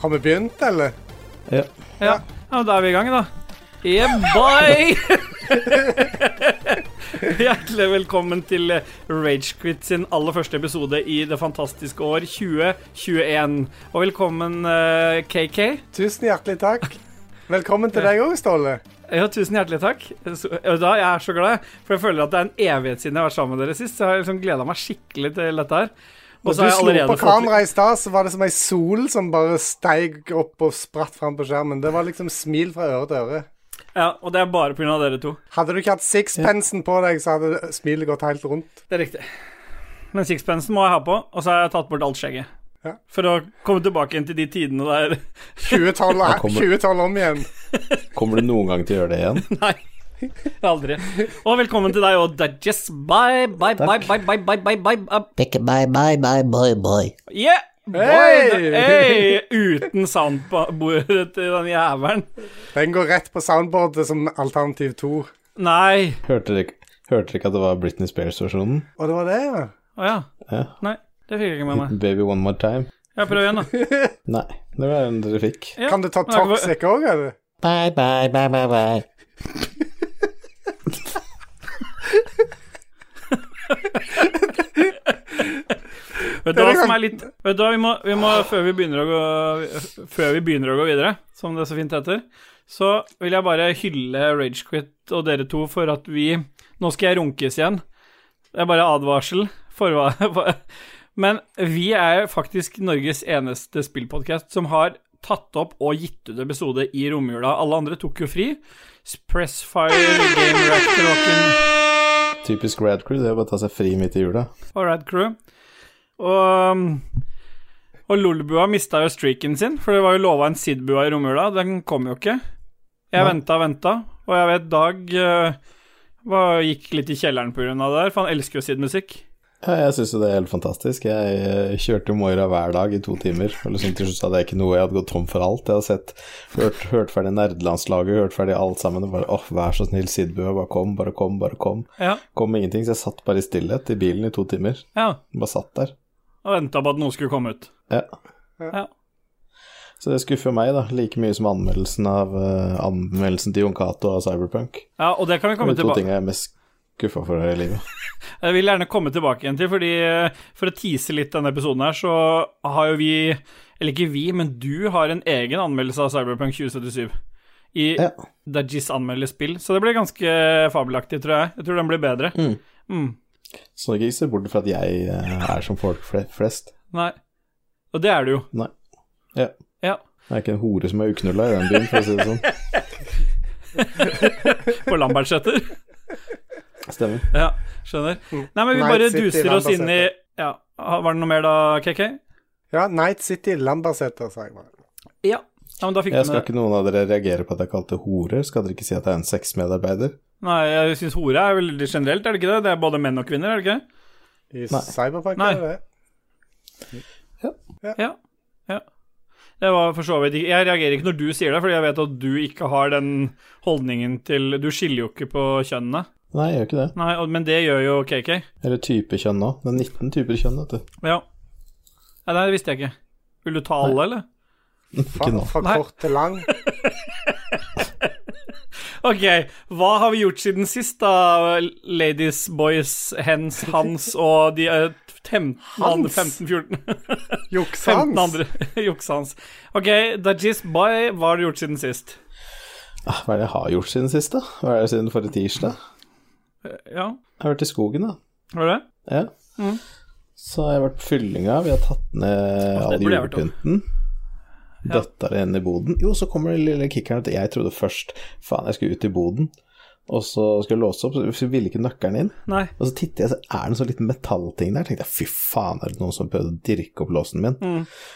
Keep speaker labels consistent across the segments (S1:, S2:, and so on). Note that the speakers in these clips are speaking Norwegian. S1: Har vi begynt, eller?
S2: Ja. ja, da er vi i gang, da. Yeah, bye! Hjertelig velkommen til Ragequit sin aller første episode i det fantastiske år 2021. Og velkommen, eh, KK.
S1: Tusen hjertelig takk. Velkommen til deg òg, Ståle.
S2: Ja, tusen hjertelig takk. Så, og da, jeg er så glad, for jeg føler at det er en evighet siden jeg har vært sammen med dere sist. Så jeg har liksom gleda meg skikkelig til dette her. Og
S1: Når
S2: så
S1: du
S2: har jeg
S1: slo på
S2: allerede fått
S1: kameraet i stad, så var det som ei sol som bare steig opp og spratt fram på skjermen. Det var liksom smil fra øre til øre.
S2: Ja, og det er bare pga. dere to.
S1: Hadde du ikke hatt sixpensen på deg, så hadde smilet gått helt rundt.
S2: Det er riktig. Men sixpensen må jeg ha på, og så har jeg tatt bort alt skjegget.
S1: Ja.
S2: For å komme tilbake igjen til de tidene der
S1: 2012,
S3: Da kommer-
S1: 2012 om igjen.
S3: Kommer du noen gang til å gjøre det igjen?
S2: Nei. Aldri. Og velkommen til deg og Dudges. Bye, bye, bye, bye, bye, bye, bye, bye. up.
S4: Pick bye bye bye boy boy.
S2: Yeah! Boy,
S1: Hey!
S2: the- hey! Uten soundbordet til den jævelen.
S1: Den går rett på soundboardet som alternativ to.
S2: Nei.
S3: Hørte dere ikke, hørte dere ikke at det var Britney Spears-versjonen?
S1: Og det var det, ja.
S2: Å ja.
S3: Ja.
S2: Nei, det fikk jeg ikke med meg.
S3: Baby One More Time?
S2: Jeg prøver igjen, da.
S3: Nei, det var den dere fikk.
S2: Ja.
S1: Kan du ta
S2: Men jeg kan-
S1: toxic òg, eller?
S4: Bye bye bye bye bye.
S2: Vet du hva som er litt Vet du hva, vi må, vi må før, vi begynner å gå, før vi begynner å gå videre, som det så fint heter, så vil jeg bare hylle Ragequit og dere to for at vi Nå skal jeg runkes igjen. Det er bare advarsel. Forva... Men vi er faktisk Norges eneste spillpodkast som har tatt opp og gitt ut episode i romjula. Alle andre tok jo fri. Pressfire, Game Reactor Walking
S3: Typisk Rad Crew, det er bare å ta seg fri midt i jula.
S2: og Rad Crew. Og, og Lolbua mista jo streaken sin, for det var jo lova en Sidbua i romjula. Den kom jo ikke. Jeg
S3: Nei.
S2: venta og venta, og jeg vet Dag eh, var, gikk litt i kjelleren pga. det der, for han elsker jo Sid-musikk.
S3: Ja, jeg syns jo det er helt fantastisk. Jeg eh, kjørte jo Moira hver dag i to timer. Og liksom til slutt hadde jeg ikke noe, jeg hadde gått tom for alt. Jeg hadde sett, hørt, hørt ferdig nerdelandslaget, hørt ferdig alt sammen. Og bare åh, vær så snill, Sidbua, bare kom, bare kom, bare kom.
S2: Ja,
S3: Kom med ingenting, så jeg satt bare i stillhet i bilen i to timer.
S2: ja.
S3: Bare satt der.
S2: Og venta på at noe skulle komme ut.
S3: Ja.
S2: Ja.
S3: Så det skuffer meg, da. Like mye som anmeldelsen av eh, anmeldelsen til Jon Cato av Cyberpunk.
S2: Ja, og det kan vi
S3: Det
S2: komme
S3: er de to
S2: tilbake
S3: tingene jeg er mest skuffa for her i livet.
S2: Jeg vil gjerne komme tilbake igjen til, fordi eh, for å tease litt denne episoden her, så har jo vi Eller ikke vi, men du har en egen anmeldelse av Cyberpunk 2077. I
S3: Ja.
S2: Dajis anmelder spill, så det blir ganske fabelaktig, tror jeg. Jeg tror den blir bedre.
S3: Mm.
S2: Mm.
S3: Så ikke se bort fra at jeg eh, er som folk fle- flest.
S2: Nei. Og det er du jo.
S3: Nei. Ja.
S2: Ja.
S3: Jeg er ikke en hore som er uknulla i den byen, for å si det sånn.
S2: På Lambertseter.
S3: Stemmer.
S2: ja, skjønner.
S3: Mm.
S2: Nei, men vi
S1: Night
S2: bare
S1: City,
S2: duser oss inn i
S1: Lambertseter.
S2: Ja, var det noe mer da, KK?
S1: Ja, Night City Lambertseter, sa jeg bare.
S2: Ja. ja men da fikk
S3: Jeg
S2: du
S3: skal
S2: med det.
S3: ikke noen av dere reagere på at jeg kalte horer. Skal dere ikke si at jeg er en sexmedarbeider?
S2: Nei, jeg syns hore er veldig generelt, er det ikke det? Det er både menn og kvinner, er det ikke?
S1: I
S3: Nei.
S1: Cyberpunk,
S2: Nei.
S1: er det det?
S2: Ja. ja. Det var for så vidt ikke Jeg reagerer ikke når du sier det, fordi jeg vet at du ikke har den holdningen til Du skiller jo ikke på kjønnene.
S3: Nei, jeg gjør ikke det.
S2: Nei, og- men det gjør jo KK.
S3: Eller type kjønn nå. Det er 19 typer kjønn, vet du.
S2: Ja. Nei, det visste jeg ikke. Vil du ta alle, eller?
S1: Fra,
S3: Ikke nå.
S1: fra
S2: Nei.
S1: kort til lang.
S2: Ok, hva har vi gjort siden sist, da? Ladies, boys, hens, hans og de eh, 15 andre
S1: Hans?
S2: 15-14
S1: Juksans.
S2: 15 andre juksehans. Ok, Dajis, bye. Hva har du gjort siden sist?
S3: Ah, Hva er det jeg har gjort siden sist, da? Hva er det siden forrige tirsdag?
S2: Eh, Ja,
S3: Jeg har vært i skogen, da.
S2: var det det?
S3: Ja.
S2: Mm.
S3: Så har jeg vært på fyllinga. Vi har tatt ned all
S2: burde jeg vært om.
S3: julepynten. Døtta det inn i boden. Jo, så kommer den lille kickeren at jeg trodde først Faen, jeg skulle ut i boden. Og så skulle jeg låse opp, så ville ikke nøkkelen inn.
S2: Nei.
S3: Og så titter jeg, så er det en sånn liten metallting der. Tenkte jeg, fy faen, er det noen som prøvde å dirke opp låsen min?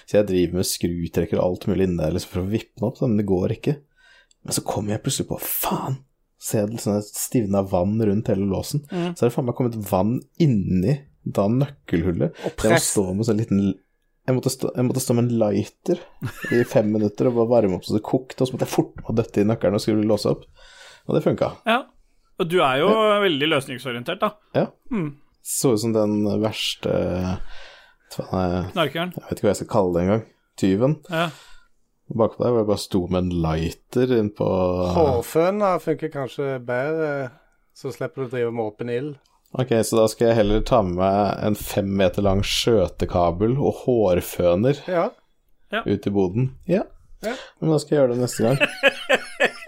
S3: Så jeg driver med skrutrekker og alt mulig inni der liksom for å vippe den opp, da, men det går ikke. Men så kommer jeg plutselig på, faen, ser jeg sånn stivna vann rundt hele låsen. Så er det faen meg kommet vann inni da nøkkelhullet. Så jeg må
S1: press.
S3: stå med sånn liten jeg måtte, stå, jeg måtte stå med en lighter i fem minutter og bare varme opp så det kokte, og så måtte jeg forte meg å døtte i nøkkelen og skulle låse opp. Og det funka.
S2: Ja. Og du er jo veldig løsningsorientert, da.
S3: Ja.
S2: Mm.
S3: Så ut som den verste faen, jeg,
S2: Knarkeren.
S3: jeg vet ikke hva jeg skal kalle det engang. Tyven.
S2: Ja.
S3: Bakpå der hvor jeg bare sto med en lighter innpå
S1: Hårføna funker kanskje bedre, så slipper du å drive med åpen ild.
S3: Ok, så da skal jeg heller ta med meg en fem meter lang skjøtekabel og hårføner
S1: Ja.
S3: ut i boden. Ja.
S1: Ja.
S3: Men da skal jeg gjøre det neste gang.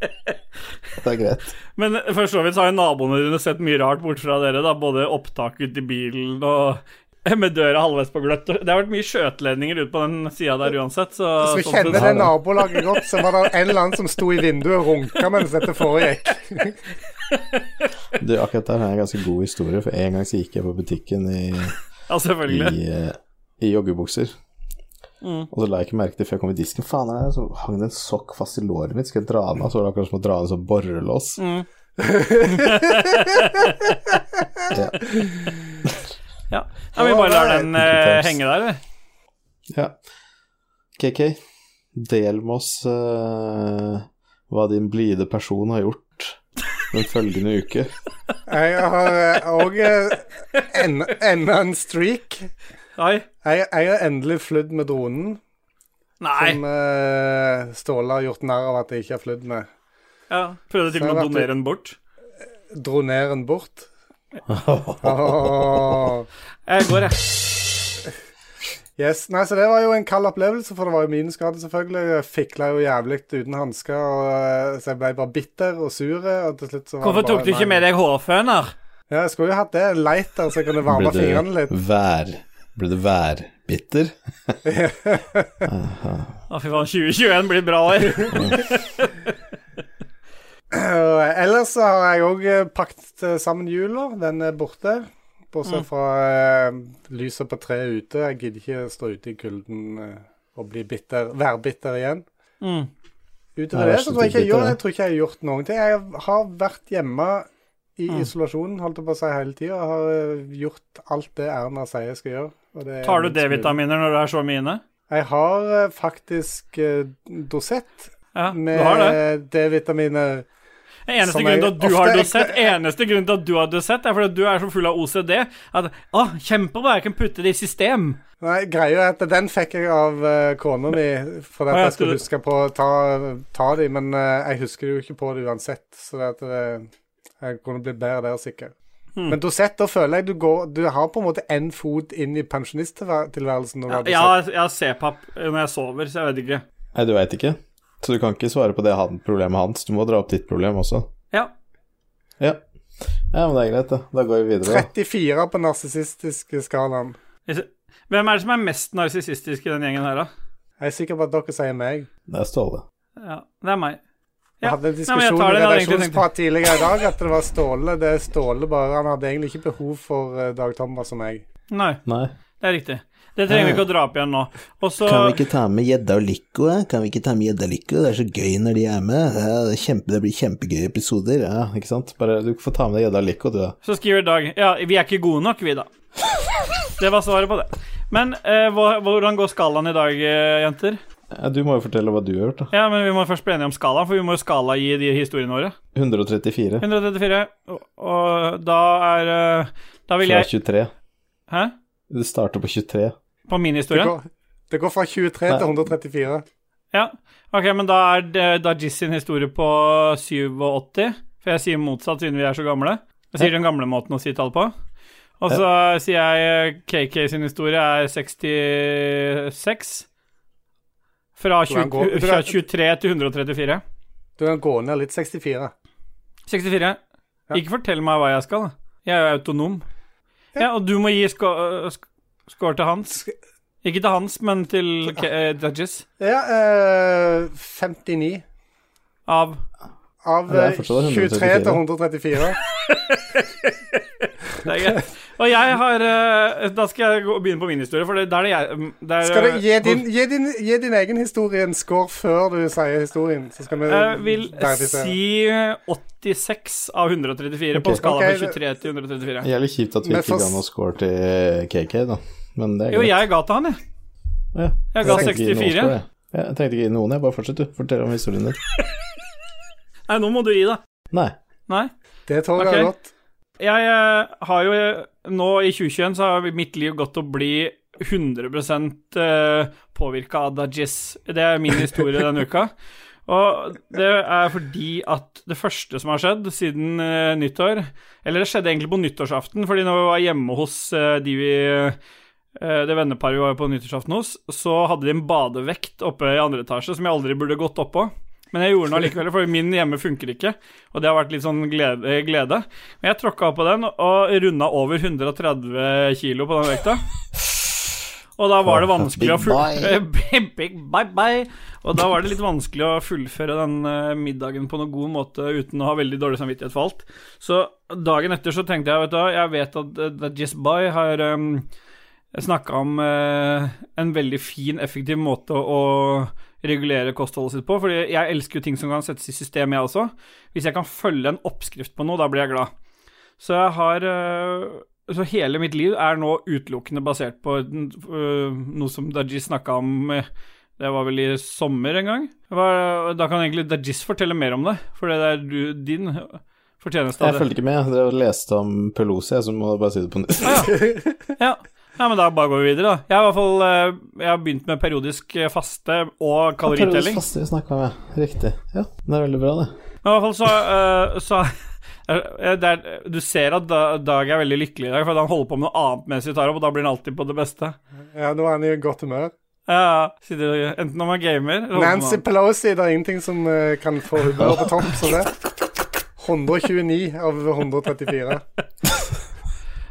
S3: det er greit.
S2: Men for så vidt så har jo naboene dine sett mye rart bort fra dere, da. Både opptak ute i bilen og med døra halvveis på gløtt. Det har vært mye skjøteledninger ut på den sida der uansett, så
S1: Hvis vi
S2: sånn
S1: kjenner
S2: sett-
S1: det nabolaget godt, så var det en eller annen som sto i vinduet og runka mens dette foregikk.
S3: Du, akkurat der har jeg en ganske god historie, for en gang så gikk jeg på butikken i,
S2: Ja,
S3: i,
S2: selvfølgelig.
S3: eh, i joggebukser.
S2: Mm.
S3: Og så la jeg ikke merke til før jeg kom i disken. Faen, jeg, så hang det en sokk fast i låret mitt. Skal jeg dra den av, så var det akkurat som å dra den som borrelås.
S2: Mm.
S3: Ja.
S2: Ja. ja, vi bare lar den eh, henge der, vi.
S3: ja. KK, del med oss eh, hva din blide person har gjort den følgende uke.
S1: Jeg har òg enda en streak.
S2: Oi.
S1: Jeg, jeg har endelig flydd med dronen,
S2: Nei.
S1: som eh, Ståle har gjort narr av at jeg ikke har flydd med.
S2: Ja. Prøvde til og med
S1: Så
S2: å
S1: har jeg vært i-
S2: donere den bort.
S1: Dro ned den bort. Åh.
S2: Jeg går, jeg.
S1: Yes, nei, så Det var jo en kald opplevelse, for det var jo min skade, selvfølgelig. Jeg fikla jo jævlig uten hansker, og, eh, så jeg ble bare bitter og sur. eh, Og til slutt så var det
S2: Hvorfor
S1: bare,
S2: tok du ikke
S1: nei.
S2: med deg hårføner?
S1: Ja, Jeg skulle jo hatt det. en Lighter, så jeg kunne varme fingrene
S3: Ble
S1: litt.
S3: du vær... Ble du værbitter?
S2: Å, fy faen, 2021 blir bra år.
S1: Og eh, Ellers så har jeg òg pakket eh, sammen hjula. Den er borte.
S2: Mm.
S1: Bortsett fra eh, lyset på treet ute. Jeg gidder ikke stå ute i kulden eh, og bli bitter, være bitter igjen.
S2: Mm.
S1: Utover
S3: Nei,
S1: det
S3: vær
S1: så
S3: så
S1: tror jeg ikke jeg,
S3: snill,
S1: gjør,
S3: bitter,
S1: jeg tror ikke jeg har gjort noen ting. Jeg har vært hjemme i isolasjon, holdt jeg på å si, hele tida. Har eh, gjort alt det Erna sier jeg skal gjøre. og det er
S2: Tar du
S1: minst mulig.
S2: D-vitaminer når du er så mye inne?
S1: Jeg har eh, faktisk eh, Dosett
S2: Ja, du har det.
S1: med D-vitaminer.
S2: Eneste
S1: Som
S2: grunn,
S1: jeg
S2: til at du har
S1: ofte
S2: dosett,
S1: ikke-
S2: eneste grunn til at du har dosett, er fordi at du er så full av OCD at Å, kjempebra, jeg kan putte det i system.
S1: Nei, greia er at den fikk jeg av eh, kona mi for
S2: Å,
S1: at
S2: ja,
S1: jeg skulle
S2: du-
S1: huske på å ta, ta de, men eh, jeg husker jo ikke på det uansett, så det at det, jeg kunne blitt bedre der, sikkert.
S2: Hmm.
S1: Men Dosett, da føler jeg du går Du har på en måte én fot inn i pensjonisttilværelsen når du har
S2: Jeg
S1: Dosett.
S2: har, jeg har C-papp når jeg sover, så jeg vet ikke.
S3: Nei, du veit ikke. Så du kan ikke svare på det han, problemet hans. Du må dra opp ditt problem også.
S2: Ja.
S3: Ja. ja, men det er greit, det. Da går vi videre.
S1: 34 på narsissistiske skalaen.
S2: Hvem er det som er mest narsissistisk i den gjengen her, da?
S1: Jeg er sikker på at dere sier meg.
S3: Det er Ståle.
S2: Ja, det er meg.
S1: Vi
S2: Ja.
S1: hadde en
S2: Nei, men jeg
S1: diskusjon
S2: tar
S1: i
S2: den, jeg hadde egentlig
S1: redaksjonsprat tidligere i dag at det var Ståle. Det er Ståle bare. Han hadde egentlig ikke behov for eh, Dag Thomas og meg.
S2: Nei,
S3: Nei.
S2: det er riktig. Det trenger vi ikke å dra opp igjen nå. Og så
S4: Kan vi ikke ta med gjedda og Lico? eh? Kan vi ikke ta med gjedda og Lico? Det er så gøy når de er med. Ja, det, er kjempe, det blir kjempegøye episoder.
S3: Ja, ikke sant. Bare du får ta med deg gjedda Lico, du, da.
S2: Så skriver Dag Ja, vi er ikke gode nok, vi, da. Det var svaret på det. Men eh, hva- hvordan går skalaen i dag, eh, jenter?
S3: Ja, du må jo fortelle hva du har gjort, da.
S2: Ja, men Vi må først bli enige om skalaen, for vi må jo skala i de historiene våre.
S3: 134
S2: 134, og, og da er eh, Da vil
S3: fra
S2: jeg
S3: 23.
S2: Hæ?
S3: Det starter på 23.
S2: På min
S1: Det
S2: historie?
S1: går, det går fra 23 til 134.
S2: Ja. Ok, men da er det- da er Giz sin historie på 87, for jeg sier motsatt siden vi er så gamle. Jeg sier den gamle måten å si tall på. Og så sier jeg eh, KK sin historie er 66. Fra,
S1: Hvordan
S2: 20,
S1: går-
S2: fra 23 til 134.
S1: Du kan gå ned litt. 64.
S2: 64. Ikke fortell meg hva jeg skal. da. Jeg er jo autonom. Ja, og du må gi sko- øh, sk- score til Hans. Ikke til Hans, men til K eh, Dudges.
S1: Ja, eh, 59.
S2: Av
S1: Av
S3: Ja, det er
S1: eh,
S3: fortsatt
S1: 23 til 134.
S2: Det er greit. Og jeg har eh, Da skal jeg gå, begynne på min historie, for det, der er det jeg mm, der,
S1: Skal du gi
S2: eh,
S1: din, gi, din, gi din egen historie en score før du sier historien? Så skal vi
S2: Jeg vil
S1: verifisere.
S2: si 86 av 134 på
S3: Ok.
S2: en skala
S1: Ok,
S2: fra
S1: det-
S2: 23 til 134.
S3: Jævlig kjipt at vi
S1: Men
S3: ikke
S1: for-
S3: ga noe score til KK, da. Men det er
S2: Jo,
S3: greit.
S2: jeg ga til han, jeg.
S3: ja.
S2: Jeg ga
S3: tenkte ikke gi noen
S2: 64.
S3: score, jeg. Ja, jeg tenkte ikke gi noen, jeg. Bare fortsett, du. Fortell om historien din.
S2: Nei, nå må du gi, da.
S3: Nei.
S2: Nei.
S1: Det tåler
S2: Ok.
S1: jeg godt.
S2: Jeg eh, har jo eh, Nå i 2021 så har mitt liv gått til å bli 100 påvirka av Dajis. Det er min historie denne uka. Og det er fordi at det første som har skjedd siden eh, nyttår Eller det skjedde egentlig på nyttårsaften, fordi når vi var hjemme hos eh, de vi eh, Det venneparet vi var på nyttårsaften hos, så hadde de en badevekt oppe i andre etasje som jeg aldri burde gått oppå. Men jeg gjorde den allikevel, for min hjemme funker ikke. Og det har vært litt sånn glede. eh, glede. Men jeg tråkka oppå den og runda over 130 kilo på den vekta. Og da var det vanskelig å
S4: Big
S2: full... Big bye bye. Og da var det litt vanskelig å fullføre den eh, middagen på noen god måte uten å ha veldig dårlig samvittighet for alt. Så dagen etter så tenkte jeg, vet du hva, jeg vet at eh, The Jess Bye har um, snakka om eh, en veldig fin, effektiv måte å regulere kostholdet sitt på, fordi jeg elsker jo ting som kan settes i system, jeg også. Hvis jeg kan følge en oppskrift på noe, da blir jeg glad. Så jeg har øh, Så hele mitt liv er nå utelukkende basert på øh, noe som Dajis snakka om øh, Det var vel i sommer en gang? Det var- Da kan egentlig Dajis fortelle mer om det, for det er du, din fortjeneste
S3: Jeg
S2: av det.
S3: fulgte ikke med. Jeg drev og leste om Pelosi, jeg, så må jeg bare si det på nytt.
S2: Ja. ja, men da bare går vi videre, da. Jeg har i hvert fall øh, Jeg har begynt med periodisk øh, faste og kaloritelling.
S3: Faste vi snakket om, ja. Riktig. Ja, det er veldig bra, det.
S2: Men i hvert fall så, eh, så eh, det er, Du ser at da- Dag er veldig lykkelig i dag, for at han holder på med noe annet mens vi tar opp, og da blir han alltid på det beste.
S1: Ja, nå er han i godt humør.
S2: Ja, sitter, og- enten om han er gamer eller holder på
S1: Nancy
S2: med noe annet.
S1: Pelosi, det er ingenting som eh, kan få humøret på topp som det. 129 av 134.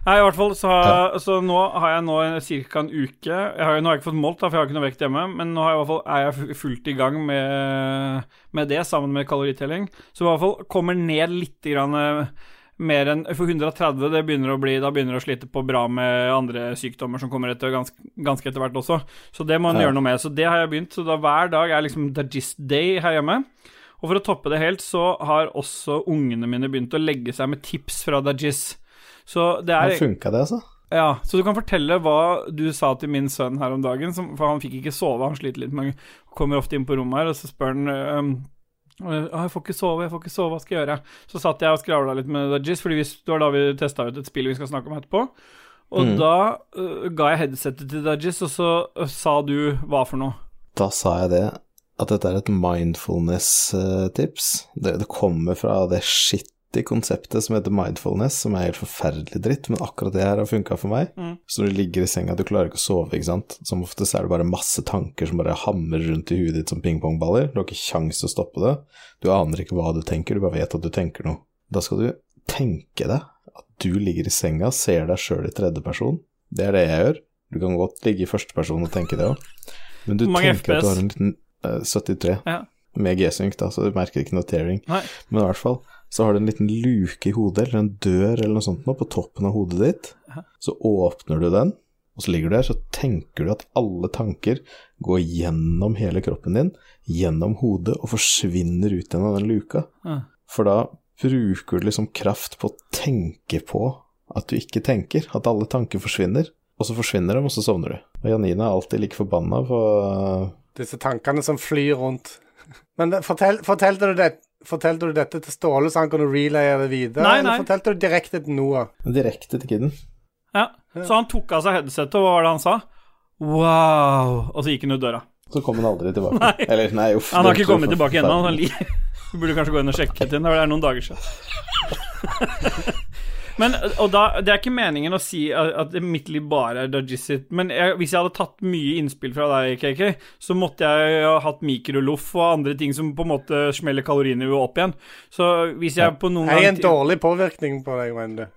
S2: Nei, i hvert fall så, har- så nå har jeg nå ca. en uke jeg har, jo- Nå har jeg ikke fått målt, da, for jeg har ikke noe vekt hjemme, men nå har jeg i hvert fall, er jeg fu- fullt i gang med, med det, sammen med kaloritelling. Så i hvert fall kommer ned litt grann, eh, mer enn For 130, det begynner å bli Da begynner det å slite på bra med andre sykdommer som kommer etter, ganske, ganske etter hvert også. Så det må en
S3: Ja.
S2: gjøre noe med. Så det har jeg begynt. Så da hver dag er liksom the gist day her hjemme. Og for å toppe det helt, så har også ungene mine begynt å legge seg med tips fra Dajis. Så det
S3: Men
S2: er
S3: funka det, altså?
S2: Ja, så du kan fortelle hva du sa til min sønn her om dagen, som, for han fikk ikke sove, han sliter litt, men kommer ofte inn på rommet her, og så spør han ehm, «Å, jeg får ikke sove, jeg får ikke sove, hva skal jeg gjøre? Så satt jeg og skravla litt med Dodges, fordi vi, det var da vi testa ut et spill vi skal snakke om etterpå. Og da øh, ga jeg headsetet til Dodges, og så øh, sa du hva for noe?
S3: Da sa jeg det, at dette er et mindfulness-tips. Det, det kommer fra det skittige konseptet som heter mindfulness, som er helt forferdelig dritt, men akkurat det her har funka for meg. Så når du ligger i senga, du klarer ikke å sove, ikke sant. Som ofte så er det bare masse tanker som bare hamrer rundt i huet ditt som pingpongballer. Du har ikke kjangs til å stoppe det. Du aner ikke hva du tenker, du bare vet at du tenker noe. Da skal du tenke deg at du ligger i senga, ser deg sjøl i tredjeperson. Det er det jeg gjør. Du kan godt ligge i førsteperson og tenke det òg. Men du
S2: Hvor mange
S3: tenker at du
S2: FPS?
S3: har en liten eh, 73
S2: Ja.
S3: med G-synk, da, så du merker ikke noe tearing.
S2: Nei.
S3: Men i hvert fall så har du en liten luke i hodet, eller en dør eller noe sånt nå, på toppen av hodet ditt. Så åpner du den, og så ligger du der, så tenker du at alle tanker går gjennom hele kroppen din, gjennom hodet, og forsvinner ut gjennom den luka.
S2: Ja.
S3: For da bruker du liksom kraft på å tenke på at du ikke tenker, at alle tanker forsvinner. Og så forsvinner de, og så sovner du. Og Janine er alltid like forbanna på
S1: Disse tankene som flyr rundt. Men det- fortell, fortalte, du det, fortalte du dette til Ståle, så han kunne relaye det videre?
S2: Nei, nei.
S1: Eller fortalte du direkte til Noah?
S3: eh, direkte til kiden.
S2: ja. Så han tok av seg headsetet, og hva var det han sa? Wow! Og så gikk han ut døra.
S3: Så kom han aldri tilbake. Eller, nei, uff.
S2: Han har
S3: det
S2: ikke kommet
S3: var
S2: tilbake ennå.
S3: forferdelig.
S2: Han ligger Du burde kanskje gå inn og sjekke til ham. Det er noen dager siden. Men, og da, Det er ikke meningen å si at at mitt liv bare er Dajis sitt, men jeg, hvis jeg hadde tatt mye innspill fra deg, KK, så måtte jeg ha hatt mikroloff og andre ting som på en måte smeller kalorinivået opp igjen. Så hvis jeg på noen
S1: Jeg er en
S2: gang-
S1: dårlig påvirkning på deg, Wendy.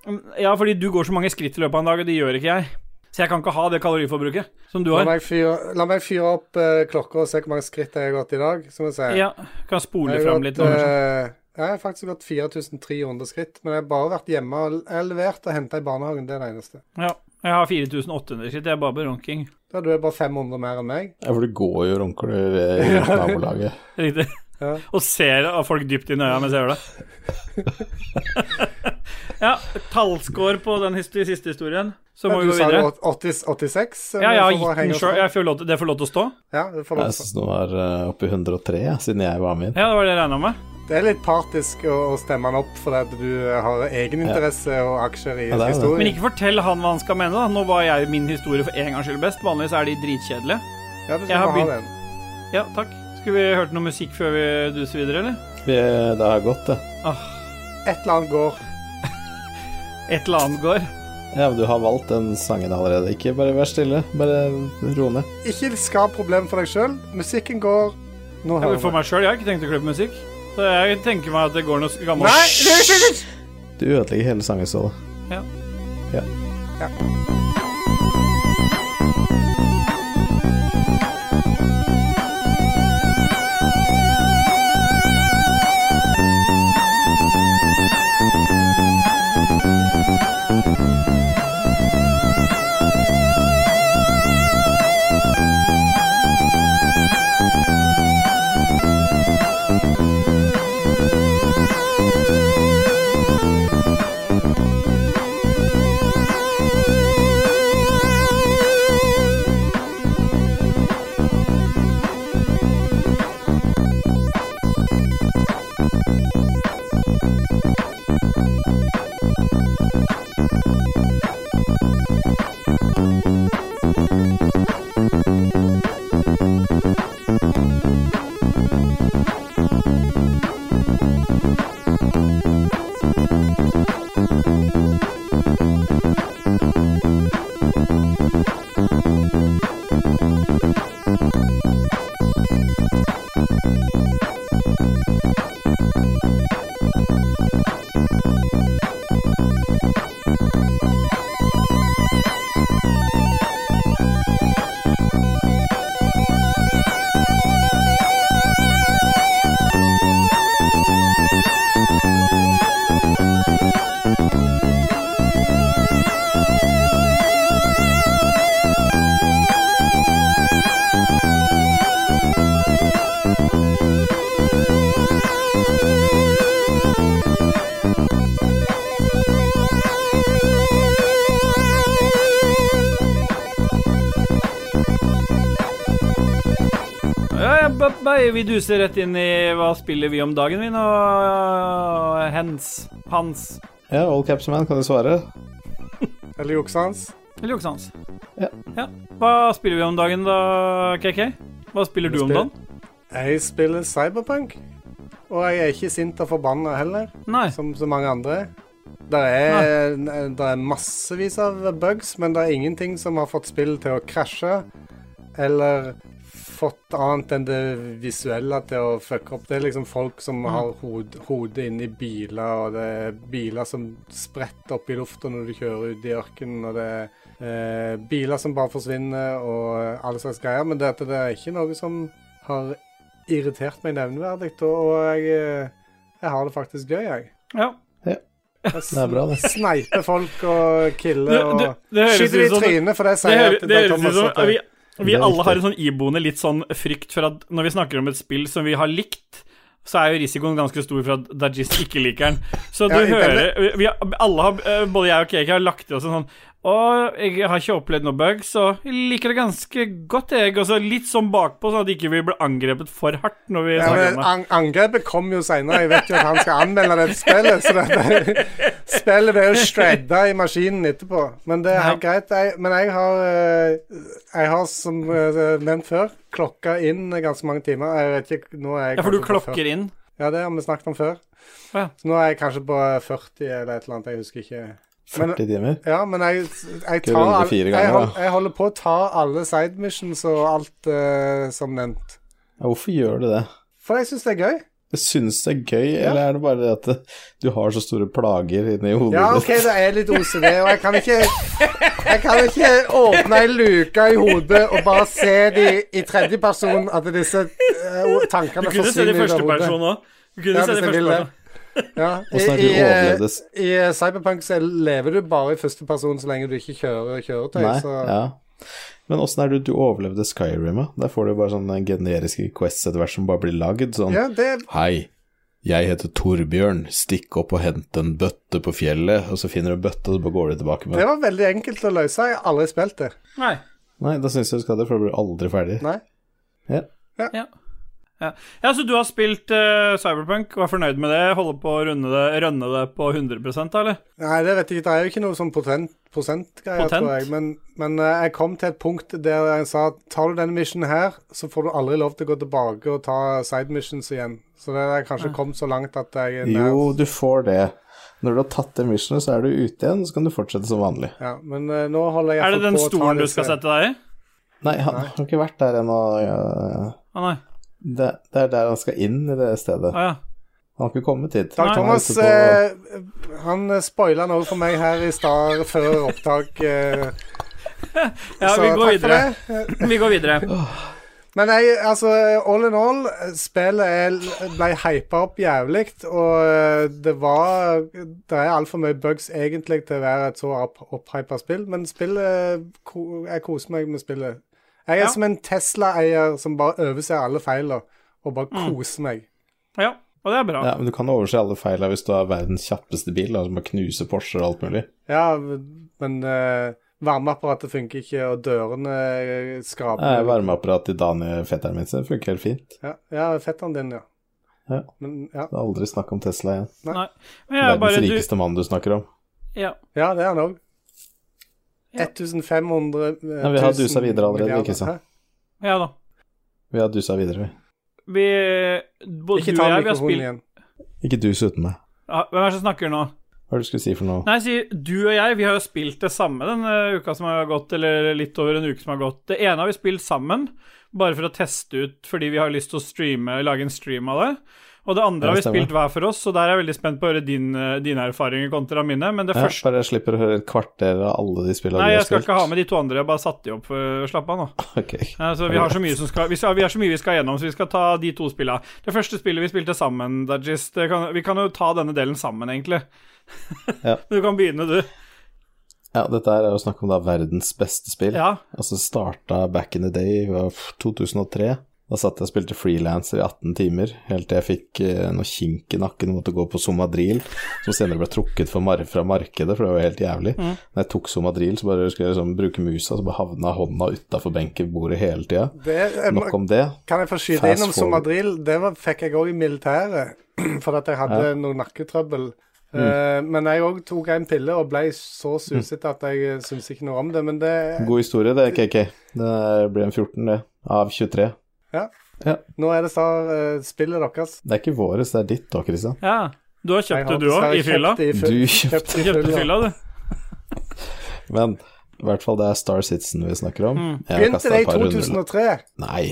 S2: Ja, fordi du går så mange skritt i løpet av en dag, og det gjør ikke jeg. Så jeg kan ikke ha det kaloriforbruket som du
S1: La
S2: har.
S1: meg fyre, la meg fyre opp eh, klokka og se hvor mange skritt jeg har gått i dag. Så må jeg si.
S2: Ja, kan spole
S1: jeg, har
S2: fram
S1: gått,
S2: litt. nå, kanskje.
S1: eh, jeg har faktisk gått 4300 skritt, men jeg har bare vært hjemme og jeg har levert og henta i barnehagen. Det er det eneste.
S2: Ja, jeg har 4800 skritt. Jeg er bare berunking.
S1: Da er du bare 500 mer enn meg.
S3: Ja, for du går jo og runker du i nabolaget.
S2: Riktig.
S1: Ja.
S2: Og ser av folk dypt inn i øya mens jeg gjør det. ja, tallscore på den his- siste historien. Så må vi
S1: du
S2: gå
S1: sa jo
S2: videre.
S1: 80, 86. så
S2: Ja,
S1: vi
S2: jeg har
S1: får bare
S2: gitt
S1: henge
S2: den
S1: oss
S2: sjøl.
S1: opp.
S2: Jeg får lov til- Det får lov til å stå?
S1: Ja, du får
S3: Jeg
S1: lov til.
S3: syns den var eh, oppe i 103, jeg, siden jeg var med inn.
S2: Ja, det var det jeg regna med.
S1: Det Det er litt partisk å å stemme han opp fordi at du har egeninteresse og aksjer i
S3: Ja, det er det.
S1: historien.
S2: Men ikke fortell han hva han skal mene, da. Nå var jeg min historie for en gangs skyld best. Vanligvis er de dritkjedelige.
S1: ja, du
S2: jeg
S1: skal
S2: har
S1: bare ha
S2: begynt-
S1: den.
S2: Ja, takk. Skulle vi hørt noe musikk før vi duser videre, eller?
S3: Vi, det har gått, det.
S1: Et eller annet går.
S2: Et eller annet går.
S3: Ja, men du har valgt den sangen allerede. Ikke bare vær stille. Bare ro ned.
S1: Ikke skap problem for deg sjøl. Musikken går. Nå
S2: Ja, men
S1: hører
S2: For
S1: vi.
S2: meg sjøl, jeg har ikke tenkt å klippe musikk. Så jeg tenker meg at det går noe gammelt
S1: Nei, det er ikke
S3: Du ødelegger hele sangen, så da.
S2: Ja.
S3: Ja.
S1: Ja.
S2: Ja, ja, ba- ba- vi duser rett inn i hva spiller vi om dagen, vi nå? øh, Hens, Hans
S3: Ja, Old Capsman, kan du svare?
S1: Eller juksa hans.
S2: eller Joksans?
S3: Ja.
S2: ja. Hva spiller vi om dagen da, KK? Hva spiller du om
S1: spiller-
S2: dagen?
S1: Jeg spiller cyberpunk. Og jeg er ikke sint og forbanna heller,
S2: Nei.
S1: som så mange andre. Det er, der er massevis av bugs, men det er ingenting som har fått spill til å krasje. Eller fått annet enn det visuelle til å fucke opp. Det er liksom folk som har hod, hodet inni biler, og det er biler som spretter opp i lufta når du kjører ut i ørkenen, og det er eh, biler som bare forsvinner, og alle slags greier. Men dette det er ikke noe som har irritert meg nevneverdig, og jeg, eh, jeg har det faktisk gøy, jeg.
S2: Ja.
S1: Jeg
S3: Det er bra, det.
S1: Sneiper folk og killer og
S2: Det- det- det høres
S1: Skyter de
S2: ut
S1: i
S2: som-
S1: trynet, for det
S2: Det,
S1: sier jeg
S2: hø-
S1: til
S2: det
S1: Dan
S2: høres ut
S1: Thomas
S2: som
S1: at
S2: vi,
S1: jeg-
S2: vi
S3: Det er
S2: alle har en
S3: riktig.
S2: sånn iboende litt sånn frykt for at når vi snakker om et spill som vi har likt, så er jo risikoen ganske stor for at Dajist ikke liker den. Så du
S1: Ja, i
S2: hører vi- vi, alle har, eh, Både jeg og Kiki har lagt i oss en sånn Å, jeg har ikke opplevd noe bug, så jeg liker det ganske godt, jeg. Og så litt sånn bakpå, sånn at ikke vi blir angrepet for hardt når vi
S1: ja,
S2: snakker
S1: men
S2: om det.
S1: an Angrepet kom jo seinere. Jeg vet jo at han skal anmelde det spillet. Så det, spillet ble jo shredda i maskinen etterpå. Men det er helt greit. Jeg, men jeg har, eh, jeg har, som eh, nevnt før, klokka inn ganske mange timer. Jeg vet ikke, nå er jeg
S2: Ja, for du
S1: kanskje på 40.
S2: klokker inn.
S1: Ja, det har vi snakket om før.
S2: Ja.
S1: Så nå er jeg kanskje på 40 eller et eller annet. Jeg husker ikke. Men-
S3: 40 timer.
S1: Ja, men jeg, jeg,
S3: Ikke
S1: tar,
S3: runde
S1: all-
S3: fire
S1: jeg,
S3: ganger,
S1: hold,
S3: da.
S1: jeg holder på å ta alle side missions og alt eh, som nevnt.
S3: Ja, hvorfor gjør du det?
S1: For jeg syns det er gøy.
S3: Jeg synes det er gøy, eller er det bare det at det- du har så store plager inni hodet
S1: Ja,
S3: ditt?
S1: OK, det er litt OCD, og jeg kan ikke Jeg kan ikke åpne ei luke i hodet og bare se de i tredjeperson, at disse eh,
S2: Du
S1: tankene
S2: kunne se det i
S1: forsvinner ut av
S2: førsteperson
S1: hodet.
S2: òg. Du kunne
S1: Ja,
S2: se det
S1: hvis
S2: i
S1: jeg vil det.
S2: førsteperson.
S1: Ja. I,
S3: Åssen er det
S1: i,
S3: du
S1: eh,
S3: overlevdes?
S1: I eh, Cyberpunk så lever du bare i førsteperson så lenge du ikke kjører kjøretøy.
S3: Nei,
S1: så
S3: ja. Men åssen er det du overlevde Skyrim, da? Der får du bare sånne generiske quests etter hvert som bare blir lagd sånn.
S1: ja, det
S3: Hei, jeg heter Torbjørn, stikk opp og hent en bøtte på fjellet, og så finner du en bøtte, og så bare går du tilbake med
S1: Det
S3: den.
S1: var veldig enkelt å løse. Jeg har aldri spilt det.
S2: Nei.
S3: Nei, da syns jeg du skal det, for da blir du aldri ferdig.
S1: Nei.
S2: Ja. Ja. ja, så du har spilt eh, Cyberpunk og er fornøyd med det? Holder på å runde det, rønne det på 100 da, eller?
S1: Nei, det vet jeg ikke. Det er jo ikke noe sånn potent, prosentgreier,
S2: Potent?
S1: tror jeg. Men, men eh, jeg kom til et punkt der jeg sa tar du denne missionen her, så får du aldri lov til å gå tilbake og ta side missions igjen. Så det er
S2: Ah.
S1: kanskje kommet så langt at jeg er nær.
S2: altså.
S3: Jo, du får det. Når du har tatt det missionet, så er du ute igjen, så kan du fortsette som vanlig.
S1: Ja, men eh, nå holder jeg
S2: Er det
S1: iallfall
S2: den
S1: på å ta
S2: stolen du
S1: disse-
S2: skal sette deg i?
S3: Nei, han har ikke vært der ennå. ja.
S2: Å nei.
S3: Det, det er der han skal inn, i det stedet.
S2: Å ja.
S3: Han har ikke kommet hit.
S1: Dag
S2: Nei.
S1: Thomas
S3: Han er ute
S1: eh, han spoila noe for meg her i stad før opptak. Eh,
S2: Ja, vi går videre.
S1: for det.
S2: Vi går videre.
S1: Men jeg, altså, all in all, spillet er, ble hypa opp jævlig, og eh, det var Det er altfor mye bugs egentlig til å være et så opp- opphypa spill, men spillet ko- Jeg koser meg med spillet. Jeg er
S2: Ja.
S1: som en Tesla-eier som bare overser alle feilene, og bare koser meg.
S2: Ja, og det er bra.
S3: på- Ja, men du kan overse alle feila hvis du har verdens kjappeste bil, da, som bare knuser Porscher og alt mulig.
S1: Ja, men eh, varmeapparatet funker ikke, og dørene eh,
S3: Nei,
S1: skraper.
S3: Varmeapparatet til Daniel, fetteren min, så det funker helt fint.
S1: Ja, ja fetteren din, ja.
S3: Ja.
S1: Men, ja.
S3: Det er aldri snakk om Tesla igjen.
S2: Nei. Men jeg er
S3: Verdens
S2: bare du
S3: rikeste mann du snakker om.
S2: Ja.
S1: ja, det er han òg.
S2: Ja.
S1: 1500 eh,
S3: Ja, vi har
S1: 1000
S3: dusa videre allerede,
S1: milliarder.
S3: ikke sant?
S1: Hæ?
S2: ja da.
S3: Vi har dusa videre, vi.
S2: Vi Både
S1: Ikke
S2: du og
S1: ta
S2: jeg, vi har
S1: mikrofonen
S2: spilt
S1: igjen.
S3: Ikke dus uten meg.
S2: Ja, Hvem er det som snakker nå?
S3: Hva er det du skulle si for noe?
S2: Nei, si, du og jeg, vi har jo spilt det samme denne uka som har gått, eller litt over en uke som har gått. Det ene har vi spilt sammen, bare for å teste ut, fordi vi har lyst til å streame, lage en stream av det. Og det andre
S3: Ja,
S2: har vi
S3: stemmer.
S2: spilt hver for oss, så der er jeg veldig spent på å høre din, eh, dine erfaringer kontra mine. Men det
S3: Ja,
S2: første
S3: bare jeg slipper å høre et kvarter av alle de spillene du
S2: Nei, jeg
S3: har
S2: skal
S3: spilt.
S2: ikke ha med de to andre, jeg bare satte de opp for Slapp av nå.
S3: Ok.
S2: Eh, Så vi har så mye som skal vi, skal vi har så mye vi skal gjennom, så vi skal ta de to spillene. Det første spillet vi spilte sammen, Dajis det kan, Vi kan jo ta denne delen sammen, egentlig.
S3: Ja.
S2: Du kan begynne, du.
S3: Ja, dette her er jo snakk om da verdens beste spill.
S2: Ja.
S3: Altså starta back in the day, var f- 2003. Da satt jeg og spilte frilanser i 18 timer, helt til jeg fikk eh, noe kink i nakken og måtte gå på Somadril, som senere ble trukket for mar fra markedet, for det var jo helt jævlig. Når jeg tok Somadril, så bare skulle jeg liksom bruke musa, så bare havna hånda utafor benkebordet hele tida.
S1: Det, jeg,
S3: Nok om det.
S1: kan jeg få skyte
S3: Fast
S1: inn om
S3: forward.
S1: Somadril? Det var, fikk jeg òg i militæret, for at jeg hadde noe nakketrøbbel.
S3: Mm.
S1: Eh, men jeg òg tok en pille og ble så susete at jeg syns ikke noe om det. Men det
S3: God historie, det, KK. Det blir en 14, det. Av 23.
S1: Nå er det så, eh, spillet deres.
S3: Det er ikke våres, det er ditt da, Christian.
S2: ja. Du har
S1: Jeg
S2: kjøpt
S1: har
S2: det, du òg, i
S1: dessverre
S2: fylla?
S1: kjøpt det i fyll-
S3: Du
S1: kjøpt det i
S2: Kjøpte
S1: fyll, ja.
S2: fylla, du?
S3: Men i hvert fall det er Star Citizen vi snakker om.
S2: Mm.
S3: Jeg har
S1: Begynte
S3: kastet
S1: det i
S3: et par runder-
S1: 2003?
S3: Nei,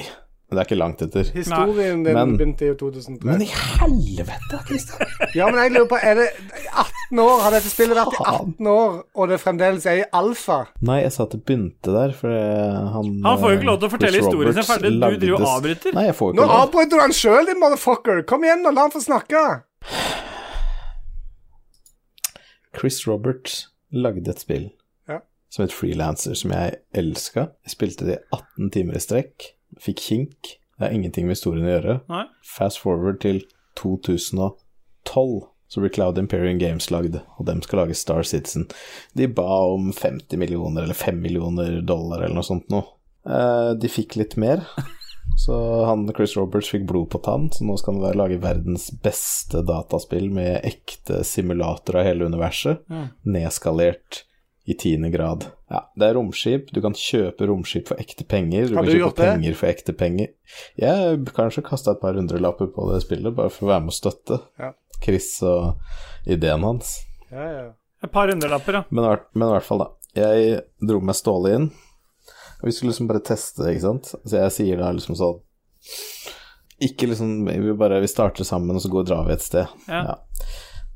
S3: men det er ikke langt etter.
S1: Historien din
S3: Men-
S1: begynte i 2003.
S3: Men i helvete, Christian!
S1: ja, men jeg lurer på Er det i 18 år? Har dette spillet vært i
S3: Faen.
S1: 18 år, og det fremdeles er i alfa?
S3: Nei, jeg sa at det begynte der, for eh, han
S2: Han får jo ikke lov til å
S3: eh,
S2: fortelle
S3: Chris
S2: historien sin
S3: Roberts
S2: ferdig. Du
S3: lagde
S2: driver og
S3: det-
S2: avbryter.
S3: Nei, jeg får jo
S1: Nå
S3: ikke lov.
S1: avbryter du han sjøl, din motherfucker! Kom igjen, og la han få snakke!
S3: Chris Roberts lagde et spill
S1: Ja.
S3: som het Freelancer, som jeg elska. Jeg spilte det i 18 timer i strekk, fikk kink. Det har ingenting med historien å gjøre.
S2: Nei.
S3: Fast forward til 2012, så blir Cloud Imperium Games lagd, og dem skal lage Star Citizen. De ba om 50 millioner eller 5 millioner dollar eller noe sånt nå. Eh, De fikk litt mer, så han Chris Roberts fikk blod på tann, så nå skal han være- lage verdens beste dataspill med ekte simulator av hele universet,
S2: Mm.
S3: nedskalert i tiende grad. Ja, det er romskip, du kan kjøpe romskip for ekte penger. Du
S1: Har
S3: kan
S1: du
S3: kjøpe
S1: gjort det?
S3: penger for ekte penger. Jeg har kanskje kasta et par hundrelapper på det spillet, bare for å være med og støtte
S1: Ja.
S3: Chris og ideen hans.
S1: Ja, ja.
S2: Et par hundrelapper, ja.
S3: Men, i hvert- men i hvert fall, da. Jeg dro med Ståle inn, og vi skulle liksom bare teste, ikke sant. Så jeg sier da liksom sånn Ikke liksom Vi bare vi starter sammen, og så går og drar vi et sted.
S2: Ja.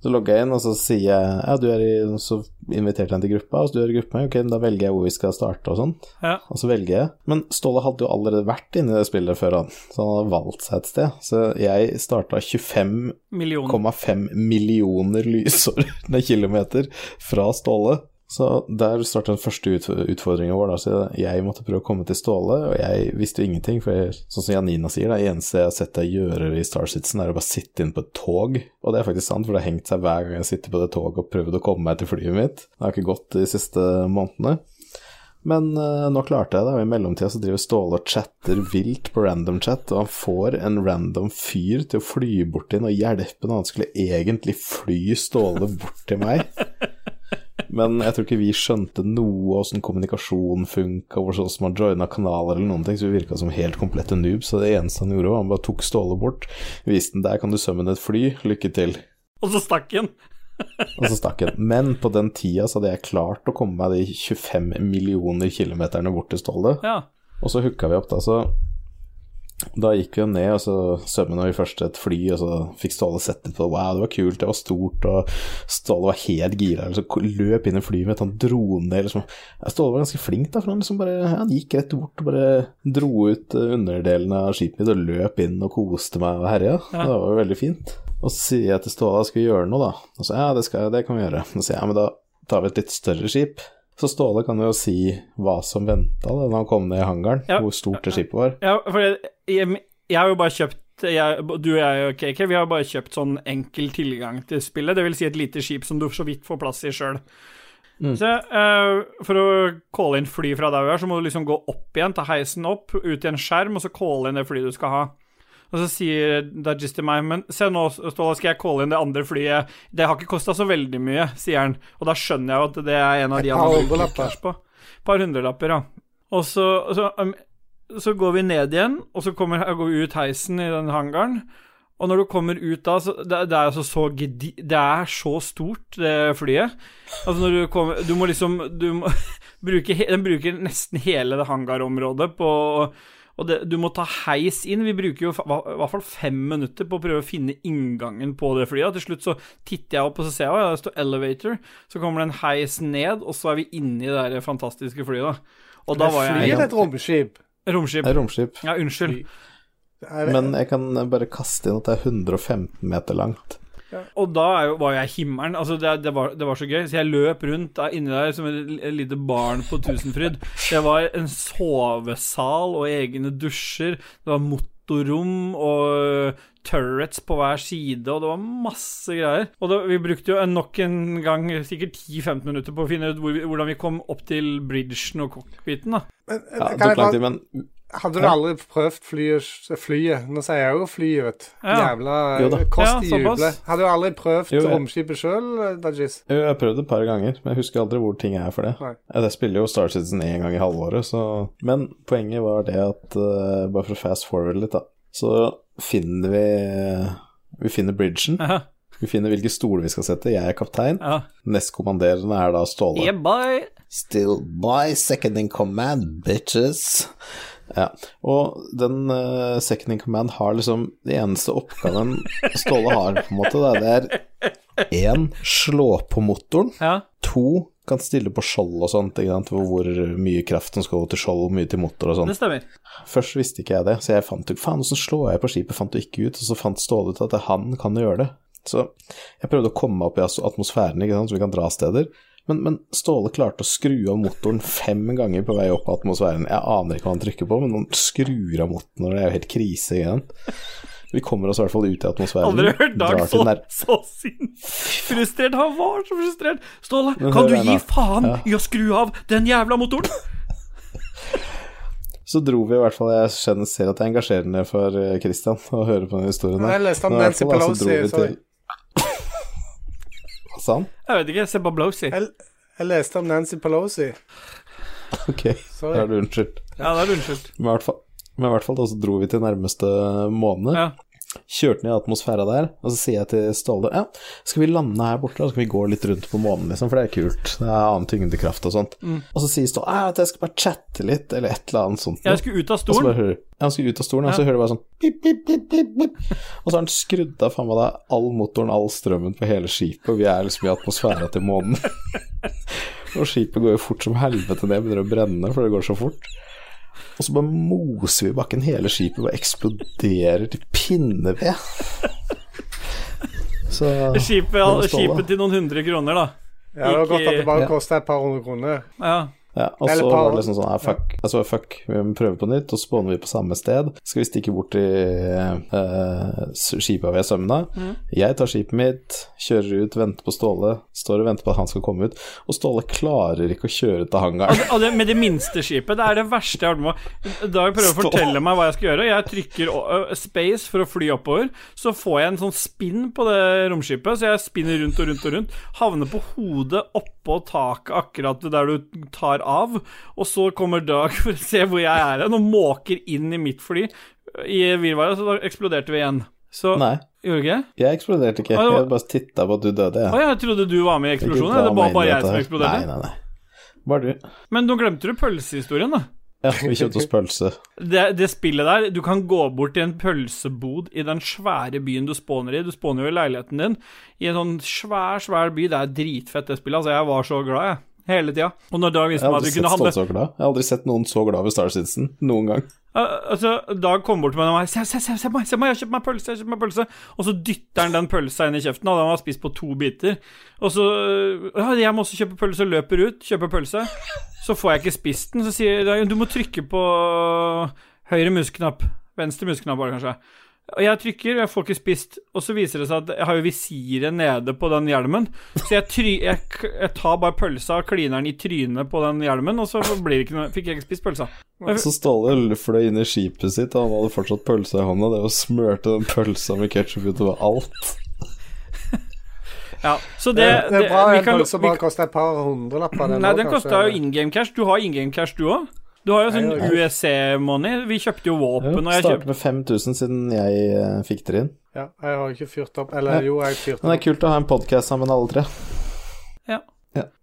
S3: Så logger jeg inn, og så sier jeg Ja, du er i og Så inviterte jeg han til gruppa, og så du er i gruppa, ok, men da velger jeg hvor vi skal starte, og sånn.
S2: ja.
S3: Og så velger jeg. Men Ståle hadde jo allerede vært inne i det spillet før han, så han hadde valgt seg et sted. Så jeg starta 25,5
S2: Millioner.
S3: millioner lysår nei, kilometer fra Ståle. Så der starta den første ut- utfordringen vår. Da. Så jeg måtte prøve å komme til Ståle, og jeg visste jo ingenting. For jeg, sånn som Janina sier, det eneste jeg har sett deg gjøre i Star Citizen, er å bare sitte inn på et tog. Og det er faktisk sant, for det har hengt seg hver gang jeg sitter på det toget og prøvd å komme meg til flyet mitt. Det har ikke gått de siste månedene. Men eh, nå klarte jeg det, og i mellomtida så driver Ståle og chatter vilt på random chat, og han får en random fyr til å fly bort til ham og hjelpe ham. Han skulle egentlig fly Ståle bort til meg. Men jeg tror ikke vi skjønte noe åssen kommunikasjon funka, hvordan man joina kanaler eller noen ting, så vi virka som helt komplette noobs. Så det eneste han gjorde, var han bare tok Ståle bort, viste den der kan du summon et fly, lykke til.
S2: Og så stakk han.
S3: Og så stakk han. Men på den tida så hadde jeg klart å komme meg de 25 millioner kilometerne bort til Ståle.
S2: Ja.
S3: Og så hooka vi opp, da. Så da gikk vi jo ned, og så sømmene vi først et fly, og så fikk Ståle sett det på. Wow, det var kult, det var stort, og Ståle var helt gira. Liksom, ko- løp inn i flyet mitt, han dro ned, liksom. Ja, Ståle var ganske flink, da, for han liksom bare Han gikk rett bort og bare dro ut eh, underdelen av skipet mitt og løp inn og koste meg og herja. Det var jo veldig fint. Og så sier jeg til Ståle skal vi gjøre noe, da. Og så ja, det, skal, det kan vi gjøre. Og så sier jeg ja, men da tar vi et litt større skip. Så Ståle kan jo si hva som venta da når han kom ned i hangaren,
S2: Ja.
S3: hvor stort det skipet var.
S2: Ja, for jeg, jeg, jeg har jo bare kjøpt jeg, Du og jeg og KK, vi har bare kjøpt sånn enkel tilgang til spillet. Det vil si et lite skip som du så vidt får plass i sjøl.
S1: Mm.
S2: Så eh, for å calle inn fly fra der vi er, så må du liksom gå opp igjen, ta heisen opp, ut i en skjerm, og så calle inn det flyet du skal ha. Og så sier Dajis til meg, men se nå, Ståle, skal jeg calle inn det andre flyet. Det har ikke kosta så veldig mye, sier han. Og da skjønner jeg jo at det er en av de
S1: Et par
S2: har brukt
S1: hundrelapper.
S2: cash på. Et par hundrelapper, ja. Og så, så, um, så går vi ned igjen, og så kommer, går vi ut heisen i den hangaren. Og når du kommer ut da, så det, det er altså så gedi... Det er så stort, det flyet. Altså når du kommer Du må liksom Du må bruke he- Den bruker nesten hele det hangarområdet på Og det, du må ta heis inn. Vi bruker jo fa- hva- i hvert fall fem minutter på å prøve å finne inngangen på det flyet. Og Til slutt så titter jeg opp, og så ser jeg at det står 'elevator'. Så kommer det en heis ned, og så er vi inne i det der fantastiske flyet, da. Og da var
S1: Flyr
S2: jeg
S1: et romskip?
S2: Romskip.
S3: Det er romskip.
S2: Ja, unnskyld.
S1: Er det-
S3: Men jeg kan bare kaste inn at det er 115 meter langt.
S2: Og da er jo, var jeg i himmelen. Altså, det, det, var, det var så gøy. Så jeg løp rundt der, inni der som et l- et lite barn på Tusenfryd. Det var en sovesal og egne dusjer. Det var motorrom og øh, turrets på hver side, og det var masse greier. Og da, vi brukte jo en- nok en gang sikkert 10-15 minutter på å finne ut hvor vi, hvordan vi kom opp til bridgen og cockpiten, da.
S1: Men, kan
S3: Ja, det
S1: jeg
S3: tok lang
S1: bare,
S3: tid, men
S1: hadde du aldri prøvd flyet, flyet? Nå sier jeg jo flyet, vet du.
S2: Ja.
S1: Jævla eh,
S3: Jo da.
S1: kost i
S2: Ja, såpass.
S1: jublet. Hadde du aldri prøvd
S3: Jo, jeg-
S1: romskipet sjøl, Dajis?
S3: jo, jeg har prøvd et par ganger, men jeg husker aldri hvor ting er for det.
S1: Nei.
S3: Jeg spiller jo Star Citizen én gang i halvåret, så Men poenget var det at eh, Bare for å fast forward litt, da. Så finner vi Vi finner bridgen.
S2: Ja,
S3: Vi finner hvilke stoler vi skal sette. Jeg er kaptein.
S2: ja.
S3: Nestkommanderende er da Ståle.
S2: Yeah, bye.
S4: Still by second in command, bitches.
S3: Ja. Og den eh, second in command har liksom Det eneste oppgaven Ståle har, på en måte, da, det er én slå på motoren,
S2: Ja.
S3: to kan stille på skjold og sånt, ikke sant? hvor- hvor mye kraft som skal gå til skjold, hvor mye til motor og sånn.
S2: Det stemmer.
S3: Først visste ikke jeg det, så jeg fant ut Faen, åssen slår jeg på skipet? Fant jo ikke ut. Og så fant Ståle ut at han kan gjøre det. Så jeg prøvde å komme meg opp i as- atmosfæren, ikke sant, så vi kan dra steder. Men, men Ståle klarte å skru av motoren fem ganger på vei opp av atmosfæren. Jeg aner ikke hva han trykker på, men han skrur av motoren, og det er jo helt krise. ikke sant? Vi kommer oss i hvert fall ut i atmosfæren.
S2: Aldri hørt Dag
S3: drar
S2: så,
S3: til nær-
S2: så sint frustrert. Han var så frustrert. Ståle,
S3: Men
S2: kan
S3: hør
S2: du
S3: her
S2: gi
S3: nå.
S2: faen i å skru av den jævla motoren?
S3: Så dro vi i hvert fall Jeg kjenner, ser at det er engasjerende for eh, Christian å høre på den historien.
S1: Nei,
S3: her.
S1: jeg leste om
S3: Men i hvert
S1: Nancy
S3: fall da, så dro
S1: Pelosi,
S3: vi
S1: sorry.
S3: til- Hva sa han?
S2: Jeg vet ikke. Se på Blowsy.
S1: Jeg, jeg leste om Nancy Pelosi.
S3: Ok, da er du unnskyldt.
S2: Ja, det er du unnskyldt.
S3: Men i hvert fall, men i hvert fall da, så dro vi til nærmeste måned.
S2: Ja.
S3: Kjørte ned i atmosfæra der, og så sier jeg til Ståle ja, skal vi lande her borte, og så skal vi gå litt rundt på månen, liksom, for det er kult. Det er annen tyngdekraft og sånt. Og så sier Ståle ja, jeg skal bare chatte litt, eller et eller annet sånt. noe.
S2: Jeg skulle ut av
S3: Og så bare
S2: stolen.
S3: hører ja, Han skulle ut av stolen, og så hører du bare sånn pip, pip, pip, pip, pip. Og så har han skrudd av faen meg da all motoren, all strømmen på hele skipet, og vi er liksom i atmosfæra til månen. og skipet går jo fort som helvete ned, begynner å brenne, for det går så fort. Og så bare moser vi i bakken, hele skipet bare eksploderer til pinneved. Så
S2: Skipet,
S3: Hvor er Ståle?
S2: skipet til noen hundre kroner, da.
S1: Ja, det var
S2: Ikke-
S1: godt at det bare
S3: Ja.
S1: kosta et par hundre kroner.
S2: Ja.
S3: Ja, og
S1: Eller
S3: så
S1: par-
S3: var det liksom sånn her, fuck, altså, fuck, vi må prøve på nytt, og så spåner vi på samme sted. Skal vi stikke bort til eh, s- skipet ved Sømna?
S2: Mm.
S3: Jeg tar skipet mitt, kjører ut, venter på Ståle. Står og venter på at han skal komme ut, og Ståle klarer ikke å kjøre til hangaren.
S2: Og det, med det minste skipet. Det er det verste jeg har vært med Da jeg prøver å
S3: Stå.
S2: fortelle meg hva jeg skal gjøre, jeg trykker å- ø, space for å fly oppover, så får jeg en sånn spinn på det romskipet, så jeg spinner rundt og rundt og rundt, havner på hodet oppå taket akkurat der du tar av, og så kommer Dag for å se hvor jeg er hen, og måker inn i mitt fly i virvaret, så da eksploderte vi igjen. Så
S3: Nei,
S2: Gjorde ikke?
S3: jeg eksploderte ikke.
S2: Å, ja.
S3: Jeg bare titta på at du døde,
S2: Å,
S3: jeg.
S2: jeg trodde du var med i
S3: Ikke
S2: eksplosjonen.
S3: dra
S2: eller Det var
S3: meg
S2: bare
S3: inn i
S2: jeg
S3: dette
S2: som
S3: her.
S2: eksploderte.
S3: Nei, nei, nei. Bare du.
S2: Men nå glemte du pølsehistorien, da.
S3: Ja, vi kjøpte oss pølse.
S2: Det, det spillet der, du kan gå bort til en pølsebod i den svære byen du spåner i. Du spåner jo i leiligheten din i en sånn svær, svær by. Det er dritfett, det spillet. Altså, jeg var så glad, jeg. Hele tida. Og når Dag
S3: Jeg
S2: viste
S3: har
S2: meg at
S3: aldri
S2: vi
S3: sett
S2: kunne handle
S3: Ståle så glad. Jeg har aldri sett noen så glad ved Star Citizen noen gang.
S2: Al- Altså, Dag kom bort til meg og sa se, se, se, se, på meg, se på meg, jeg har kjøpt meg pølse, jeg har kjøpt meg pølse. Og så dytter han den pølsa inn i kjeften, og den var spist på to biter. Og så ja, jeg må også kjøpe pølse, løper ut, kjøper pølse. Så får jeg ikke spist den, så sier Dag du må trykke på høyre musknapp. Venstre musknapp var det kanskje. Og jeg trykker, jeg får ikke spist, og så viser det seg at jeg har jo visiret nede på den hjelmen, så jeg, try, jeg, k- jeg tar bare pølsa og kliner den i trynet på den hjelmen, og så blir det ikke noe, fikk jeg ikke spist pølsa.
S3: Så Ståle fløy inn i skipet sitt, og han hadde fortsatt pølsa i hånda. Det var smørte den pølsa med ketsjup utover alt.
S2: Ja, så det,
S1: Det, det er bra
S2: vi
S1: en
S2: kan-
S1: pølse
S2: vi
S1: bare
S2: kan-
S1: koster et par hundrelapper.
S2: Nei, den
S1: også,
S2: kosta
S1: kanskje.
S2: jo in game cash. Du har in game cash, du òg. Du har jo sånn
S1: Nei,
S2: USC-money. Vi kjøpte jo
S3: Jo,
S2: våpen, og jeg
S3: startet
S2: kjøpte
S3: med 5000 siden jeg eh, fikk dere inn.
S1: Ja, jeg har ikke fyrt opp Eller
S3: Nei.
S1: jo, jeg fyrte
S3: Men det
S1: opp.
S3: er kult å ha en podkast sammen, alle tre.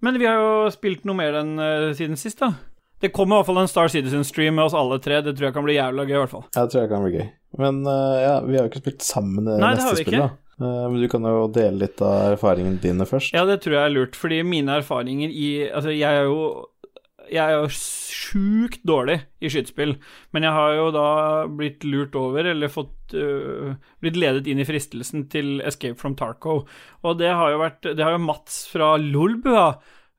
S2: Men vi har jo spilt noe mer enn eh, siden sist, da. Det kommer i hvert fall en Star Citizen-stream med oss alle tre. Det tror jeg kan bli jævla gøy, i hvert fall.
S3: Jeg tror jeg kan bli gøy. Men eh, ja, vi har jo ikke spilt sammen det
S2: Nei, det har
S3: neste
S2: vi
S3: spillet,
S2: ikke.
S3: da. Eh, Men du kan jo dele litt av erfaringene dine først.
S2: Ja, det tror jeg er lurt, fordi mine erfaringer i Altså, jeg er jo jeg er jo sjukt dårlig i skytespill, men jeg har jo da blitt lurt over, eller fått øh, blitt ledet inn i fristelsen til Escape from Tarco. Og det har jo vært Det har jo Mats fra Lolbua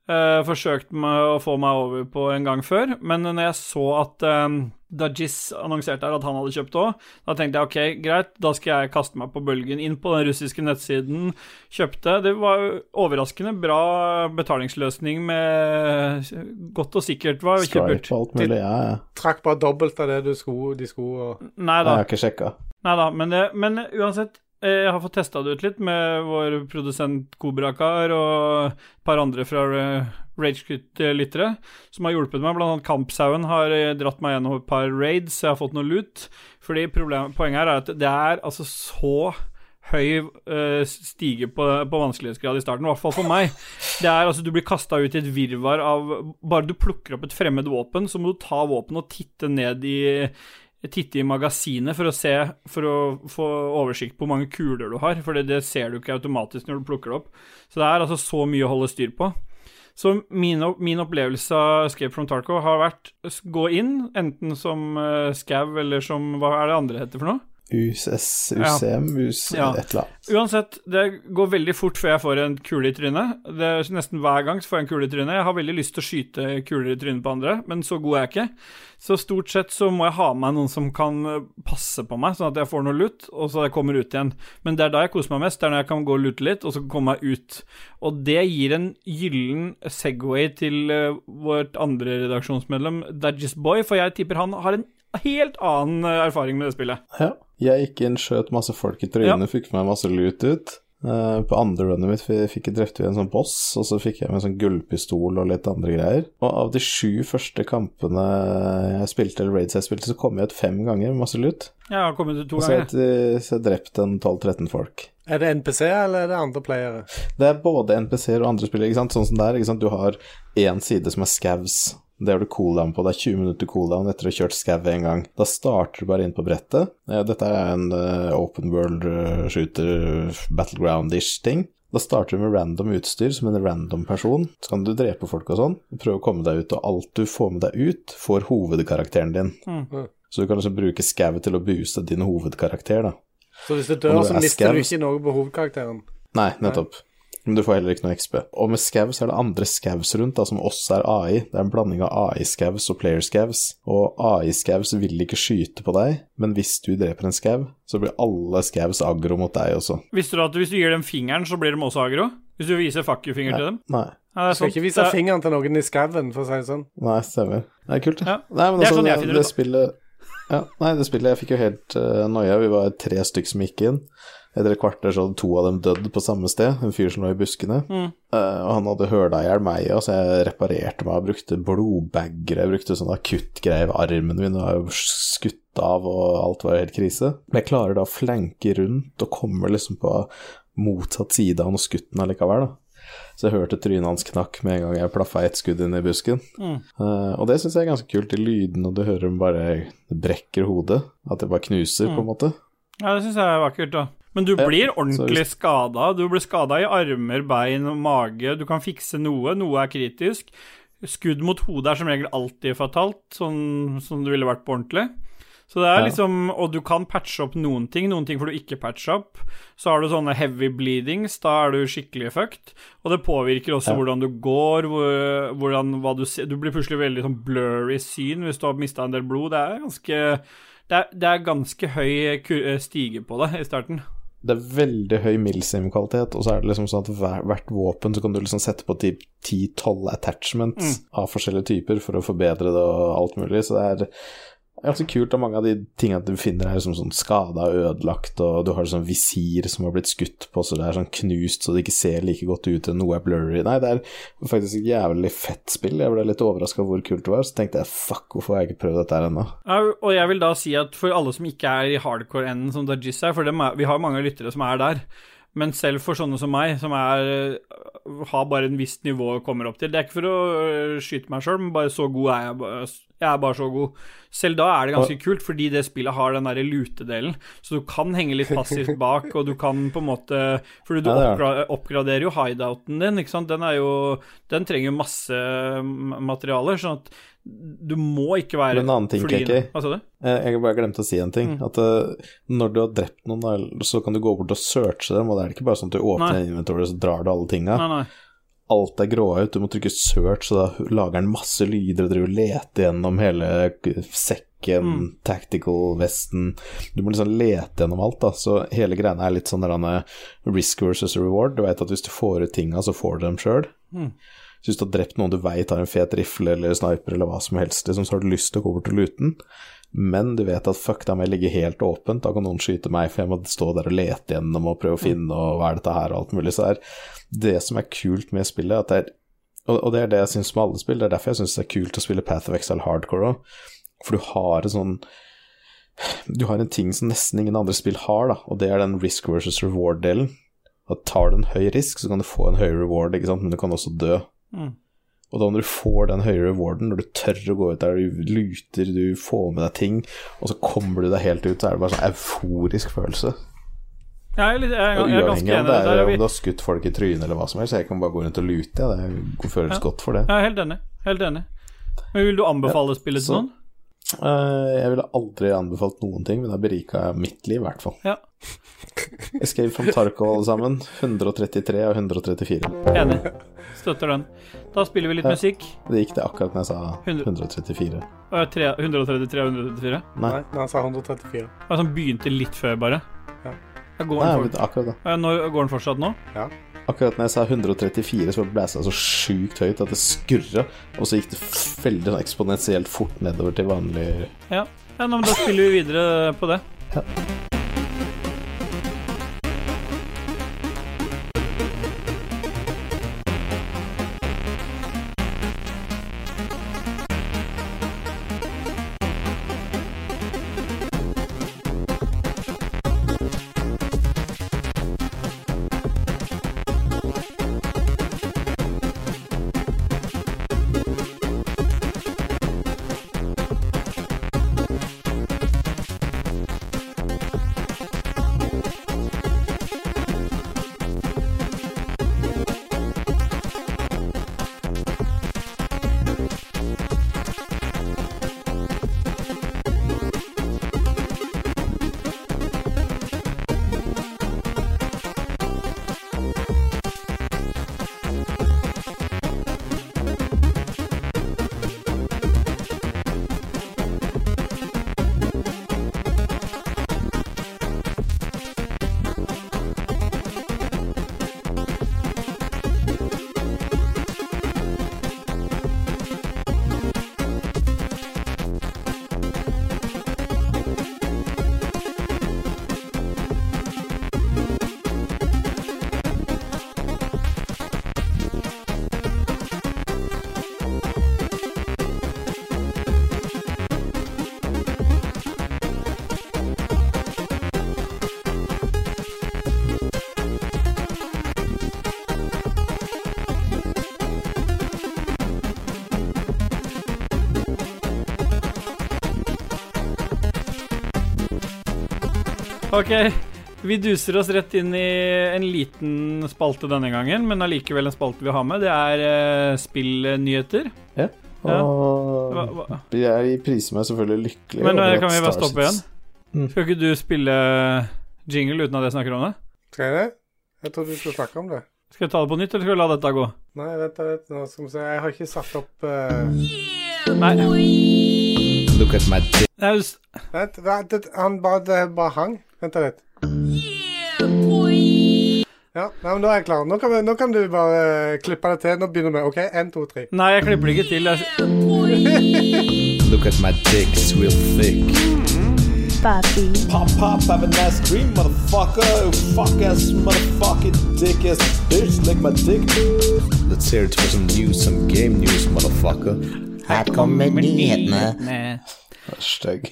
S2: øh, forsøkt med å få meg over på en gang før, men når jeg så at um, Dajis annonserte her at han hadde kjøpt òg, da tenkte jeg ok, greit, da skal jeg kaste meg på bølgen inn på den russiske nettsiden kjøpte. Det var jo overraskende bra betalingsløsning med godt og sikkert var
S3: Stripe
S2: kjøpert.
S3: og alt mulig. Ja, ja.
S1: Trakk bare dobbelt av det du skulle, de skulle og
S2: Nei
S3: Jeg
S2: da,
S3: har ikke sjekka.
S2: nei da. Men, det- men uansett, eh, jeg har fått testa det ut litt med vår produsent Kobrakar og et par andre fra eh, Ragequit-lyttere eh, som har hjulpet meg. Blant annet Kampsauen har eh, dratt meg gjennom et par raids, jeg har fått noe loot. Fordi problem, poenget her er at det er altså så høy eh, stige på, på vanskelighetsgrad i starten, i hvert fall for meg. Det er altså, du blir kasta ut i et virvar av Bare du plukker opp et fremmed våpen, så må du ta våpenet og titte ned i Titte i magasinet for å se For å få oversikt på hvor mange kuler du har, for det, det ser du ikke automatisk når du plukker det opp. Så det er altså så mye å holde styr på. Så min, opp- min opplevelse av Escape from Tarco har vært s- gå inn, enten som uh, Scav eller som Hva er det andre heter for noe?
S3: USS, UCM, US,
S2: Ja.
S3: et eller annet.
S2: Uansett, det går veldig fort før jeg får en kule i trynet. Det er Nesten hver gang så får jeg en kule i trynet. Jeg har veldig lyst til å skyte kuler i trynet på andre, men så god er jeg ikke. Så stort sett så må jeg ha med meg noen som kan eh, passe på meg, sånn at jeg får noe lutt, og så jeg kommer ut igjen. Men det er da jeg koser meg mest, det er når jeg kan gå og lute litt, og så komme meg ut. Og det gir en gyllen Segway til eh, vårt andre redaksjonsmedlem, Dajis Boy, for jeg tipper han har en helt annen eh, erfaring med det spillet.
S3: Ja. Jeg gikk inn, skjøt masse folk i trynet, fikk med meg masse lut ut. Eh, på andre runnet mitt vi fikk drepte vi en sånn boss, og så fikk jeg med en sånn gullpistol og litt andre greier. Og av de sju første kampene jeg spilte, eller raids jeg spilte, så kom jeg ut fem ganger med masse lut.
S2: Jeg har kommet ut to
S3: Og så har
S2: ganger.
S3: jeg, eh, så har jeg drept en 12-13 folk.
S1: Er det NPC eller er det andre playere?
S3: Det er både NPC-er og andre spillere, ikke sant. Sånn som der, ikke sant. Du har én side som er scavs. Det har du cooldown på. Det er 20 minutter cooldown etter å ha kjørt scav én gang. Da starter du bare inn på brettet. Eh, Dette er en eh, open world eh, shooter, battleground-ish ting. Da starter du med random utstyr som en random person. Så kan du drepe folk og sånn. Prøve å komme deg ut, og alt du får med deg ut, får hovedkarakteren din.
S2: Mm.
S3: Så du kan liksom bruke scavet til å booste din hovedkarakter, da.
S1: Så hvis du
S3: Om
S1: dør,
S3: du
S1: så
S3: er
S1: mister du
S3: scavs.
S1: ikke noe på hovedkarakteren.
S3: Nei, nettopp. Men du får heller ikke noe XP. Og med Scavs er det andre Scavs rundt, da, som også er AI. Det er en blanding av AI-Scavs og player-Scavs. Og AI-Scavs vil ikke skyte på deg, men hvis du dreper en Scav, så blir alle Scavs aggro mot deg også.
S2: Visste du at hvis du gir dem fingeren, så blir de også agro? Hvis du viser fuck you-finger til dem?
S3: Nei.
S2: Ja, det er
S1: Skal
S2: sant.
S1: ikke vise
S2: Det er-
S1: fingeren til noen i skauen, for å si det sånn.
S3: Nei, stemmer. Det er kult, det.
S2: Ja.
S3: Nei, men
S2: Det er
S3: altså,
S2: sånn jeg
S3: det,
S2: finner ut, da.
S3: spillet ja, Nei, det spillet Jeg fikk jo helt uh, noia. Vi var tre stykk som gikk inn. Etter et kvarter så hadde to av dem dødd på samme sted, en fyr som lå i buskene.
S2: Mm.
S3: Eh, og han hadde høla i hjel meg, og så jeg reparerte meg og brukte blodbager. Jeg brukte sånn akuttgreier ved armen min, og jeg var jo skutt av, og alt var helt krise. Men jeg klarer da å flanke rundt og kommer liksom på motsatt side av han og skutt den allikevel, da. Så jeg hørte trynet hans knakk med en gang jeg plaffa ett skudd inn i busken. Eh, og det syns jeg er ganske kult, de lydene og du hører dem bare det brekker hodet. At det bare knuser, på en måte.
S2: Ja, det syns jeg er vakkert, da. Men du blir ordentlig skada. Du blir skada i armer, bein og mage. Du kan fikse noe. Noe er kritisk. Skudd mot hodet er som regel alltid fatalt, sånn som det ville vært på ordentlig. Så det er
S3: Ja.
S2: liksom Og du kan patche opp noen ting, noen ting får du ikke patche opp. Så har du sånne heavy bleedings, da er du skikkelig fucked. Og det påvirker også
S3: Ja.
S2: hvordan du går, hvor- hvordan hva du ser Du blir plutselig veldig sånn blurry syn hvis du har mista en del blod. Det er ganske det er, det er ganske høy ku- eh, stige på det i starten.
S3: Det er veldig høy milsim-kvalitet, og så er det liksom sånn at hver, hvert våpen så kan du liksom sette på typ 10-12 attachments av forskjellige typer for å forbedre det og alt mulig, så det er ganske kult. Og mange av de tingene du finner, er liksom sånn skada og ødelagt, og du har sånn visir som har blitt skutt på, så det er sånn knust så det ikke ser like godt ut, og noe er blurry. Nei, det er faktisk et jævlig fett spill. Jeg ble litt overraska hvor kult det var, så tenkte jeg fuck, hvorfor har jeg ikke prøvd dette her ennå?
S2: Ja, Og jeg vil da si at for alle som ikke er i hardcore-enden som Dajis er, for dem er, vi har mange lyttere som er der, men selv for sånne som meg, som er, øh, har bare en visst nivå å komme opp til Det er ikke for å øh, skyte meg sjøl, men bare så god er jeg. ba- Jeg er bare så god. Selv da er det ganske kult, fordi det spillet har den derre lutedelen, så du kan henge litt passivt bak, og du kan på en måte Fordi du
S3: Ja, det er det.
S2: oppgra oppgraderer jo hideouten din, ikke sant. Den er jo Den trenger jo masse mm, materialer, sånn at du må ikke være
S3: Men en annen ting,
S2: flyende.
S3: KK.
S2: Hva sa du?
S3: Eh, Jeg bare glemte å si en ting. At eh, når du har drept noen, da, så kan du gå bort og searche dem. Og det er ikke bare sånn at du åpner
S2: Nei.
S3: inventory og så drar du alle tinga.
S2: Nei, nei.
S3: Alt er gråhaut, du må trykke search, så da lager den masse lyder og driver og leter gjennom hele k- sekken, tactical-vesten Du må liksom lete gjennom alt, da. Så hele greiene er litt sånn der, eh, risk versus reward. Du veit at hvis du får ut tinga, så får du dem sjøl. Så hvis du har drept noen du veit har en fet rifle eller sniper eller hva som helst, liksom, så har du lyst til å gå bort og lute den, men du vet at fuck, da må jeg ligge helt åpent, da kan noen skyte meg, for jeg må stå der og lete gjennom og prøve å finne og hva er dette her og alt mulig. Så det er det som er kult med spillet, at det er og, og det er det jeg syns med alle spill, det er derfor jeg syns det er kult å spille Path of Exile hardcore òg, for du har en sånn du har en ting som nesten ingen andre spill har, da, og det er den risk versus reward-delen. At Tar du en høy risk, så kan du få en høy reward, ikke sant? men du kan også dø.
S2: Mm.
S3: Og da når du får den høye rewarden, når du tør å gå ut der, du luter, du får med deg ting, og så kommer du deg helt ut, så er det bare sånn euforisk følelse.
S2: Jeg er, litt, jeg,
S3: Og
S2: er- jeg er
S3: uavhengig
S2: ganske
S3: om
S2: enig.
S3: det
S2: Der
S3: er
S2: er
S3: om
S2: vi,
S3: du har skutt folk i trynet eller hva som helst, jeg kan bare gå rundt og lute, ja, det føles godt for det.
S2: jeg er helt enig. Helt enig. Men vil du anbefale spillet til
S3: så-
S2: noen?
S3: Eh, Jeg ville aldri anbefalt noen ting, men det har berika mitt liv, i hvert fall.
S2: Ja,
S3: Escape from Tarkov, alle sammen. 133 og 134.
S2: enig. Støtter den. Da spiller vi litt musikk.
S3: Det gikk det akkurat når jeg sa
S2: 100.
S3: 134.
S2: Og jeg er tre- 133 134.
S1: Nei, nei, han sa 134.
S2: Jeg sånn begynte litt før, bare.
S1: Ja.
S2: Jeg går,
S3: Nei,
S2: den
S3: men
S2: for,
S3: akkurat da.
S2: Eh, nå, går den fortsatt nå?
S3: Akkurat når jeg sa 134, så blæsa det så sjukt høyt at det skurra, og så gikk det f- veldig sånn eksponentielt fort nedover til vanlig
S2: Ja. ja nå, men da spiller vi videre på det. Ok, vi duser oss rett inn i en liten spalte denne gangen, men allikevel en spalte vi har med. Det er eh, spillnyheter.
S3: Og
S2: Hva, hva?
S3: jeg priser meg selvfølgelig lykkelig.
S2: Men
S3: over
S2: eh,
S3: at
S2: kan vi bare
S3: Star
S2: stoppe igjen?
S3: Citizen-
S1: Mm.
S2: Skal ikke du spille eh, jingle uten at jeg snakker om det?
S1: Skal jeg det? Jeg trodde du skulle snakke om det.
S2: Skal jeg ta det på nytt, eller skal vi la dette gå?
S1: Nei, vent, da, vent, nå skal vi se. Jeg har ikke satt opp eh,
S2: Nei.
S4: Look at my dick.
S2: Det er jo s-
S1: Vent, vent, det- han bare, det bare hang. Vent da litt. Ja, nei, men da er jeg klar. Nå kan, vi, nå kan du bare eh, klippe det til. Nå begynner vi. OK, én, to, tre.
S2: Nei, jeg klipper det ikke til. Jeg, s-
S4: Look at my dick, it's real thick.
S5: Papi.
S4: Pop, pop, have a nice cream, motherfucker. Fuck ass, motherfucking dick ass bitch, lick my dick. Let's hear it for some news, some game news, motherfucker. Her kommer nyhetene.
S2: Nei.
S3: Stygg.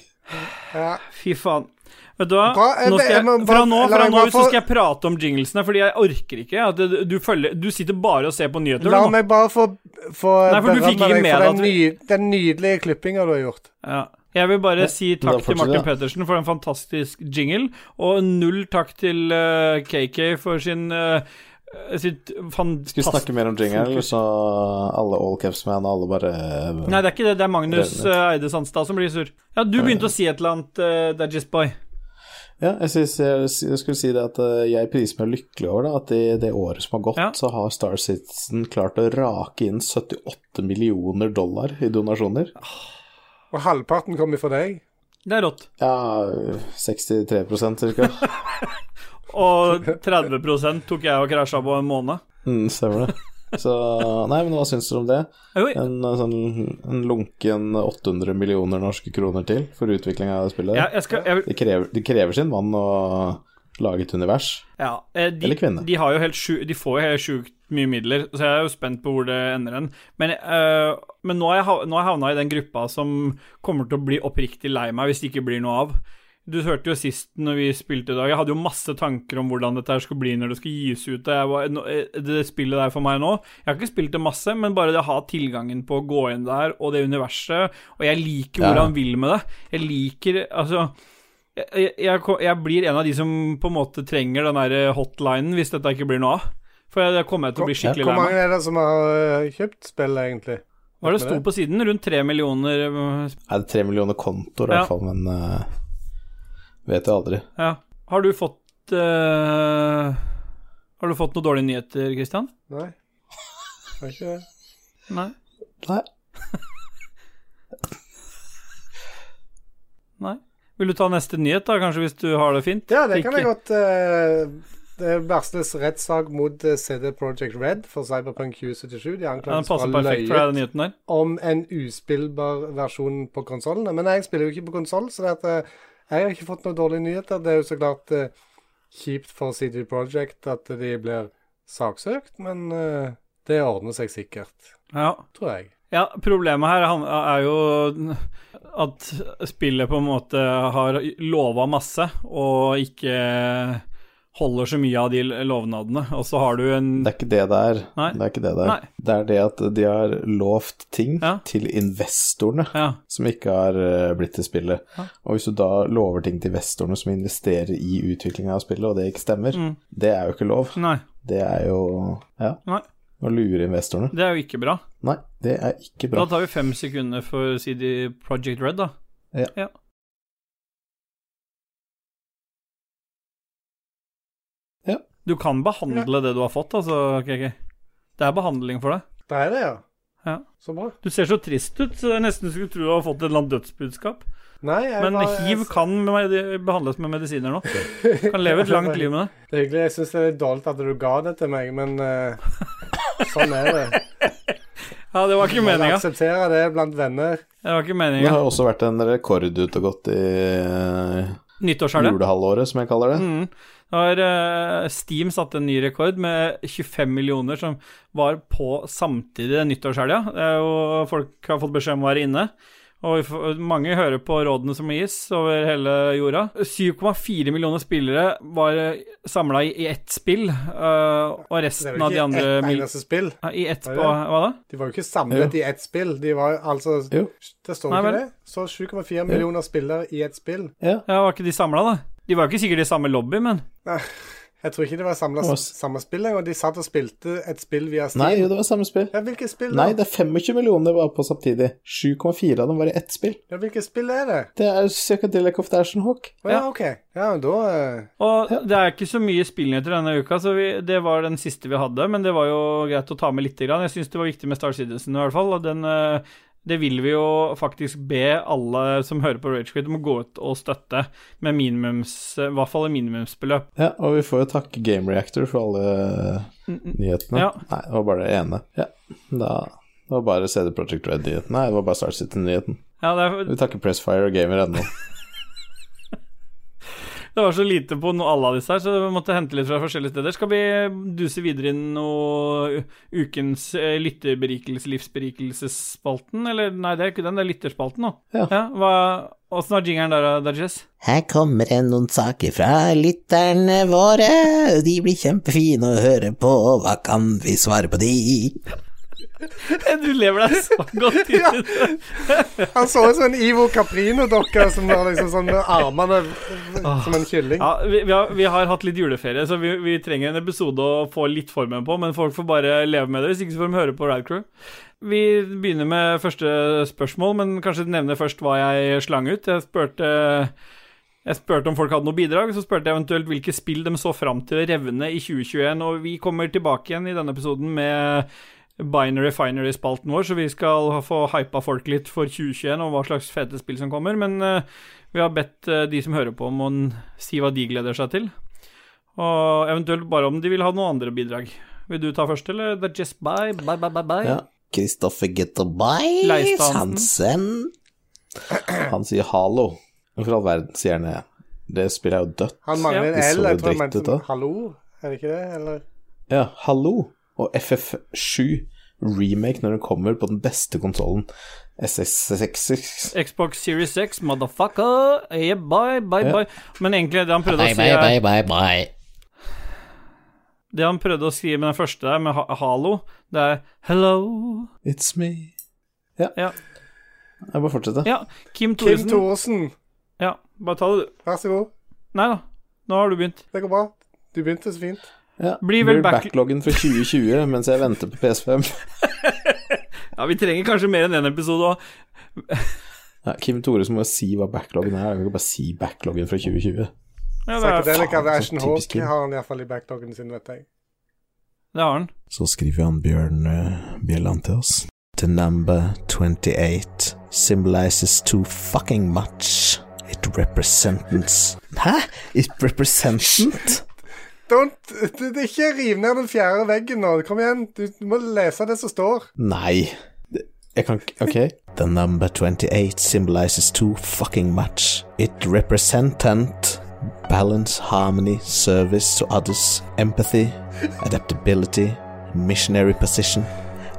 S1: Ja.
S2: Fy faen. Vet du hva?
S1: Hva? Jeg-
S2: Nå skal
S1: jeg må
S2: jeg,
S1: bare-
S2: fra nå,
S1: la
S2: fra
S1: meg
S2: nå
S1: bare
S2: ut så
S1: få-
S2: skal jeg prate om jinglesene, fordi jeg orker ikke at du, du følger Du sitter bare og ser på nyheter.
S1: La
S2: du nå.
S1: meg bare få, få
S2: Nei, for du fikk ikke
S1: berømme
S2: med
S1: for
S2: deg
S1: den,
S2: at vi-
S1: ny, den nydelige klippinga du har gjort.
S2: Ja. Jeg vil bare si
S3: da
S2: takk
S3: fortsetter
S2: til Martin
S3: jeg.
S2: Pettersen for en fantastisk jingle, og null takk til eh, KK for sin eh, sitt
S3: Skal vi snakke
S2: fantastiske
S3: mer om jingle, eller så alle all caps-man og alle bare
S2: Nei, det er ikke det. Det er Magnus
S3: Revnet.
S2: eh, Eide Sandstad som blir sur. Ja, du begynte å si et eller annet, eh, Dajisboy.
S3: Ja, jeg, synes, jeg, jeg skulle si det at eh, jeg priser meg lykkelig over det, at i det året som har gått,
S2: Ja.
S3: så har Star Citizen klart å rake inn 78 millioner dollar i donasjoner.
S1: Og halvparten kom ifra deg.
S2: Det er rått.
S3: Ja, 63 cirka.
S2: Og 30 tok jeg og krasja på en måned.
S3: Mm, stemmer det. Så Nei, men hva syns dere om det?
S2: Oi,
S3: En, eh, sånn, en lunken 800 millioner norske kroner til for utvikling av det spillet?
S2: jeg, jeg skal, jeg, vil-
S3: Det, krever, det krever sin mann å lage et univers.
S2: Ja, eh, de,
S3: Eller kvinne.
S2: De, har jo helt sju, de får jo helt sjukt mye midler, så jeg er jo spent på hvor det ender hen. Men, eh, men nå har jeg hav- nå har jeg havna i den gruppa som kommer til å bli oppriktig lei meg hvis det ikke blir noe av. Du hørte jo sist når vi spilte i dag, jeg hadde jo masse tanker om hvordan dette her skulle bli når det skulle gis ut. og Jeg var, nå- eh, det spillet der for meg nå Jeg har ikke spilt det masse, men bare det å ha tilgangen på å gå inn der, og det universet Og jeg liker hvor
S3: Ja.
S2: han vil med det. Jeg liker Altså jeg, jeg, jeg ko- jeg blir en av de som på en måte trenger den der eh, hotlinen hvis dette ikke blir noe av. For jeg- det kommer jeg til å bli skikkelig
S1: Hvor
S2: lei meg.
S1: mange er det som har øh, kjøpt spillet, egentlig?
S2: Hva er det sto på siden? Rundt tre millioner øh,
S3: Nei, det er tre millioner kontoer i
S2: Ja.
S3: hvert fall, men eh, vet jo aldri.
S2: Ja. Har du fått øh, Har du fått noen dårlige nyheter, Christian?
S1: Nei. Det er ikke det.
S2: Nei?
S3: Nei.
S2: Nei? Vil du ta neste nyhet, da, kanskje, hvis du har det fint?
S1: Ja, det kan jeg
S2: Ikke-
S1: godt øh, Det varsles rettssak mot øh, CD Project Red for Cyberpunk 2077. De
S2: Ja, Den
S1: anklages for
S2: passer
S1: å ha
S2: perfekt for deg,
S1: løyet
S2: den nyheten der.
S1: om en uspillbar versjon på konsollene. Men jeg spiller jo ikke på konsoll, så det at, eh, jeg har ikke fått noen dårlige nyheter. Det er jo så klart eh, kjipt for CD Project at de blir saksøkt, men eh, det ordner seg sikkert,
S2: Ja.
S1: tror jeg.
S2: Ja, problemet her han- er jo at spillet på en måte har lova masse, og ikke holder så mye av de lovnadene. Og så har du en
S3: Det er ikke det det er.
S2: Nei.
S3: Det er ikke det det er.
S2: Nei.
S3: Det er det at de har lovt ting
S2: Ja.
S3: til investorene
S2: Ja,
S3: som ikke har eh, blitt til spillet. Og hvis du da lover ting til investorene som investerer i utviklinga av spillet, og det ikke stemmer,
S2: Mm.
S3: det er jo ikke lov.
S2: nei,
S3: Det er jo ja,
S2: Mm. nei.
S3: å lure investorene.
S2: Det er jo ikke bra.
S3: Nei, det er ikke bra.
S2: Da tar vi fem sekunder for CD Project Red, da.
S3: Ja. Ja.
S2: Du kan behandle det du har fått, altså, KK. Det er behandling for deg.
S1: Det er det, ja.
S2: Ja.
S1: Så bra.
S2: Du ser så trist ut, så jeg nesten skulle tro du har fått et eller annet dødsbudskap.
S1: Nei, jeg
S2: Men
S1: var-
S2: hiv kan med, behandles med medisiner nå. Kan leve et langt liv med det.
S1: Det er hyggelig. Jeg syns det er litt dårlig at du ga det til meg, men eh, sånn er det.
S2: Ja, det var ikke
S1: Jeg
S2: meninga.
S1: aksepterer det blant venner.
S2: Det var ikke
S3: Det
S2: meninga.
S3: har også vært en rekord ute og gått i eh,
S2: Nyttårshelga.
S3: julehalvåret, som jeg kaller det.
S2: Mm. Det var, eh, Steam satte en ny rekord med 25 millioner som var på samtidig den nyttårshelga. Det er jo- Folk har fått beskjed om å være inne. Og vi får- mange hører på rådene som gis over hele jorda. 7,4 millioner spillere var samla i, i ett spill, eh, og
S1: Det er
S2: resten
S1: jo
S2: av de
S1: ikke
S2: andre
S1: ett
S2: mil
S1: eneste spill.
S2: I ett
S1: Er
S2: på
S1: det?
S2: Hva da?
S1: De var jo ikke samlet i ett spill. De var altså
S3: Jo.
S1: Det står
S2: Nei,
S1: ikke
S2: vel.
S1: det. Så 7,4 millioner spillere i ett spill.
S2: Ja, var ikke de samla, da? De var jo ikke sikkert i samme lobby, men
S1: Jeg tror ikke det var samla
S3: Det var s-
S1: samme spill engang. De satt og spilte et spill via Steam.
S3: Nei, jo, det var samme spill.
S1: Ja, hvilket spill da?
S3: Nei, det er 25 millioner bare på samtidig. 7,4 av dem var i ett spill.
S1: Ja, hvilket spill er det?
S3: Det er Psychedelic of the Ashen Hawk.
S1: Å, ja, OK. Ja, men da eh,
S2: Og det er ikke så mye spillnyheter denne uka, så vi, det var den siste vi hadde. Men det var jo greit å ta med lite grann. Jeg syns det var viktig med Star Citizen i hvert fall. Og den, eh, det vil vi jo faktisk be alle som hører på Ragequit om å gå ut og støtte med minimums, i hvert fall et minimumsbeløp.
S3: Ja, og vi får jo takke Game Reactor for alle nyhetene.
S2: Ja.
S3: Nei, det var bare det ene. Ja, da det var bare CD Project Red-nyheten. Nei, det var bare Star City-nyheten.
S2: Ja, det,
S3: Vi
S2: er,
S3: takker Pressfire og Gamer ennå.
S2: det var så lite på no, alle av disse her, så vi måtte hente litt fra forskjellige steder. Skal vi duse videre inn noe u- ukens eh, lytterberikelse, livsberikelsesspalten? Eller nei, det er ikke den, det er lytterspalten nå.
S3: Ja.
S2: hva, åssen var jingeren der, da, Jess?
S6: Her kommer det noen saker fra lytterne våre. De blir kjempefine å høre på. Hva kan vi svare på de?
S2: Du lever deg så godt inn i det.
S1: Han så ut som en Ivo Caprino-dokke som har liksom sånn med armene som en kylling.
S2: Ah. Ja, vi, vi, har, vi har hatt litt juleferie, så vi, vi trenger en episode å få litt formen på. Men folk får bare leve med det, hvis ikke så får de høre på Radcrew. Vi begynner med første spørsmål, men kanskje nevne først hva jeg slang ut. Jeg spurte, jeg spurte om folk hadde noe bidrag, så spurte jeg eventuelt hvilke spill de så fram til å revne i 2021. Og vi kommer tilbake igjen i denne episoden med Binary Finery-spalten vår, så vi skal få hypa folk litt for 2021 og hva slags fete spill som kommer. Men eh, vi har bedt eh, de som hører på, om å n- si hva de gleder seg til. Og eventuelt bare om de vil ha noen andre bidrag. Vil du ta først, eller? Det er just bye, bye, bye, bye, bye.
S3: Ja.
S6: Kristoffer
S2: Leif
S6: Gutterbais
S2: Hansen.
S6: Hansen.
S3: Han sier halo. Hvorfor i all verden sier han det? Det spillet er jo dødt.
S1: Han mangler en
S3: Ja.
S1: L. Jeg tror han
S3: Det så dritt ut da.
S1: mente sånn, hallo, er det ikke det? Eller
S3: Ja, hallo. Og FF7 remake når den kommer på den beste konsollen. SSX
S2: Xbox Series X, motherfucker. Yeah, bye, bye,
S3: Ja.
S2: bye. Men egentlig, det han prøvde
S6: Bye,
S2: å si
S6: bye,
S2: er-
S6: bye, bye, bye.
S2: Det han prøvde å si med den første der, med ha- Halo, det er hello.
S3: It's me.
S2: Ja.
S3: Jeg bare fortsetter.
S2: ja.
S1: Kim
S2: Kim Thoresen.
S1: Thoresen.
S2: Ja, bare ta det, du.
S1: Vær så god.
S2: Nei da, nå har du begynt.
S1: Det går bra. Du begynte så fint.
S3: Ja.
S2: Blir vel back-
S3: backloggen fra 2020 mens jeg venter på PS5.
S2: Ja, vi trenger kanskje mer enn én episode òg.
S3: Ja, Kim Tore som må si hva backloggen er. Jeg kan ikke bare si backloggen fra 2020.
S2: Ja, det, er-
S1: Psychedelic
S3: faen,
S1: av
S3: så
S1: Ashen
S3: typisk
S1: Hawk
S3: Kim.
S1: har han iallfall i backdogen sin, vet jeg.
S2: det har han.
S3: Så skriver han Bjørn eh, Bjelland til oss.
S6: The number 28 symbolizes too fucking much. It represents Hæ? It represents
S1: Don't, du, du, ikke riv ned den fjerde veggen nå. Kom igjen. Du, du må lese det som står.
S3: Nei. Det- Jeg kan ikke Ok.
S6: The number 28 symbolizes too fucking much. It representant balance, harmony, service to others, empathy, adaptability, missionary position,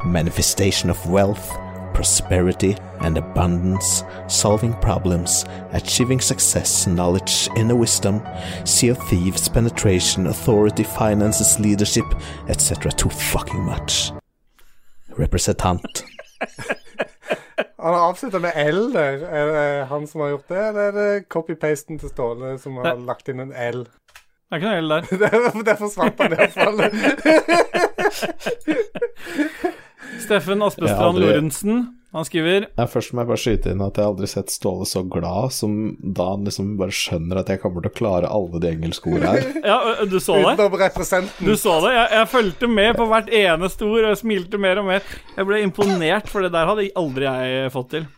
S6: manifestation of wealth, prosperity and abundance, solving problems, achieving success, knowledge, inner wisdom, sea of thieves, penetration, authority, finances, leadership, etc. Too fucking much. Representant.
S1: Han har avslutta med L der. Er det han som har gjort det, eller er det copy-pasten til Ståle som har
S2: Nei.
S1: lagt inn en L?
S2: Det er ikke noe gjeld der.
S1: Der der forsvant han iallfall.
S2: Steffen Aspestrand
S3: Jeg har aldri-
S2: Lorentzen, han skriver
S3: Nei, Først må jeg bare skyte inn at jeg aldri har sett Ståle så glad som da han liksom bare skjønner at jeg kommer til å klare alle de engelske ordene her.
S2: Ja, ø, ø, du så det?
S1: Utenom representen.
S2: Du så det? Jeg, jeg fulgte med på hvert eneste ord, og jeg smilte mer og mer. Jeg ble imponert, for det der hadde aldri jeg fått til.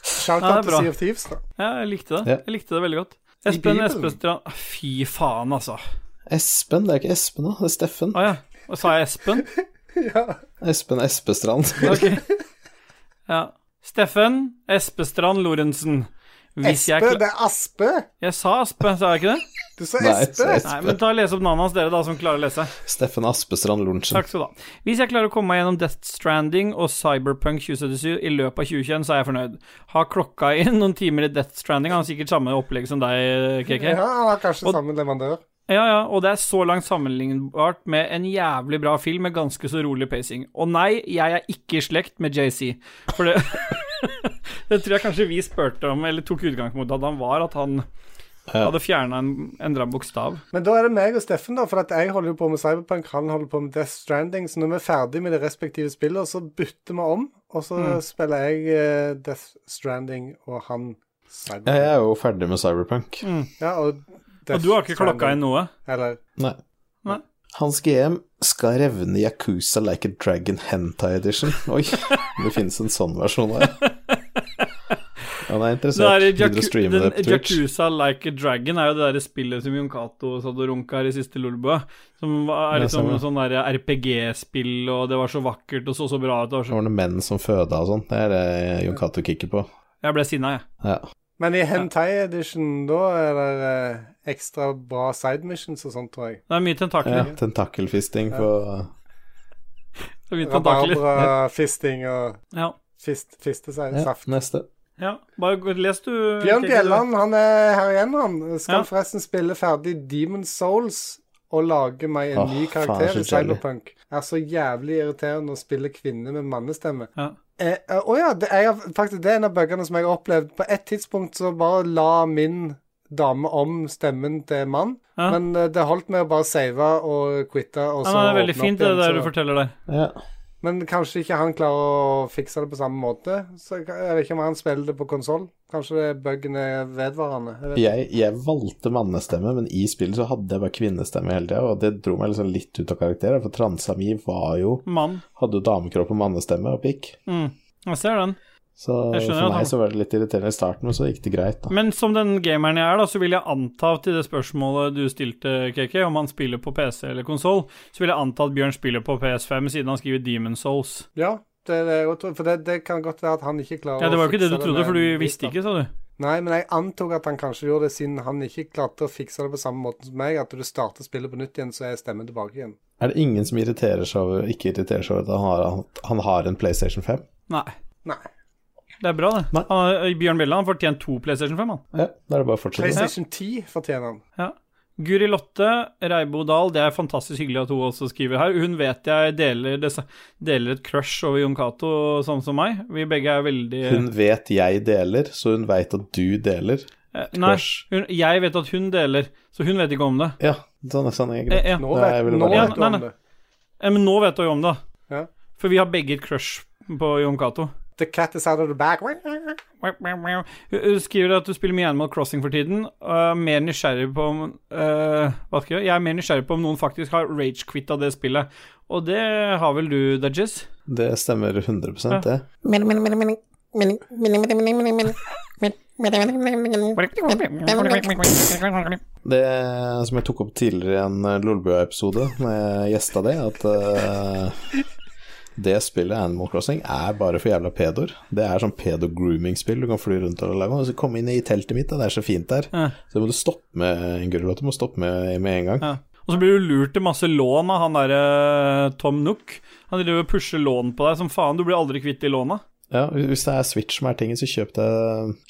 S1: Shout
S2: Ja, det er
S1: out til
S2: bra.
S1: Sea of Thieves, da.
S2: Ja, jeg likte
S3: Ja.
S2: det. Jeg likte det veldig godt.
S1: I
S2: Espen
S1: Bibelen.
S2: Espestrand Ah, Fy faen, altså.
S3: Espen, det er ikke Espen, da. Det er Steffen.
S2: Å ja. Og sa jeg Espen?
S3: Espen Espestrand.
S2: Ok. Ja. Steffen Espestrand Lorentzen. Hvis jeg,
S1: Espe,
S2: kla-
S1: det er Aspe.
S2: jeg sa Aspe, sa jeg ikke det?
S1: Du sa
S3: Nei,
S1: Espe.
S3: så
S2: Nei,
S3: Espen.
S2: men ta og Les opp navnet hans, dere, da, som klarer å lese.
S3: Steffen Aspestrand Lorentzen.
S2: Takk skal du ha. Hvis jeg klarer å komme meg gjennom Death Stranding og Cyberpunk 2077 i løpet av 2021, så er jeg fornøyd. Har klokka inn noen timer i Death Stranding, han har sikkert samme opplegg som deg, KK.
S1: Ja, han har kanskje
S2: Og-
S1: samme leverandør.
S2: Ja, ja, og det er så langt sammenlignbart med en jævlig bra film med ganske så rolig pacing. Og nei, jeg er ikke i slekt med JC, for det Det tror jeg kanskje vi spurte om, eller tok utgangspunkt i at han var, at han Hadde fjerna en endra bokstav.
S1: Men da er det meg og Steffen, da, for at jeg holder jo på med Cyberpunk, han holder på med Death Stranding. Så når vi er ferdig med de respektive spillene, så bytter vi om, og så
S3: Mm.
S1: spiller jeg eh, Death Stranding og han
S3: Ja, jeg
S1: Cyberpunk.
S3: er jo ferdig med Cyberpunk.
S2: Mm.
S1: Ja, og,
S2: Og du har ikke klokka inn noe?
S1: Eller
S3: Nei.
S2: Nei.
S3: Hans GM skal revne Yakuza like a dragon hentai edition. Oi, det finnes en sånn versjon av det. Han er
S2: Det
S3: interessert.
S2: er
S3: Gidder å
S2: Jaku-
S3: streame det på
S2: den,
S3: Twitch.
S2: Yakuza Like a Dragon er jo det der spillet som Jon Cato satt og runka her i siste Lolbua. Som var
S3: Ja,
S2: liksom
S3: stemmer.
S2: sånn der RPG-spill, og det var så vakkert og så så bra ut. det var
S3: Det
S2: Så...
S3: var noen menn som føda og sånn. Det er det Jon Cato kicker på.
S2: Jeg ble sinna, jeg.
S3: Ja.
S1: Men i Hentai Edition, da er det eh, ekstra bra side missions og sånt, tror jeg.
S2: Det er mye tentakler.
S3: ja tentakelfisting på
S2: Det er mye tentakler.
S1: Rabarbra-fisting og
S2: Ja.
S1: fist, fiste seg
S3: ja,
S1: saft.
S3: neste.
S2: ja. Bare gå- les, du.
S1: Bjørn
S2: Kikki, du.
S1: Bjelland, han er her igjen, han. Skal
S2: Ja.
S1: forresten spille ferdig Demon Souls og lage meg en
S3: Åh,
S1: ny
S3: faen,
S1: karakter
S3: så
S1: i
S3: jelly.
S1: Cyberpunk. Er så jævlig irriterende å spille kvinne med mannestemme.
S2: Ja.
S1: Eh, eh, Å ja, det, jeg har, faktisk, det er en av buggene som jeg har opplevd. På et tidspunkt så bare la min dame om stemmen til mann,
S2: Ja.
S1: men eh, det holdt med å bare save og quitte, og
S2: Ja,
S1: så
S2: men det
S1: åpne
S2: er veldig
S1: opp
S2: fint, det
S1: igjen,
S2: der
S1: så-
S2: du forteller der.
S3: Ja.
S1: Men kanskje ikke han klarer å fikse det på samme måte. Så jeg vet ikke om han spiller det på konsoll. Kanskje det er buggen er vedvarende. Jeg vet. ikke.
S3: Jeg, jeg valgte mannestemme, men i spillet så hadde jeg bare kvinnestemme hele tida, og det dro meg liksom litt ut av karakter, for transa mi var jo
S2: Mann.
S3: Hadde jo damekropp og mannestemme og pikk.
S2: Mm. Jeg ser den.
S3: Så
S2: Jeg skjønner
S3: for
S2: at han-
S3: meg så var det litt irriterende i starten, men så gikk det greit, da.
S2: Men som den gameren jeg er, da, så vil jeg anta til det spørsmålet du stilte, KK, om han spiller på PC eller konsoll, så vil jeg anta at Bjørn spiller på PS5, siden han skriver Demon Souls.
S1: Ja, det er det jeg også tror. For det, det kan godt være at han ikke klarer
S2: Ja, det var jo ikke det du
S1: fikse
S2: trodde,
S1: med
S2: for du
S1: en
S2: visste
S1: bit,
S2: ikke, sa du.
S1: da. Nei, men jeg antok at han kanskje gjorde det, siden han ikke klarte å fikse det på samme måten som meg. At du starter spillet på nytt igjen, så er stemmen tilbake igjen.
S3: Er det ingen som irriterer seg over, ikke irriterer seg over at han har, at han har en PlayStation 5?
S2: Nei.
S1: Nei.
S2: Det er bra, det.
S3: Nei.
S2: Han, Bjørn Bjelland har fortjent to PlayStation 5, han.
S3: Ja, da er det bare å fortsette.
S1: PlayStation 10 fortjener han.
S2: Ja. Guri Lotte Reibo Dahl, det er fantastisk hyggelig at hun også skriver her. Hun vet jeg deler, dessa- deler et crush over Jon Cato, sånn som meg. Vi begge er veldig
S3: Hun vet jeg deler, så hun veit at du deler.
S2: Eh, Nei,
S3: crush.
S2: hun, jeg vet at hun deler, så hun vet ikke om det.
S3: Ja, sånn er sånn er greit.
S2: Eh, ja.
S1: Nå
S3: Nei,
S1: vet,
S3: jeg ville
S1: nå
S3: bare-
S1: vet du
S2: Ja,
S1: om
S2: nei, nei.
S1: det.
S2: Ja, men nå vet du jo om det.
S1: Ja.
S2: For vi har begge et crush på Jon Cato.
S1: The cat is out of the bag.
S2: Hun hun skriver at du spiller mye Animal Crossing for tiden. Og er mer nysgjerrig på om eh, Hva skal jeg gjøre? Jeg er mer nysgjerrig på om noen faktisk har rage-quitta det spillet. Og det har vel du, Dudges?
S3: Det stemmer 100 det. Det som jeg tok opp tidligere i en eh, Lolbua-episode, når jeg gjesta det, at eh, det spillet Animal Crossing er bare for jævla pedoer. Det er sånn pedo-grooming-spill du kan fly rundt og lage. Og så kom inn i teltet mitt, da, det er så fint der.
S2: Ja.
S3: Så må du stoppe med Gulrot, du må stoppe med, med en gang.
S2: Ja. Og så blir du lurt til masse lån av han derre Tom Nook. Han driver og pusher lån på deg som faen. Du blir aldri kvitt de låna.
S3: Ja, hvis det er Switch som er tingen, så kjøp deg,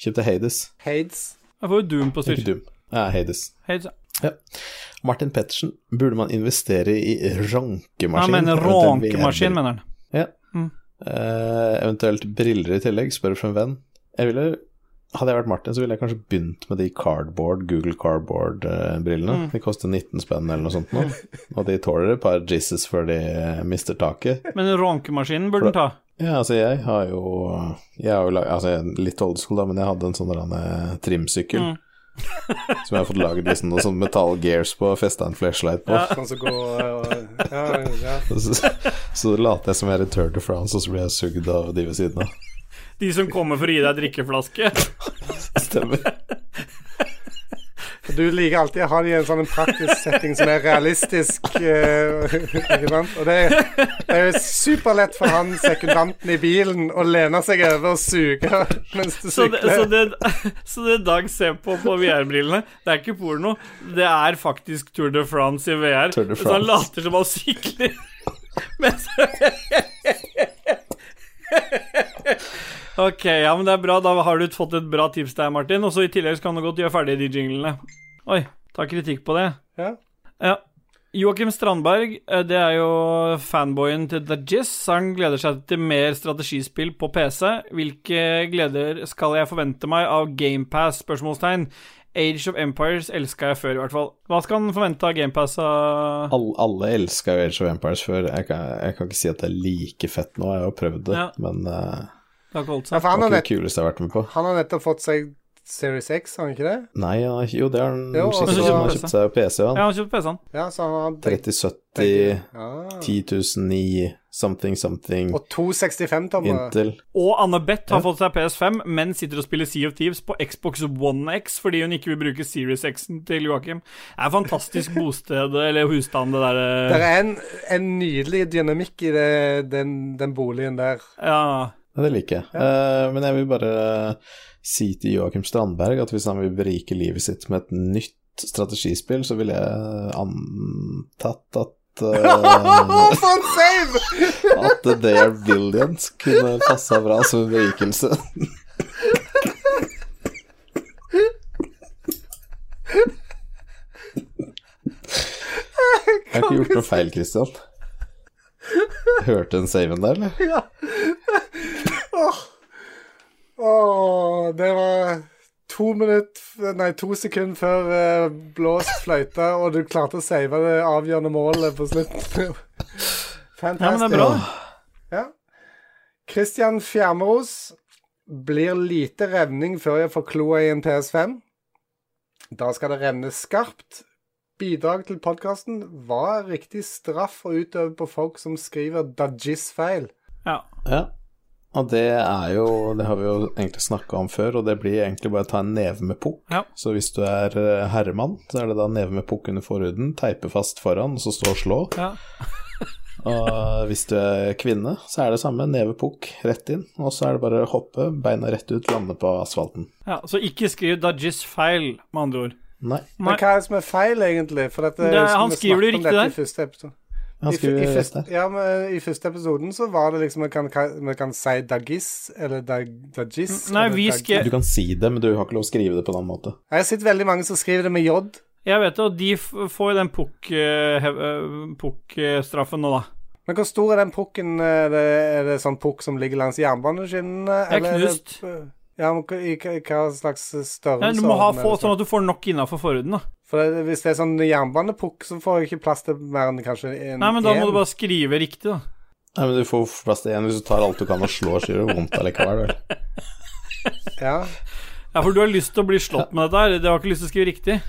S3: kjøp deg Hades.
S1: Hades.
S2: Jeg får jo Doom på
S3: Ikke
S2: Switch.
S3: Doom. Ja, Hades.
S2: Hei, så-
S3: Martin Pettersen, burde man investere i rankemaskin?
S2: Han mener
S3: Eventuelt
S2: rånkemaskin,
S3: VR-briller?
S2: mener han.
S3: Ja.
S2: Mm.
S3: Eh, eventuelt briller i tillegg, spør for en venn. Jeg ville, hadde jeg vært Martin, så ville jeg kanskje begynt med de cardboard, Google Cardboard-brillene.
S2: Mm.
S3: De koster 19 spenn eller noe sånt nå. Og de tåler et par jizzes før de eh, mister taket.
S2: Men rånkemaskinen burde den ta.
S3: Ja, altså jeg har jo, jeg har jo lag, altså jeg er litt old school da, men jeg hadde en sånn der, eh, trimsykkel.
S2: Mm.
S3: som jeg har fått laget liksom noen sånne metall gears på og festa en flashlight på.
S1: Sånn som går og Ja, ja.
S3: Så, så later jeg som jeg er i Tour de France, og så blir jeg sugd av de ved siden av.
S2: De som kommer for å gi deg drikkeflaske.
S3: Stemmer.
S1: Du liker alltid å ha det i en sånn en praktisk setting som er realistisk. eh, ikke sant? Og det, det er jo superlett for han sekundanten i bilen å lene seg over og suge mens du
S2: Så det, så,
S1: sykler.
S2: det, så det Dag ser på på VR-brillene, det er ikke porno. Det er faktisk Tour de France i VR.
S3: Tour de
S2: Så han
S3: France.
S2: later som han sykler. Mens Ok, ja, men det er bra. Da har du fått et bra tips der, Martin. Og så i tillegg så kan du godt gjøre ferdig de jinglene. Oi, ta kritikk på det.
S1: Ja.
S2: Ja. Joakim Strandberg, eh, det er jo fanboyen til The Jizz. Han gleder seg til mer strategispill på PC. Hvilke gleder skal jeg forvente meg av GamePass? spørsmålstegn Age of Empires elska jeg før, i hvert fall. Hva skal han forvente av eh, GamePass? av-
S3: Alle, alle elska jo Age of Empires før. Jeg kan, jeg kan ikke si at det er like fett nå, jeg har jo prøvd det,
S2: Ja.
S3: men eh,
S2: Det har ikke holdt
S1: Ja,
S2: seg.
S1: for han
S3: det
S1: har,
S3: var ikke
S1: nett,
S3: det kuleste jeg har vært med på.
S1: han har nettopp fått seg Series X, har han ikke det?
S3: Nei, han har ikke- jo, det har han
S1: Jo, altså,
S3: sikkert.
S2: også-
S3: Han har kjøpt seg PC,
S2: Ja,
S3: han.
S2: han har kjøpt PC-en.
S1: Ja, så han har
S3: 3070,
S1: Ah.
S3: 10009, something, something,
S1: Og to eh. 65-tommere.
S3: Intel.
S2: Og Anne Beth har fått seg PS5, men sitter og spiller Sea of Thieves på Xbox One X fordi hun ikke vil bruke Series X-en til Joakim. Det er fantastisk bosted, eller husstand, det eh.
S1: Det
S2: derre
S1: er en, en nydelig dynamikk i det, den, den boligen der.
S2: ja.
S3: Ja, det liker jeg. Eh, men jeg vil bare si til Joakim Strandberg at hvis han vil berike livet sitt med et nytt strategispill, så ville jeg eh, antatt at eh,
S1: For en save!
S3: At They Are Billions kunne passa bra som en berikelse. Jeg har ikke gjort noe feil, Christian. Hørte en saven der, eller?
S1: Åh, det var to minutter Nei, to sekunder før eh, blåst fløyte, og du klarte å save det avgjørende målet på slutten. Fantastisk.
S2: ja, men det er bra.
S1: Christian Fjermeros blir lite revning før jeg får kloa i en PS5. Da skal det revne skarpt. Bidrag til podkasten var riktig straff å utøve på folk som skriver dajis-feil.
S2: Ja.
S3: Ja. Og det er jo Det har vi jo egentlig snakka om før, og det blir egentlig bare å ta en neve med pukk.
S2: Ja.
S3: Så hvis du er eh, herremann, så er det da neve med pukk under forhuden, teipe fast foran, og så stå og slå.
S2: ja.
S3: Og hvis du er kvinne, så er det samme. Neve pukk, rett inn. Og så er det bare å hoppe, beina rett ut, lande på asfalten.
S2: ja. Så ikke skriv Dajis feil, med andre ord.
S3: Nei.
S2: Nei.
S1: Men hva er det som er feil, egentlig? For dette,
S2: Det er- han
S1: vi
S2: skriver det
S1: snakket om
S2: riktig
S1: dette
S2: der.
S1: I første episode. I,
S3: Han
S1: fu-
S3: skriver
S1: i,
S3: rett
S1: første,
S3: der.
S1: ja, men eh, I første episoden så var det liksom Vi kan, vi kan si dagis eller dag, dagis.
S2: Nei,
S1: eller
S2: vi
S1: dag-
S2: skrev-
S3: Du kan si det, men du har ikke lov å skrive det på den måten.
S1: Jeg har sett veldig mange som skriver det med j.
S2: Jeg vet det, og de f får jo den eh, pukk-straffen nå, da.
S1: Men hvor stor er den pukken? Er det, er det sånn pukk som ligger langs jernbaneskinnene?
S2: er
S1: eller det-
S2: knust.
S1: Ja, men hva- i hva hva slags størrelse?
S2: Ja, du må ha
S1: er det
S2: få,
S1: snakk
S2: sånn at du får nok innafor forhuden, da.
S1: For det, hvis det er sånn jernbanepukk, så får jeg ikke plass til mer enn kanskje en
S2: Nei, men da
S1: en.
S2: må du bare skrive riktig, da.
S3: Nei, men du får plass til én hvis du tar alt du kan og slår, så gjør det vondt allikevel, vel.
S1: Ja.
S2: Ja, for du har lyst til å bli slått med dette her. Du har ikke lyst til å skrive riktig.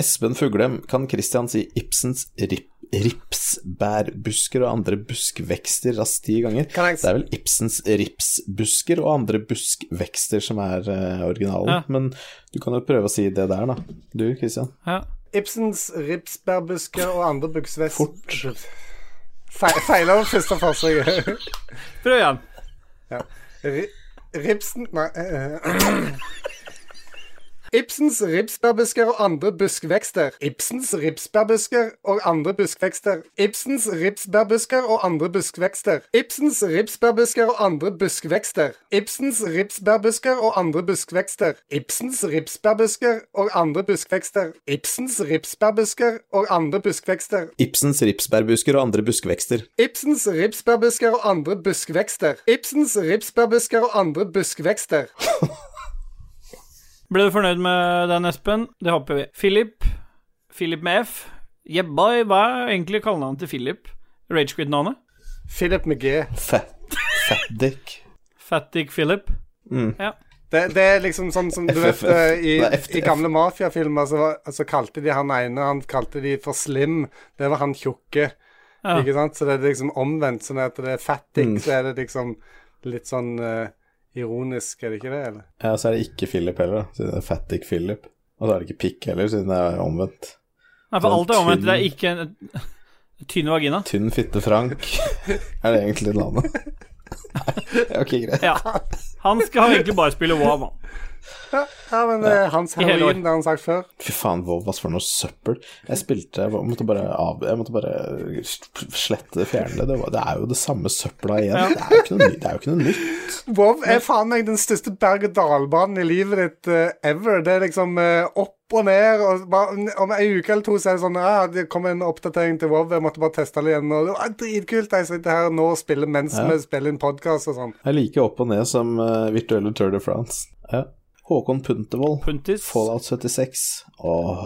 S3: Espen Fuglem, kan Christian si Ibsens rip, ripsbærbusker og andre buskvekster raskt ti ganger?
S1: Kan jeg-
S3: Det er vel Ibsens ripsbusker og andre buskvekster som er eh, originalen.
S2: Ja.
S3: Men du kan jo prøve å si det der, da. Du, Christian.
S2: Ja.
S1: Ibsens ripsbærbusker og andre buksvest
S3: Fort.
S1: Feil, feiler det første forsøket.
S2: Prøv igjen.
S1: Ri- Ripsen Nei. eh, Ibsens ripsbærbusker og andre buskvekster. Ibsens ripsbærbusker og andre buskvekster. Ibsens ripsbærbusker og andre buskvekster. Ibsens ripsbærbusker og andre buskvekster. Ibsens ripsbærbusker og andre buskvekster. Ibsens ripsbærbusker og andre buskvekster. Ibsens ripsbærbusker og andre buskvekster.
S3: Ibsens ripsbærbusker og andre buskvekster.
S1: Ibsens ripsbærbusker og andre buskvekster. Ibsens ripsbærbusker og andre buskvekster.
S2: Ble du fornøyd med den, Espen? Det håper vi. Philip. Philip med F. Jebba, hva er egentlig kallenavnet til Philip? Ragequid-navnet?
S1: Philip med G.
S3: Fat, fat dick.
S2: Fattig Philip. Mm.
S1: Det, det er liksom sånn som du vet
S3: FFF.
S1: eh, i,
S3: Nei, FTF.
S1: i gamle mafiafilmer så, var- så kalte de han ene Han kalte de for Slim. Det var han tjukke.
S2: Ja.
S1: Ikke sant? Så det er liksom omvendt. Sånn at det er fattig, så er det liksom litt sånn eh, ironisk, er det ikke det? eller?
S3: Ja, så er det ikke Philip heller, da, siden det er fat dick Philip. Og så er det ikke pikk heller, siden det er omvendt.
S2: Nei, for
S3: Den
S2: alt er omvendt. Det er
S3: tynn-
S2: ikke en tynn vagina.
S3: Tynn fitte Frank er det egentlig navnet. Nei, ok, greit.
S2: Ja. Han skal egentlig bare spille WoW, han.
S1: Ja, men eh, hans
S2: I hele år.
S1: heroin, det har han sagt før.
S3: Fy faen, Vov, hva for noe søppel. Jeg spilte Jeg måtte bare, av, jeg måtte bare slette, fjerne det. Det, var, det er jo det samme søpla igjen. Det, er jo ikke noe, ny- det er jo ikke noe nytt.
S1: WoW er faen meg den største berg-og-dal-banen i livet ditt eh, ever. Det er liksom eh, opp og ned, og bare, om ei uke eller to så er det sånn ah, Det kom en oppdatering til WoW, jeg måtte bare teste det igjen. Og det var dritkult. Jeg sitter her nå og spiller mens vi spiller inn podkast og sånn.
S3: Jeg liker opp og ned som eh, virtuelle Tour de France. Ja. Håkon Puntervold.
S2: Puntis.
S3: Fallout 76. Åh.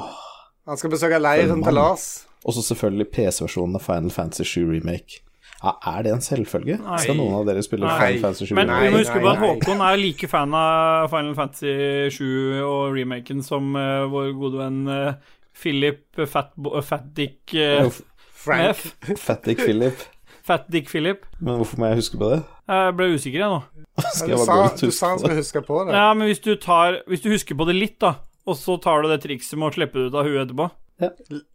S1: Han skal besøke leiren til Lars.
S3: Og så selvfølgelig PC-versjonen av Final Fantasy 7 Remake. Ja, er det en selvfølge?
S2: Nei.
S3: Skal noen av dere spille
S2: Nei.
S3: Final Fantasy 7
S2: Men
S1: Nei,
S2: vi må huske på at
S1: nei.
S2: Håkon er like fan av Final Fantasy 7 og remaken som eh, vår gode venn eh, Philip eh, Fat, Bo- eh, Fat Dick eh,
S3: Hvorfor-
S2: med
S1: Frank.
S2: F.
S3: Fat Dick Philip.
S2: Fat Dick Philip.
S3: Men hvorfor må jeg huske på det?
S2: Jeg ble usikker, jeg nå.
S3: Skal
S1: Du
S3: jeg
S1: sa,
S3: bare gå og
S1: du sa
S3: tuske
S1: han
S3: på det?
S1: skulle huske på det.
S2: Ja, men hvis du, tar, hvis du husker på det litt, da, og så tar du det trikset med å slippe det ut av huet etterpå,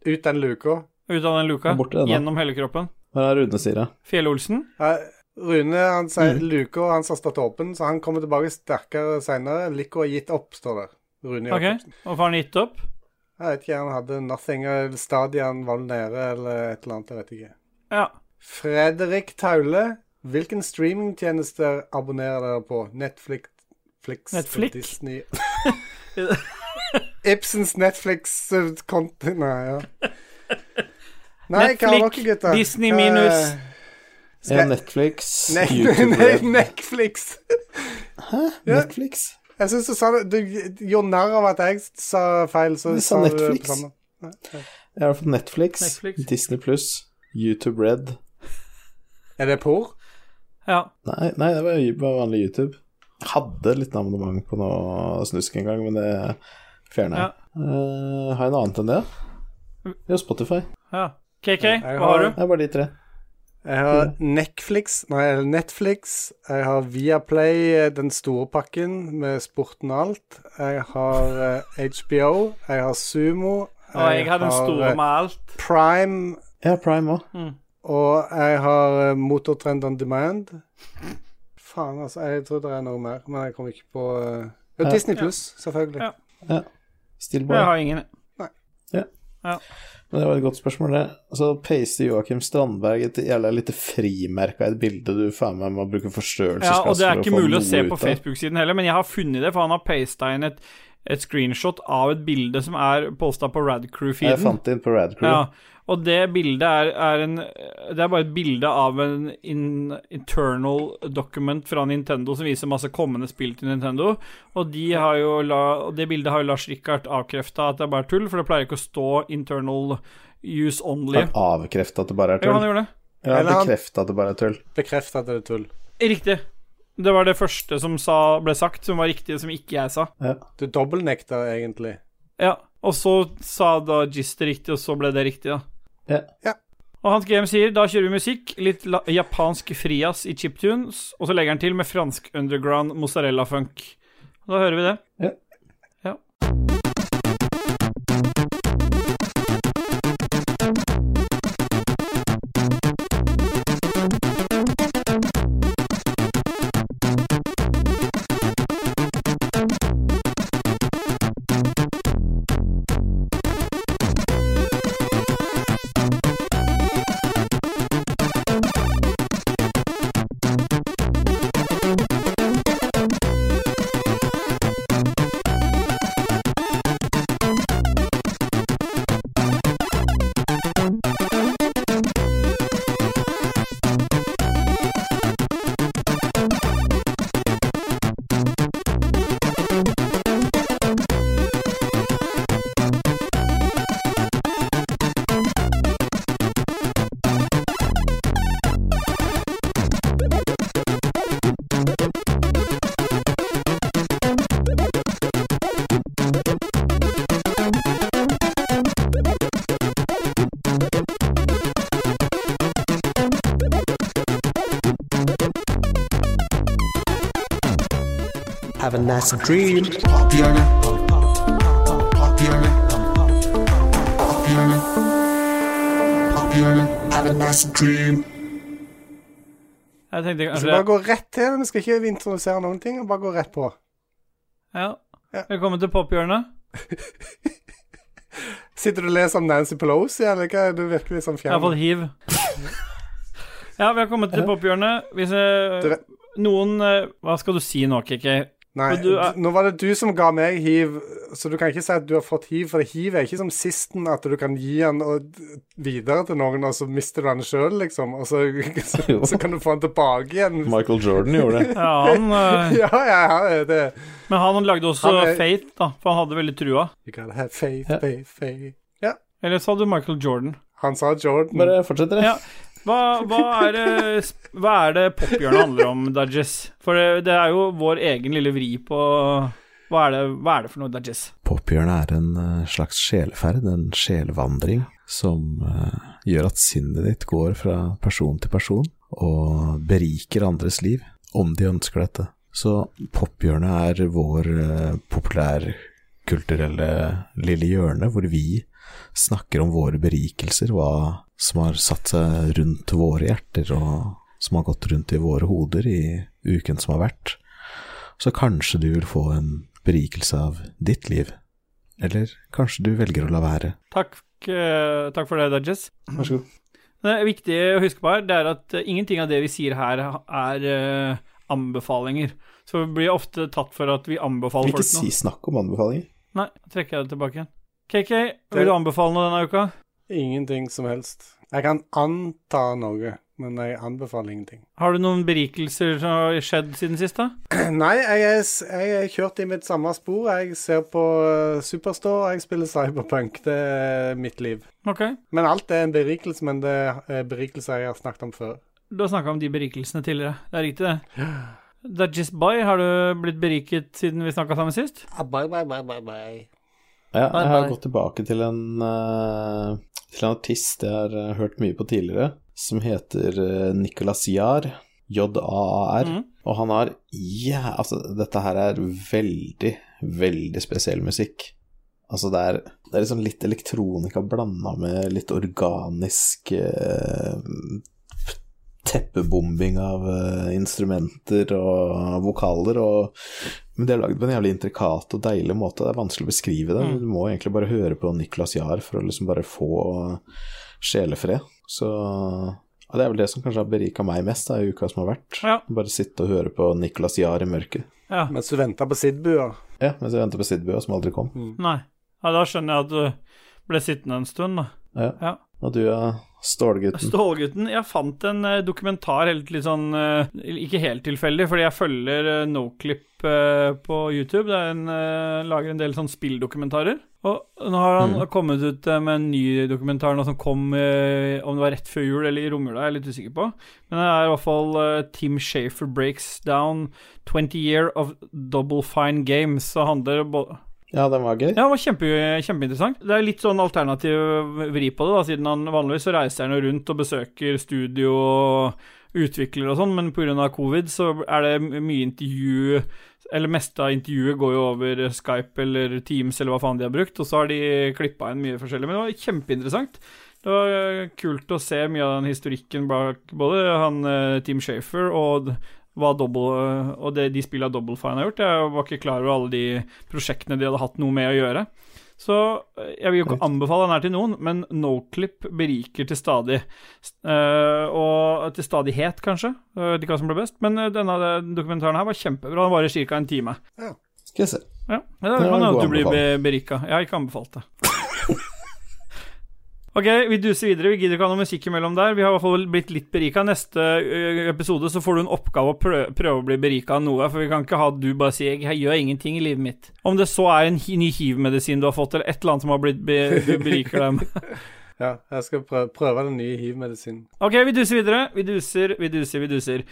S1: Ut den luka.
S2: ut av den luka,
S3: Den er borte, den da.
S2: gjennom hele kroppen
S3: Hva er det Rune sier, da?
S2: Fjell-Olsen?
S1: Ja, Rune han sier luka hans har stått åpen, så han kommer tilbake sterkere seinere. Lykka har gitt opp, står det. Rune
S2: Ok,
S1: Jacobsen.
S2: hvorfor har han gitt opp?
S1: Jeg vet ikke, han hadde nothing, eller stadiet han var nede, eller et eller annet, jeg vet ikke.
S2: Ja.
S1: Fredrik Taule, hvilken streamingtjenester abonnerer dere på? Netflix, Flix,
S2: Netflix?
S1: Disney Ibsens Netflix-konti Nei, ja. Nei, hva har dere, gutter?
S2: Disney
S1: Hva-
S2: minus.
S1: Skal-
S3: Ja, Netflix,
S1: Ne-
S3: YouTube
S1: ne-
S3: Red.
S1: Netflix. Ja.
S3: Netflix?
S1: Jeg syns du sa det Du gjorde narr av at jeg sa feil, så
S3: Du sa
S1: du det på
S3: Netflix.
S1: samme.
S3: Jeg har fått Netflix,
S2: Netflix.
S3: Disney pluss, YouTube Red.
S1: Er det por?
S2: Ja.
S3: Nei, nei, det var jo bare vanlig YouTube. Jeg hadde litt abonnement på noe snusk en gang, men det fjerna jeg. Eh, har jeg noe annet enn det? Jo, Spotify.
S2: ja. KK,
S1: Jeg
S2: hva har
S1: har-
S2: du?
S3: Det er bare de tre.
S1: Jeg har
S2: Mm.
S1: Netflix, nei, eller Netflix. Jeg har Viaplay, eh, den store pakken med sporten og alt. Jeg har eh, HBO. Jeg har Sumo.
S2: Å, jeg har den store
S1: eh,
S2: med alt.
S1: Prime.
S3: Ja, Prime òg.
S2: Mm.
S1: Og jeg har eh, Motortrend on Demand. Faen, altså. Jeg tror det er noe mer, men jeg kommer ikke på eh, jo, Disney Pluss, selvfølgelig.
S2: Ja. Jeg
S3: Stillboy.
S2: har ingen.
S3: Men det var et godt spørsmål, det. Så paster Joakim Strandberg et jævla lite frimerke av et bilde du faen meg må bruke
S2: Ja,
S3: forstørrelsesglass
S2: og det er
S3: for
S2: ikke
S3: å få
S2: mulig å
S3: noe
S2: se
S3: ut
S2: på
S3: av.
S2: Facebook-siden heller, men jeg har funnet det, for han har pasta inn et, et screenshot av et bilde som er posta på
S3: Jeg
S2: Radcrew-feeden.
S3: fant det inn på Radcrew.
S2: Ja, og det bildet er, er en Det er bare et bilde av en in, internal document fra Nintendo som viser masse kommende spill til Nintendo, og, de har jo la, og det bildet har jo Lars Rikard avkrefta at det er bare tull, for det pleier ikke å stå internal use only.
S3: Han avkrefta at det bare er
S2: Jo, han
S3: tull.
S2: gjorde det.
S3: Ja,
S1: Eller han-
S3: bekrefta at det bare er tull.
S1: Bekreft at det er tull.
S2: Riktig. Det var det første som sa, ble sagt, som var riktig, som ikke jeg sa.
S3: Ja.
S1: Du dobbeltnekter egentlig.
S2: Ja, Og så sa da Gist det riktig, og så ble det riktig, da.
S3: Ja.
S1: Ja.
S2: Og Hans GM sier da kjører vi musikk, litt la japansk frias i chiptunes, og så legger han til med fransk underground mozzarella funk. Da hører vi det.
S4: Have a nice dream. Poppyana. Poppyana. Poppyana. Poppyana. Have a nice dream.
S2: Jeg tenkte
S1: Vi
S2: kanskje
S1: skal bare gå rett til det. Vi skal ikke introdusere noen ting, bare gå rett på.
S2: Ja.
S1: Ja.
S2: Velkommen til pophjørnet.
S1: Sitter du og leser om Nancy Pelosi, eller hva er du virkelig sånn
S2: Jeg har
S1: fjern?
S2: fått hiv. ja, vi har kommet til pophjørnet. Hvis eh,
S1: Du vet-
S2: noen eh, Hva skal du si nå, KK?
S1: Nei,
S2: Men du er-
S1: nå var det du som ga meg hiv, så du kan ikke si at du har fått hiv, for hiv er ikke som sisten, at du kan gi den og d- videre til noen, og så mister du den sjøl, liksom, og så, så,
S3: Jo.
S1: så kan du få den tilbake igjen.
S3: Michael Jordan gjorde det.
S2: Ja, han, eh,
S1: Ja, ja, ja, det
S2: men han lagde også
S1: Han er-
S2: Faith, da, for han hadde veldig trua.
S1: You gotta have faith,
S3: Ja.
S1: faith, faith. Ja.
S2: Eller sa du Michael Jordan?
S1: Han sa Jordan.
S3: Bare fortsett, dere.
S2: Ja. Hva, hva er det, hva er det pophjørnet handler om, Dudges? For det, det er jo vår egen lille vri på Hva er det, hva er det for noe, Dudges?
S6: Pophjørnet er en eh, slags sjeleferd, en sjelevandring, som eh, gjør at sinnet ditt går fra person til person og beriker andres liv, om de ønsker dette. Så pophjørnet er vår eh, populærkulturelle lille hjørne, hvor vi snakker om våre berikelser, hva som har satt seg rundt våre hjerter, og som har gått rundt i våre hoder i uken som har vært. Så kanskje du vil få en berikelse av ditt liv. Eller kanskje du velger å la være.
S2: Takk, eh, takk for det, Dudges.
S3: Vær så god.
S2: Det viktige å huske på her, det er at eh, ingenting av det vi sier her, er eh, anbefalinger. Så vi blir ofte tatt for at vi anbefaler
S3: Ikke
S2: folk
S3: si
S2: noe.
S3: snakk om anbefalinger.
S2: Nei, da trekker jeg det tilbake igjen. KK, vil du anbefale noe denne uka?
S1: Ingenting som helst. Jeg kan anta noe, men jeg anbefaler ingenting.
S2: Har du noen berikelser som har skjedd siden sist, da?
S1: Nei, jeg er, s- jeg er kjørt i mitt samme spor. Jeg ser på eh, Superstore, og jeg spiller Cyberpunk. Det er mitt liv.
S2: Ok.
S1: Men alt er en berikelse, men det er berikelser jeg har snakket om før.
S2: Du har snakka om de berikelsene tidligere. Det er riktig, det. Dudges Bay, har du blitt beriket siden vi snakka sammen sist?
S3: Ja,
S2: Bye,
S3: jeg har
S2: bye.
S3: gått tilbake til en, eh, til en artist jeg har eh, hørt mye på tidligere, som heter eh, Nicolas Jahr, J-A-A-R.
S2: Mhm.
S3: Og han har jæ- Altså, dette her er veldig, veldig spesiell musikk. Altså, det er, det er liksom litt elektronika blanda med litt organisk eh, teppebombing av eh, instrumenter og vokaler. Og, men det er lagd på en jævlig intrikat og deilig måte. Det er vanskelig å beskrive det.
S2: Mm.
S3: Du må egentlig bare høre på Nicolas Jahr for å liksom bare få sjelefred. Så ja, det er vel det som kanskje har berika meg mest da, i uka som har vært.
S2: Ja.
S3: Bare sitte og høre på Nicolas Jahr i mørket.
S2: ja.
S1: Mens du venter på Sidbua.
S3: Ja, mens jeg venter på Sidbua, som aldri kom.
S2: Nei. Ja, da skjønner jeg at du ble sittende en stund, da.
S3: Ja.
S2: Ja.
S3: Og du, ja, Stålgutten.
S2: Stålgutten, jeg fant en eh, dokumentar helt litt sånn eh, Ikke helt tilfeldig, fordi jeg følger eh, Noclip eh, på YouTube. Det er en, eh, lager en del sånn spilldokumentarer. Og nå har han kommet ut eh, med en ny dokumentar nå som kom eh, om det var rett før jul eller i romjula, jeg er litt usikker på. Men det er i hvert fall eh, Tim Shafer Breaks Down 20 Year of Double Fine Games. Så handler det bo-
S3: Ja, den var gøy.
S2: ja, det var kjempe, kjempeinteressant. Det er litt sånn alternativ vri på det, da, siden han vanligvis så reiser han jo rundt og besøker studio og utvikler og sånn, men pga. covid så er det m- mye intervju Eller meste av intervjuet går jo over Skype eller Teams eller hva faen de har brukt, og så har de klippa inn mye forskjellig. Men det var kjempeinteressant. Det var eh, kult å se mye av den historikken bak både han eh, Tim Shafer og d- hva double, eh, og det de spilla Double Fine har gjort. Jeg var ikke klar over alle de prosjektene de hadde hatt noe med å gjøre. Så eh, jeg vil jo ikke anbefale den her til noen, men Noclip beriker til stadig. Eh, og til stadighet, kanskje. Jeg vet ikke hva som ble best, men eh, denne dokumentaren her var kjempebra. Den varer ca. en time.
S3: Skal jeg se.
S2: Ja,
S3: Det
S2: ja det
S3: var
S2: kan
S3: en
S2: hende
S3: god
S2: at du blir be-
S3: anbefaling.
S2: berika. Jeg har ikke anbefalt det. Ok, vi duser videre. Vi gidder ikke ha noe musikk imellom der. Vi har i hvert fall blitt litt berika. Neste ø, episode så får du en oppgave å prø- prøve å bli berika av noe, for vi kan ikke ha at du bare sier 'jeg gjør ingenting i livet mitt'. Om det så er en hi- ny hiv-medisin du har fått, eller et eller annet som har blitt be du beriker deg med.
S1: Ja, jeg skal prøve, prøve den nye hiv-medisinen.
S2: Ok, vi duser videre. Vi duser, vi duser, vi duser.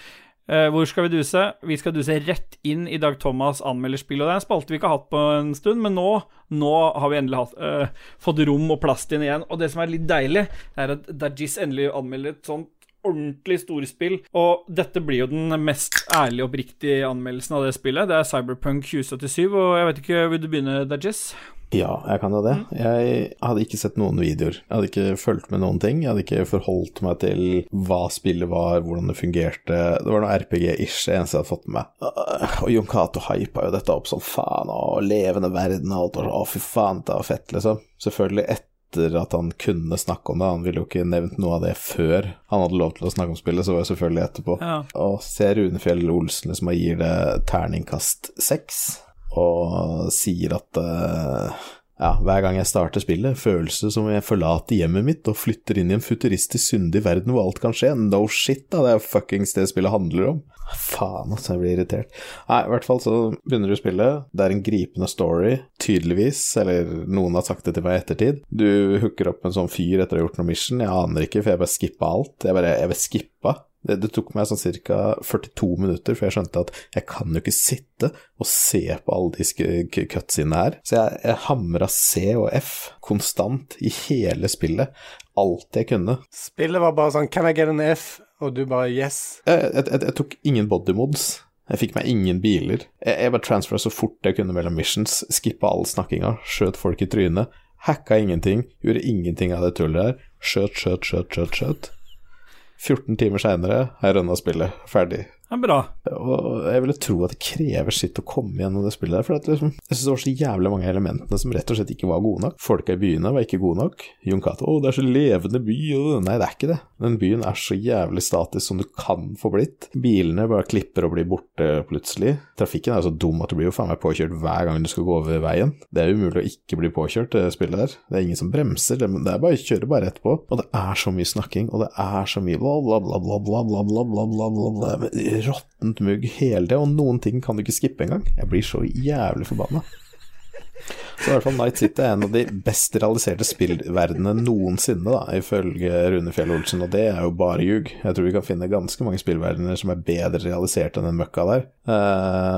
S2: Eh, hvor skal vi duse? Vi skal duse rett inn i Dag Thomas anmelderspill. Og det er en spalte vi ikke har hatt på en stund, men nå, nå har vi endelig hatt, eh, fått rom og plass til den igjen. Og det som er litt deilig, det er at Dajis endelig anmelder et sånt ordentlig storspill. Og dette blir jo den mest ærlige og oppriktige anmeldelsen av det spillet. Det er Cyberpunk 2077, og jeg vet ikke, vil du begynne, Dajis?
S3: Ja, jeg kan jo det.
S2: Mm.
S3: Jeg hadde ikke sett noen videoer. Jeg hadde ikke fulgt med noen ting. Jeg hadde ikke forholdt meg til hva spillet var, hvordan det fungerte. Det var noe RPG-ish, det eneste jeg hadde fått med meg. Øh, Og Jon Cato hypa jo dette opp som faen, og levende verden og alt. Og, å, fy faen, det var fett, liksom. Selvfølgelig, etter etter at han kunne snakke om det. Han ville jo ikke nevnt noe av det før han hadde lov til å snakke om spillet, så var det selvfølgelig etterpå.
S2: Ja.
S3: Og ser Rune Fjell Olsen liksom og gir det terningkast seks, og sier at eh, ja, hver gang jeg starter spillet, føles det som om jeg forlater hjemmet mitt og flytter inn i en futuristisk syndig verden hvor alt kan skje. No shit, da, det er jo fuckings det spillet handler om. Faen, altså, jeg blir irritert. Nei, i hvert fall så begynner du spillet. Det er en gripende story, tydeligvis, eller noen har sagt det til meg i ettertid. Du hooker opp med en sånn fyr etter å ha gjort noe mission, jeg aner ikke, for jeg bare skippa alt. Jeg bare, jeg bare skippa. Det, det tok meg sånn ca. 42 minutter før jeg skjønte at jeg kan jo ikke sitte og se på alle de sk- k- cutsene her. Så jeg, jeg hamra C og F konstant i hele spillet. Alt jeg kunne.
S1: Spillet var bare sånn Can I get an F? Og du bare yes.
S3: Jeg, jeg, jeg, jeg tok ingen bodymods. Jeg fikk meg ingen biler. Jeg, jeg bare transfera så fort jeg kunne mellom missions, skippa all snakkinga, skjøt folk i trynet, hacka ingenting, gjorde ingenting av det tullet her. Skjøt, skjøt, skjøt, skjøt, skjøt. 14 timer seinere har jeg runda spillet. Ferdig.
S2: Det er bra.
S3: Og jeg ville tro at det krever sitt å komme gjennom det spillet der. For at liksom, jeg syns det var så jævlig mange av elementene som rett og slett ikke var gode nok. Folka i byene var ikke gode nok. Jon Cato 'Å, det er så levende by', og Nei, det er ikke det. Den byen er så jævlig statisk som du kan få blitt. Bilene bare klipper og blir borte plutselig. Trafikken er jo så dum at du blir jo faen meg påkjørt hver gang du skal gå over veien. Det er umulig å ikke bli påkjørt, det spillet der. Det er ingen som bremser, det det er bare å kjøre bare etterpå. Og det er så mye snakking, og det er så mye bla, bla, bla, bla, bla, bla, bla, bla, bla, bla, bla. men Råttent mugg hele det, og noen ting kan du ikke skippe engang. Jeg blir så jævlig forbanna. Så i hvert fall Night City er en av de best realiserte spillverdenene noensinne, da, ifølge Rune Fjell Olsen, og det er jo bare ljug. Jeg tror vi kan finne ganske mange spillverdener som er bedre realisert enn den møkka der. Eh,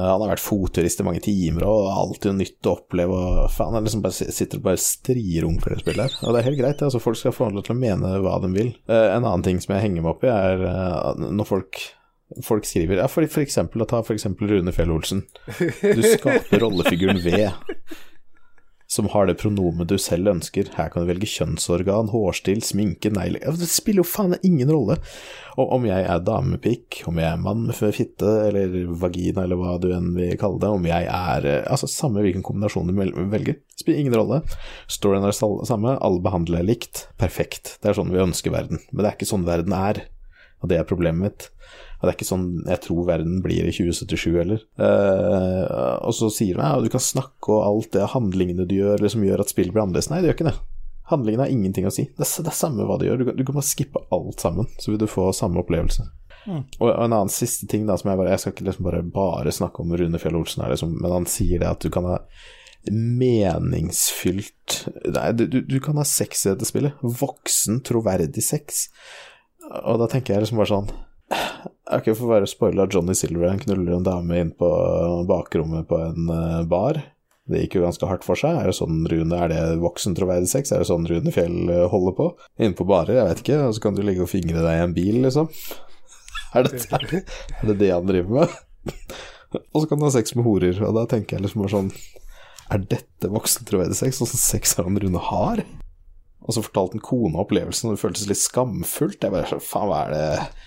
S3: han har vært fotturist i mange timer og alltid noe nytt å oppleve, og faen, han liksom bare si- sitter og bare strirunker det spillet her. Og det er helt greit, det, altså, folk skal få lov til å mene hva de vil. Eh, en annen ting som jeg henger meg opp i, er eh, når folk Folk skriver ja, for, for eksempel, da, Ta for eksempel Rune Fjell Olsen. Du skaper rollefiguren V som har det pronomet du selv ønsker. Her kan du velge kjønnsorgan, hårstil, sminke, negler Ja, Det spiller jo faen ingen rolle. Og om jeg er dame med pikk, om jeg er mann med fitte eller vagina eller hva du enn vil kalle det, om jeg er eh, Altså, samme hvilken kombinasjon du vel- velger, spiller ingen rolle. Storyen er sal- samme, alle behandler jeg likt. Perfekt. Det er sånn vi ønsker verden. Men det er ikke sånn verden er, og det er problemet mitt. Og det er ikke sånn jeg tror verden blir i 2077 heller. Eh, og så sier de at du kan snakke og alt det handlingene du gjør, eller som gjør at spillet blir annerledes. Nei, det gjør ikke det. Handlingene har ingenting å si. Det er, s- det er samme hva du gjør. Du kan, du kan bare skippe alt sammen, så vil du få samme opplevelse. Og og en annen siste ting da, som jeg bare Jeg skal ikke liksom bare, bare snakke om Rune Fjell Olsen her, liksom, men han sier det at du kan ha meningsfylt Nei, du, du, du kan ha sex i dette spillet. Voksen, troverdig sex. Og da tenker jeg liksom bare sånn Ok, for å være spoila, Johnny Silver han knuller en dame inn på bakrommet på en eh, bar. Det gikk jo ganske hardt for seg. Er det sånn Rune er det voksen troverdig sex? Er det sånn Rune Fjell eh, holder på? Inne på barer, jeg vet ikke. Og så kan du ligge og fingre deg i en bil, liksom. Er det er det, det han driver med? og så kan du ha sex med horer. Og da tenker jeg liksom bare sånn Er dette voksen troverdig sex? Åssen sex er det han Rune har? Og så fortalte han kona opplevelsen, og det føltes litt skamfullt. Jeg bare sånn, faen, hva er det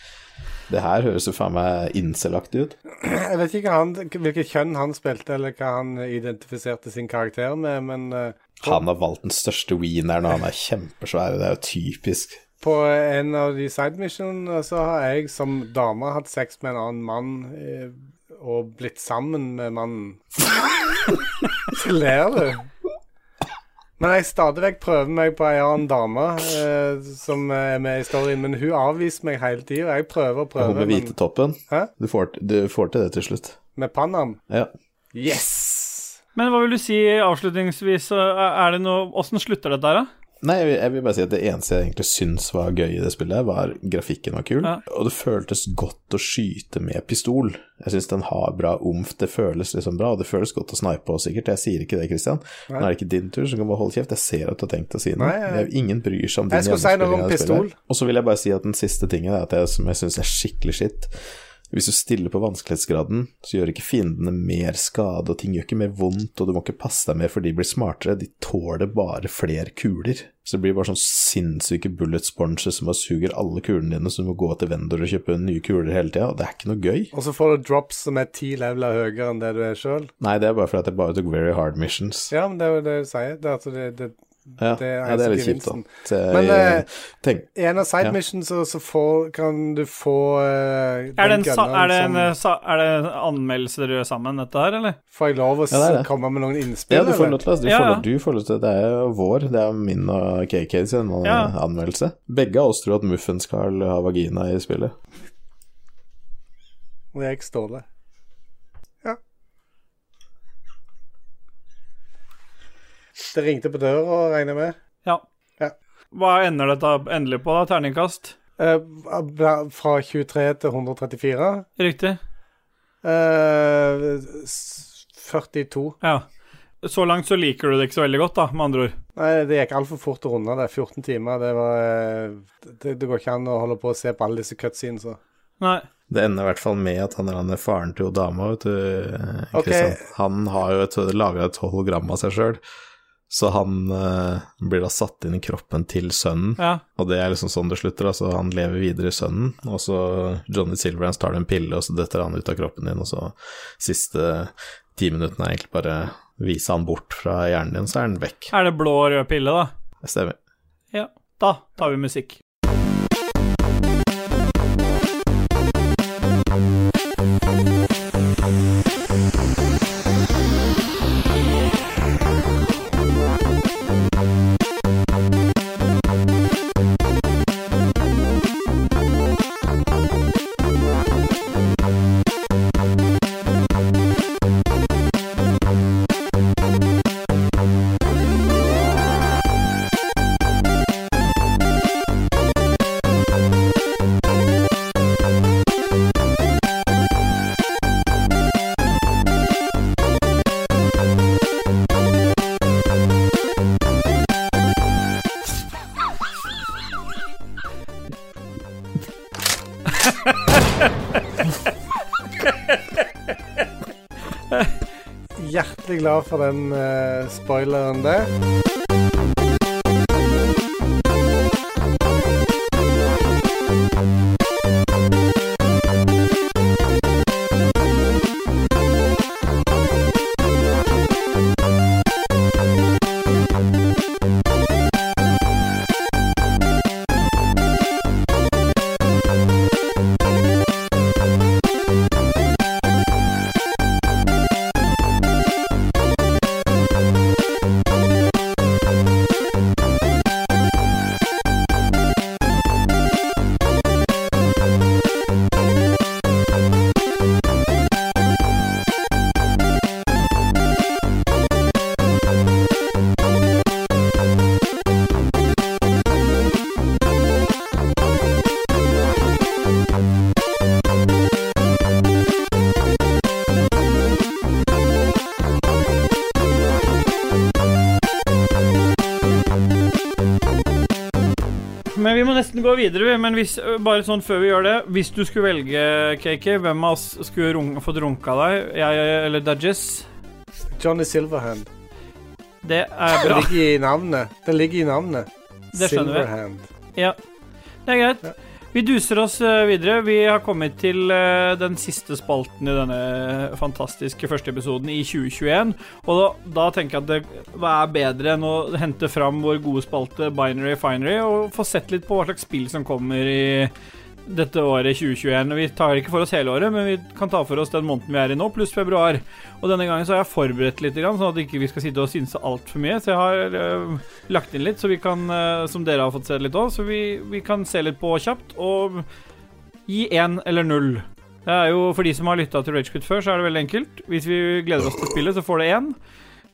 S3: Det her høres jo faen meg incel-aktig ut.
S1: Jeg vet ikke hva han, hvilket kjønn han spilte, eller hva han identifiserte sin karakter med, men eh,
S3: Han har valgt den største wieneren, og han er kjempesvær, og det er jo typisk.
S1: På en av de sidemissionene så har jeg som dame hatt sex med en annen mann eh, og blitt sammen med mannen. Så ler du. Men jeg stadig vekk prøver meg på ei annen dame eh, som er med i storyen, men hun avviser meg hele tida. Jeg prøver og
S3: Hun
S1: prøver,
S3: med
S1: men
S3: hvitetoppen.
S1: Hæ?
S3: Du, får- du får til det til slutt.
S1: med Panam
S3: Ja.
S1: Yes!
S2: Men hva vil du si avslutningsvis? eh, Er det noe Åssen slutter dette her, da?
S3: Nei, jeg vil- jeg vil bare si at det eneste jeg egentlig syns var gøy i det spillet, var grafikken var kul,
S2: Ja.
S3: og det føltes godt å skyte med pistol. Jeg syns den har bra omf, det føles liksom bra, og det føles godt å snipe også, sikkert. Jeg sier ikke det, Christian. Nå er det ikke din tur, så du kan bare holde kjeft. Jeg ser at du har tenkt å si noe.
S1: Nei, jeg-
S3: Jeg- Ingen bryr seg om din
S1: Jeg skulle si noe
S3: gjennomspilling
S1: om
S3: av det spillet.
S1: pistol.
S3: Og så vil jeg bare si at den siste tingen er at jeg, som jeg syns er skikkelig skitt. Hvis du stiller på vanskelighetsgraden, så gjør ikke fiendene mer skade, og ting gjør ikke mer vondt, og du må ikke passe deg mer for de blir smartere, de tåler bare flere kuler. Så det blir bare sånn sinnssyke bullet sponges som bare suger alle kulene dine, så du må gå til vendor og kjøpe nye kuler hele tida, og det er ikke noe gøy.
S1: Og så får du drops som er ti leveler høyere enn det du er sjøl.
S3: Nei, det er bare fordi at jeg bare tok very hard missions.
S1: Ja, men det er jo det du sier. Det, er at det, det,
S3: Ja,
S1: Det er
S3: ja, det er litt kjipt,
S1: gevinsten.
S3: da. Så jeg-
S1: Men, eh,
S3: tenk,
S1: I en av side
S3: Ja.
S1: missions så, så får, kan du få eh,
S2: Er det, en, sa-
S1: gunneren
S2: er det, en,
S1: som-
S2: eh, sa- er det anmeldelser dere gjør sammen, dette her, eller?
S1: Får jeg lov å s-
S3: Ja, det er det.
S1: komme med noen innspill,
S3: ja, du får lov til å du
S2: Ja,
S3: får
S2: ja.
S3: lov- du får lov til Det er jo vår, det er min og KK sin eh,
S2: Ja.
S3: anmeldelse. Begge av oss tror at Muffens Carl har vagina i spillet.
S1: Og jeg er Ståle. Ja. Det ringte på døra, regner jeg med.
S2: Ja.
S1: Ja.
S2: Hva ender dette endelig på, da? Terningkast?
S1: Eh, bla- fra 23 til 134.
S2: Riktig.
S1: Eh, s- 42.
S2: Ja. Så langt så liker du det ikke så veldig godt, da, med andre ord.
S1: Nei, det gikk altfor fort å runde det. 14 timer, det var eh, det, det går ikke an å holde på å se på alle disse cutscenes. og-
S2: Nei.
S3: Det ender i hvert fall med at han der han er faren til jo dama, vet du, eh,
S1: Ok.
S3: Christian. Han har jo et, laga et hologram av seg sjøl, så han eh, blir da satt inn i kroppen til sønnen,
S2: Ja.
S3: og det er liksom sånn det slutter. Altså, han lever videre i sønnen, og så Johnny Silverhands tar en pille, og så detter han ut av kroppen din, og så siste ti minuttene er egentlig bare vise han bort fra hjernen din, så er han vekk.
S2: Er det blå og rød pille, da?
S3: Det stemmer.
S2: Ja, da tar vi musikk.
S1: Hjertelig glad for den eh, spoileren der.
S2: Men vi må nesten gå videre, vi. Men hvis, ø, bare sånn før vi gjør det Hvis du skulle velge, KK, hvem av oss skulle run fått runka deg? Jeg eller Dudges?
S1: Johnny Silverhand.
S2: Det er
S1: Det
S2: bra.
S1: ligger i navnet. Det ligger i navnet.
S2: Det skjønner vi.
S1: Silverhand.
S2: Det er greit.
S1: Ja.
S2: Vi duser oss ø, videre. Vi har kommet til ø, den siste spalten i denne eh, fantastiske første episoden i 2021. Og da, da tenker jeg at det hva er bedre enn å hente fram vår gode spalte Binary Finery og få sett litt på hva slags spill som kommer i dette året 2021. Vi tar ikke for oss hele året, men vi kan ta for oss den måneden vi er i nå, pluss februar. Og denne gangen så har jeg forberedt litt, grann, sånn at ikke vi skal sitte og synse altfor mye. Så jeg har øh, lagt inn litt, så vi kan, øh, som dere har fått se litt òg, så vi, vi kan se litt på kjapt og gi én eller null. Det er jo, For de som har lytta til Ragequit før, så er det veldig enkelt. Hvis vi gleder oss til spillet, så får det én.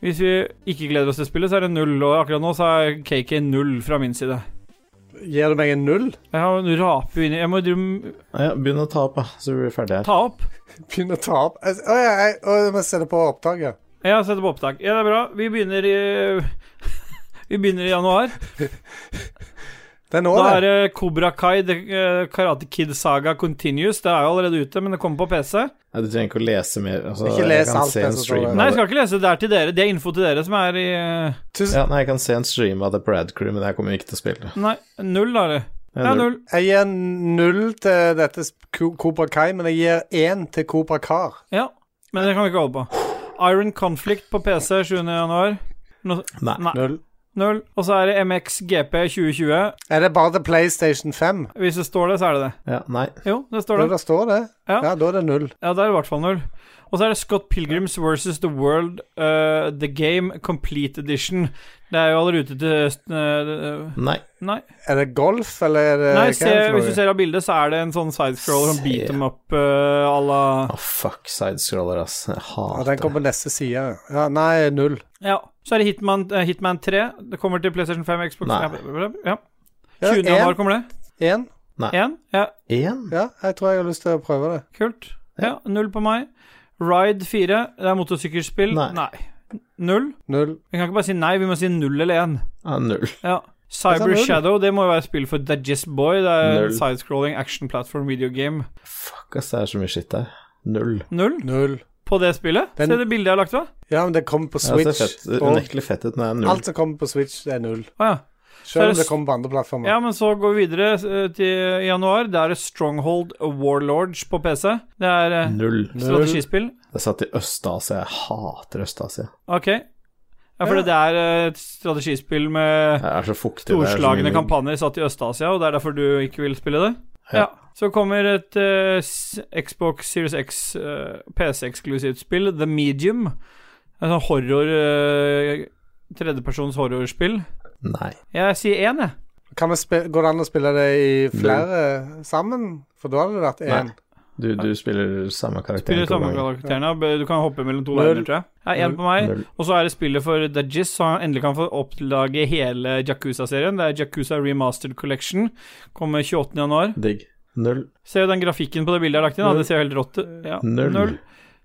S2: Hvis vi ikke gleder oss til spillet, så er det null. Og akkurat nå så er KK null fra min side.
S1: Gir du meg en null?
S2: Jeg har en rape inni Jeg må drive-
S3: Ja, begynn å ta opp, da, så blir vi ferdige her.
S2: ta opp.
S1: Begynn å ta opp Altså, Å ja, jeg, å, jeg må sette på opptaket.
S2: Ja, setter på opptak. Ja, det er bra. Vi begynner i Vi begynner i januar.
S1: Det er nå,
S2: Da er
S1: det.
S2: det Cobra Kai, The eh, Karate Kid Saga Continues. Det er jo allerede ute, men det kommer på PC.
S3: Ja, du trenger ikke å lese mer. Altså,
S1: Ikke les
S3: jeg kan
S1: alt
S3: se
S1: det
S3: en
S1: som står
S3: stream
S1: der.
S3: av
S2: Nei, jeg
S3: det.
S2: skal ikke lese det der til dere. Det er info til dere som er i eh,
S1: Tusen,
S3: Ja, nei, jeg kan se en stream av The Brad Crew, men jeg kommer ikke til å spille.
S2: Nei, null, da, eller? Ja, null.
S1: Jeg gir null til dette sp- Ko- Cobra Kai, men jeg gir én til Cobra Car.
S2: Ja. Men det kan vi ikke holde på. Iron Conflict på PC 7. januar. Nå-
S3: Nei.
S2: Nei.
S1: Null.
S2: 0. Og så er det MXGP 2020.
S1: Er det bare til PlayStation 5?
S2: Hvis det står det, så er det det.
S3: Ja, nei.
S2: Jo, det står
S1: Da
S2: det.
S1: det står det.
S2: Ja.
S1: Ja, da er det null.
S2: Ja, det er i hvert fall null. Og så er det Scott Pilgrims versus The World, eh, The Game Complete Edition. Det er jo allerede ute til eh,
S3: Nei.
S2: Nei.
S1: Er det golf, eller er det
S2: Nei
S1: hva
S2: se,
S1: er det for
S2: hvis du
S1: noe?
S2: ser av bildet, så er det en sånn sidescroller,
S3: Se.
S2: sånn beat em up eh, à la
S3: Å, fuck sidescroller, ass. Jeg
S1: Ja,
S3: hater
S1: den kommer på neste side. Ja, nei, null.
S2: Ja. Så er det Hitman, eh, Hitman 3. Det kommer til PlayStation 5, Xbox
S3: Nei.
S2: Ja.
S1: Ja,
S2: 20. januar kommer det.
S1: Én?
S2: Én? Ja,
S3: Én?
S1: Ja, jeg tror jeg har lyst til å prøve det.
S2: kult. Ja, null på meg. Ride 4. Det er motorsykkelspill.
S3: Nei.
S2: Null.
S1: Null.
S2: Vi kan ikke bare si nei, vi må si null eller én.
S3: Ja, null.
S2: Ja.
S1: sa
S2: Cyber
S1: null.
S2: Shadow, det må jo være spill for Digest Boy. Det er en
S3: Null.
S2: sidescrolling action platform video game.
S3: Fuck, ass, det er så mye skitt der. Null.
S2: Null
S1: Null.
S2: på det spillet?
S1: Den-
S2: Se det bildet jeg har lagt ved.
S1: Ja, men det kommer på
S3: Ja, det
S1: Switch.
S3: ser fett,
S1: og
S3: unektelig fett ut når det er null.
S1: alt som kommer på Switch, det er null.
S2: Å ja. Så er
S1: Selv om
S2: det
S1: det
S2: s-
S1: kommer på andre plattformer.
S2: ja, men så går vi videre eh, til januar. Det er Stronghold Warlords på PC. Det er eh,
S3: Null.
S2: strategispill.
S3: Det er satt i Øst-Asia. Jeg hater Øst-Asia.
S2: Ok. Ja, for det er eh, et strategispill med
S3: Det er så fuktig. det er så
S2: storslagne
S3: mye-
S2: kampanjer satt i Øst-Asia, og det er derfor du ikke vil spille det?
S3: Ja.
S2: Ja. Så kommer et eh, s- Xbox Series X eh, PC-eksklusivt spill, The Medium. Et sånn horror eh, Tredjepersons horrorspill.
S3: Nei.
S2: Jeg sier én, jeg.
S1: Kan vi spi- Går det an å spille det i flere sammen? For da hadde det vært én.
S3: Nei. Du, du spiller samme karakter.
S2: Spiller
S3: to
S2: samme
S3: ganger.
S2: karakterene. b- Du kan hoppe mellom to
S1: Null.
S2: verdener, tror jeg. Ja, én på meg.
S3: Null.
S2: Og så er det spillet for Dajis, så han endelig kan få oppdage hele Jakuza-serien. Det er Jakuza Remastered Collection. Kommer 28. januar.
S3: Digg. Null.
S2: Se den grafikken på det bildet jeg har lagt inn. da. Det ser jo helt rått ut. Ja.
S3: Null. Null.
S2: Null.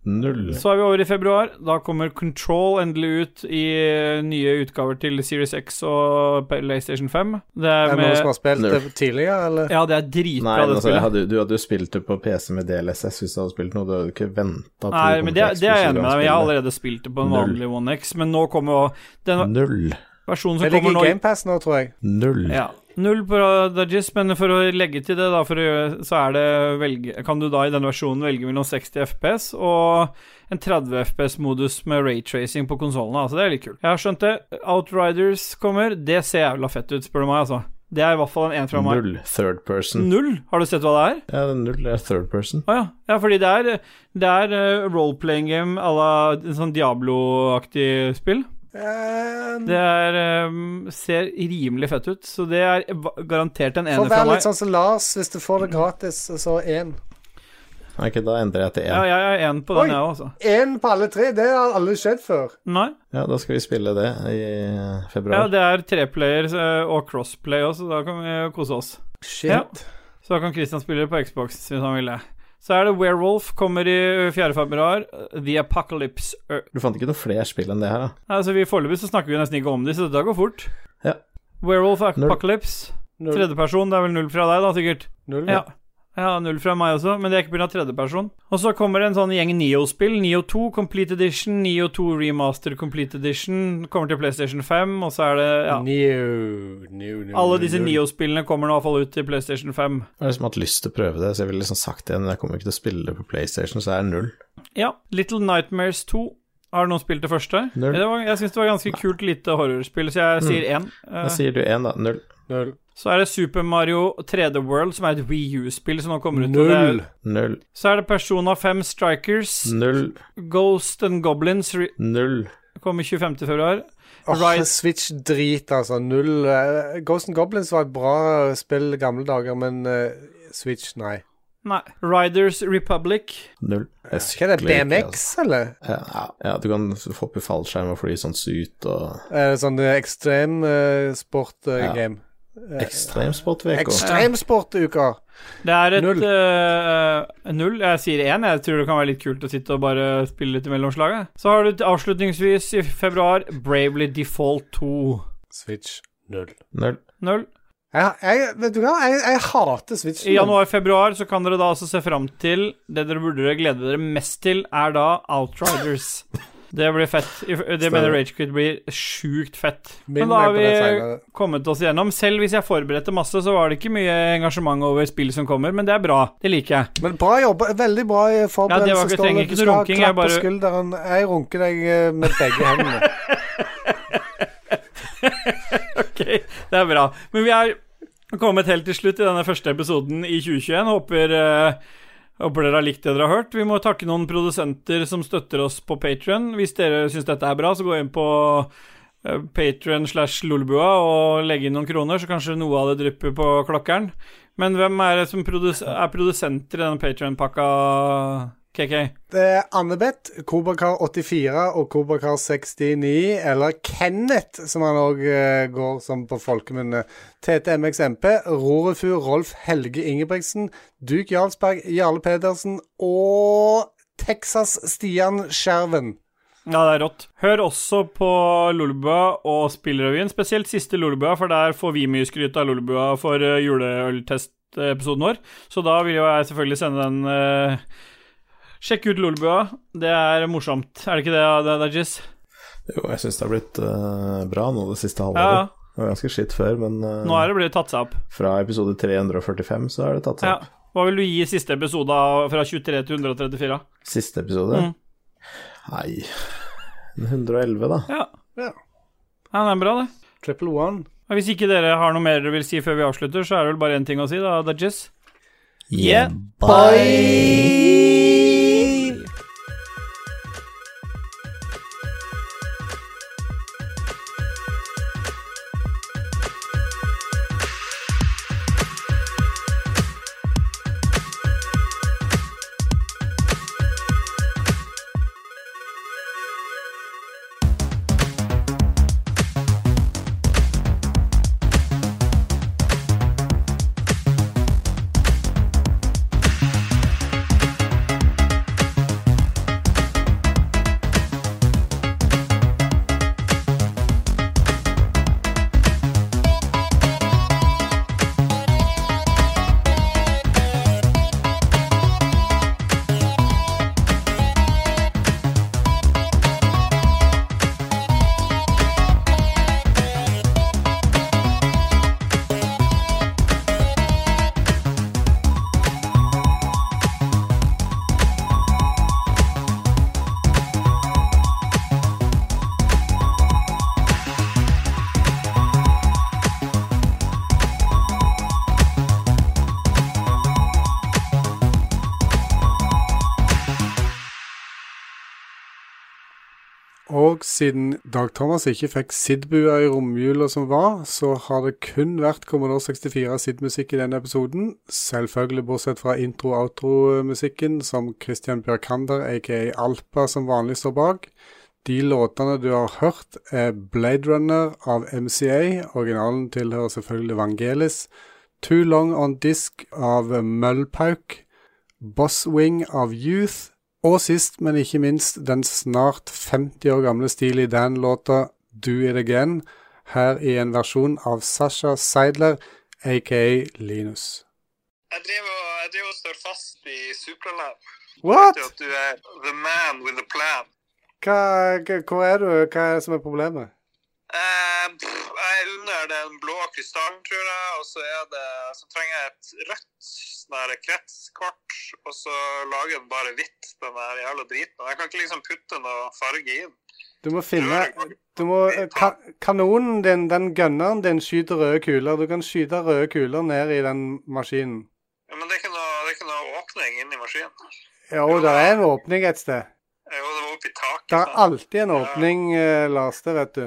S3: Null.
S2: Så er vi over i februar. Da kommer Control endelig ut i eh, nye utgaver til Series X og PlayStation 5.
S1: Er
S2: Det er
S1: det noen som
S2: med
S1: har spilt
S3: Null.
S1: det tidligere, eller?
S2: Ja, det er dritbra,
S3: Nei, men
S2: det
S3: altså, jeg
S2: spillet.
S3: hadde, du hadde jo spilt det på PC med DLSS hvis du hadde spilt noe. Du hadde jo ikke venta
S2: Nei, men det, det er jeg enig med deg i. Jeg har allerede spilt det på en
S3: Null.
S2: vanlig One X, men nå kommer jo den
S3: Null.
S2: versjonen
S1: Det
S2: som
S1: ligger
S2: kommer
S1: i
S2: nå
S1: GamePass nå, tror jeg.
S3: Null.
S2: ja. Null på Dodges, men for å legge til det, da, for å gjøre, så er det velge, kan du da i denne versjonen velge mellom 60 FPS og en 30 FPS-modus med raytracing på konsollene. Altså, det er litt kult. Jeg har skjønt det. Outriders kommer. Det ser jævla fett ut, spør du meg, altså. Det er i hvert fall en én fra meg.
S3: Null third person.
S2: Null? Har du sett hva det er?
S3: Ja, det er null er third person.
S2: Å ja. ja, fordi det er, det er eh, role-playing game à la en sånn Diablo-aktig spill.
S1: Eh,
S2: Det er, eh, ser rimelig fett ut, så det er va- garantert en
S1: Får
S2: ener fra
S1: være
S2: meg.
S1: litt sånn som Lars, hvis du får det gratis, så én.
S3: Nei, ikke da endrer jeg til
S2: Ja,
S3: én.
S2: jeg er en på den,
S1: Oi.
S2: jeg òg, altså.
S1: Én på alle tre, det har aldri skjedd før.
S2: Nei.
S3: Ja, da skal vi spille det i eh,
S2: Ja,
S3: februar.
S2: det er treplayer eh, og crossplay òg, så da kan vi kose oss.
S1: Shit.
S2: Ja. Så da kan Christian spille det på Xbox hvis han ville. Så er det Werewolf, kommer i 4. februar. The Apocalypse Earth.
S3: Du fant ikke noe flere spill enn det her, da?
S2: Nei, Altså, vi Foreløpig så snakker vi nesten ikke om de, så dette går fort.
S3: Ja.
S2: Werewolf
S3: Null.
S2: Apocalypse.
S1: Null.
S2: Tredjeperson, det er vel null fra deg, da, sikkert?
S1: Null.
S2: Ja. ja, null fra meg også, men det er ikke pga. tredjeperson. Og så kommer det en sånn gjeng Neo-spill. Neo 2 Complete Edition, Neo 2 Remaster Complete Edition, kommer til PlayStation 5, og så er det ja.
S1: New, new, new,
S2: Alle disse
S1: new.
S2: Neo-spillene kommer nå i hvert fall ut til PlayStation 5.
S3: Jeg har liksom hatt lyst til å prøve det, så jeg ville liksom sagt det, men jeg kommer ikke til å spille det på PlayStation, så er det null.
S2: Ja. Little Nightmares 2. Har noen spilt det første?
S3: Null.
S2: Det var, jeg syns det var ganske kult lite horrorspill, så jeg sier én. Eh,
S3: Da sier du én, da. Null.
S1: Null.
S2: så er det Super Mario 3D World, som er et Wii U-spill som nå kommer ut. og det er-
S1: Null.
S3: Null. Mm.
S2: Så er det Persona 5 Strikers,
S3: Null.
S2: Ghost and Goblins re
S3: Null.
S2: kommer 25. februar.
S1: Åh,
S2: Right.
S1: Switch-drit, altså. Null. eh, Ghost and Goblins var et bra spill i gamle dager, men eh, Switch, nei.
S2: Nei. Riders Republic.
S3: Null.
S1: Hva er
S3: Jeg
S1: det,
S3: sykler ikke,
S1: BMX, eller?
S3: altså. Ja, ja, du kan hoppe i fallskjerm og fly sånn suit og
S1: Er det sånn eh, ekstrem eh, sport eh,
S3: Ja.
S1: game?
S3: Ekstremsport, VK.
S1: Ekstremsportuka!
S2: Det er et
S1: Null.
S2: null. null. Jeg sier én. Jeg tror det kan være litt kult å sitte og bare spille litt i mellomslaget. Så har du til avslutningsvis i februar Bravely Default 2.
S1: Switch null.
S3: Null.
S2: Null.
S1: Jeg, jeg, vet du hva, jeg, jeg hater Switch.
S2: I januar-februar så kan dere da altså se fram til Det dere burde glede dere mest til, er da Outriders. Det blir fett. I- Det mener Ragequit blir sjukt fett. Men
S1: Minn
S2: da
S1: meg
S2: har
S1: på det
S2: vi
S1: senere.
S2: kommet oss gjennom. Selv hvis jeg forberedte masse, så var det ikke mye engasjement over spill som kommer, men det er bra. Det liker jeg.
S1: Men bra jobba. Veldig bra
S2: Ja, det var ikke-
S1: forberedelse.
S2: trenger ikke noe runking, jeg
S1: klapp på
S2: bare-
S1: skulderen. Jeg runker deg eh, med begge hendene.
S2: Det er bra. Men vi er kommet helt til slutt i denne første episoden i 2021. Håper, eh, håper dere har likt det dere har hørt. Vi må takke noen produsenter som støtter oss på Patrion. Hvis dere syns dette er bra, så gå inn på Patrion slash Lolbua og legge inn noen kroner, så kanskje noe av det drypper på klokkeren. Men hvem er det som produs er produsenter i denne Patrion-pakka, KK?
S1: Det er Annebeth, Kobrakar84 og Kobrakar69, eller Kenneth, som han òg går som på folkemunne. TTMXMP, Rorefur Rolf Helge Ingebrigtsen, Duke Jarlsberg, Jarle Pedersen og Texas Stian Skjerven.
S2: Ja, det er rått. Hør også på Lolbua og Spillrevyen, spesielt siste Lolbua, for der får vi mye skryt av Lolbua for eh, juleøltest-episoden vår. Så da vil jo jeg selvfølgelig sende den eh, Sjekk ut Lolbua. Det er morsomt. Er det ikke det, det, det Jizz?
S3: Jo, jeg syns det har blitt eh, bra nå det siste
S2: Ja, ja.
S3: halvåret. Det var ganske skitt før, men eh,
S2: Nå er det blitt tatt seg opp.
S3: fra episode 345 så er det tatt seg
S2: Ja.
S3: opp.
S2: Hva vil du gi siste episode av- fra 23 til 134?
S3: Siste episode?
S2: Mm.
S3: Nei en 111, da.
S2: Ja.
S1: Ja.
S2: ja, det er bra, det.
S1: Triple one.
S2: Og Hvis ikke dere har noe mer dere vil si før vi avslutter, så er det vel bare én ting å si, da, Dudges. Yeah,
S1: Og siden Dag Thomas ikke fikk Sid-bua i romjula som var, så har det kun vært Commodore 64 Sid-musikk i denne episoden. Selvfølgelig bortsett fra intro-outro-musikken, som Christian Bjørkander, aka Alpa, som vanlig står bak. De låtene du har hørt, er Blade Runner av MCA. Originalen tilhører selvfølgelig Vangelis. Too Long On Disk av Møllpauk. Bosswing av Youth. Og sist, men ikke minst, den snart 50 år gamle Steely Dan-låta Do It Again, her i en versjon av Sasha Seidler, aka Linus.
S7: Jeg driver og, jeg driver og står fast i supraland.
S1: What?!
S7: Det at du er the man with a plan.
S1: Hva, hva- hvor er du? Hva er det som er problemet?
S7: Eh, pff, jeg er under den blå krystallen, tror jeg, og så, er det, så trenger jeg et rødt sånn her kretskort, og så lager den bare hvitt, den der jævla driten. Og Jeg kan ikke liksom putte noe farge i den.
S1: Du må finne du må, eh, ka, Kanonen din, den gunneren din, skyter røde kuler. Du kan skyte røde kuler ned i den maskinen.
S7: Ja, Men det er ikke noe, det er ikke noe åpning inni maskinen.
S1: Jo, det er en åpning et sted.
S7: Jo, det var oppi taket. sånn.
S1: Det er
S7: sant?
S1: alltid en åpning, eh, Lars, det vet du.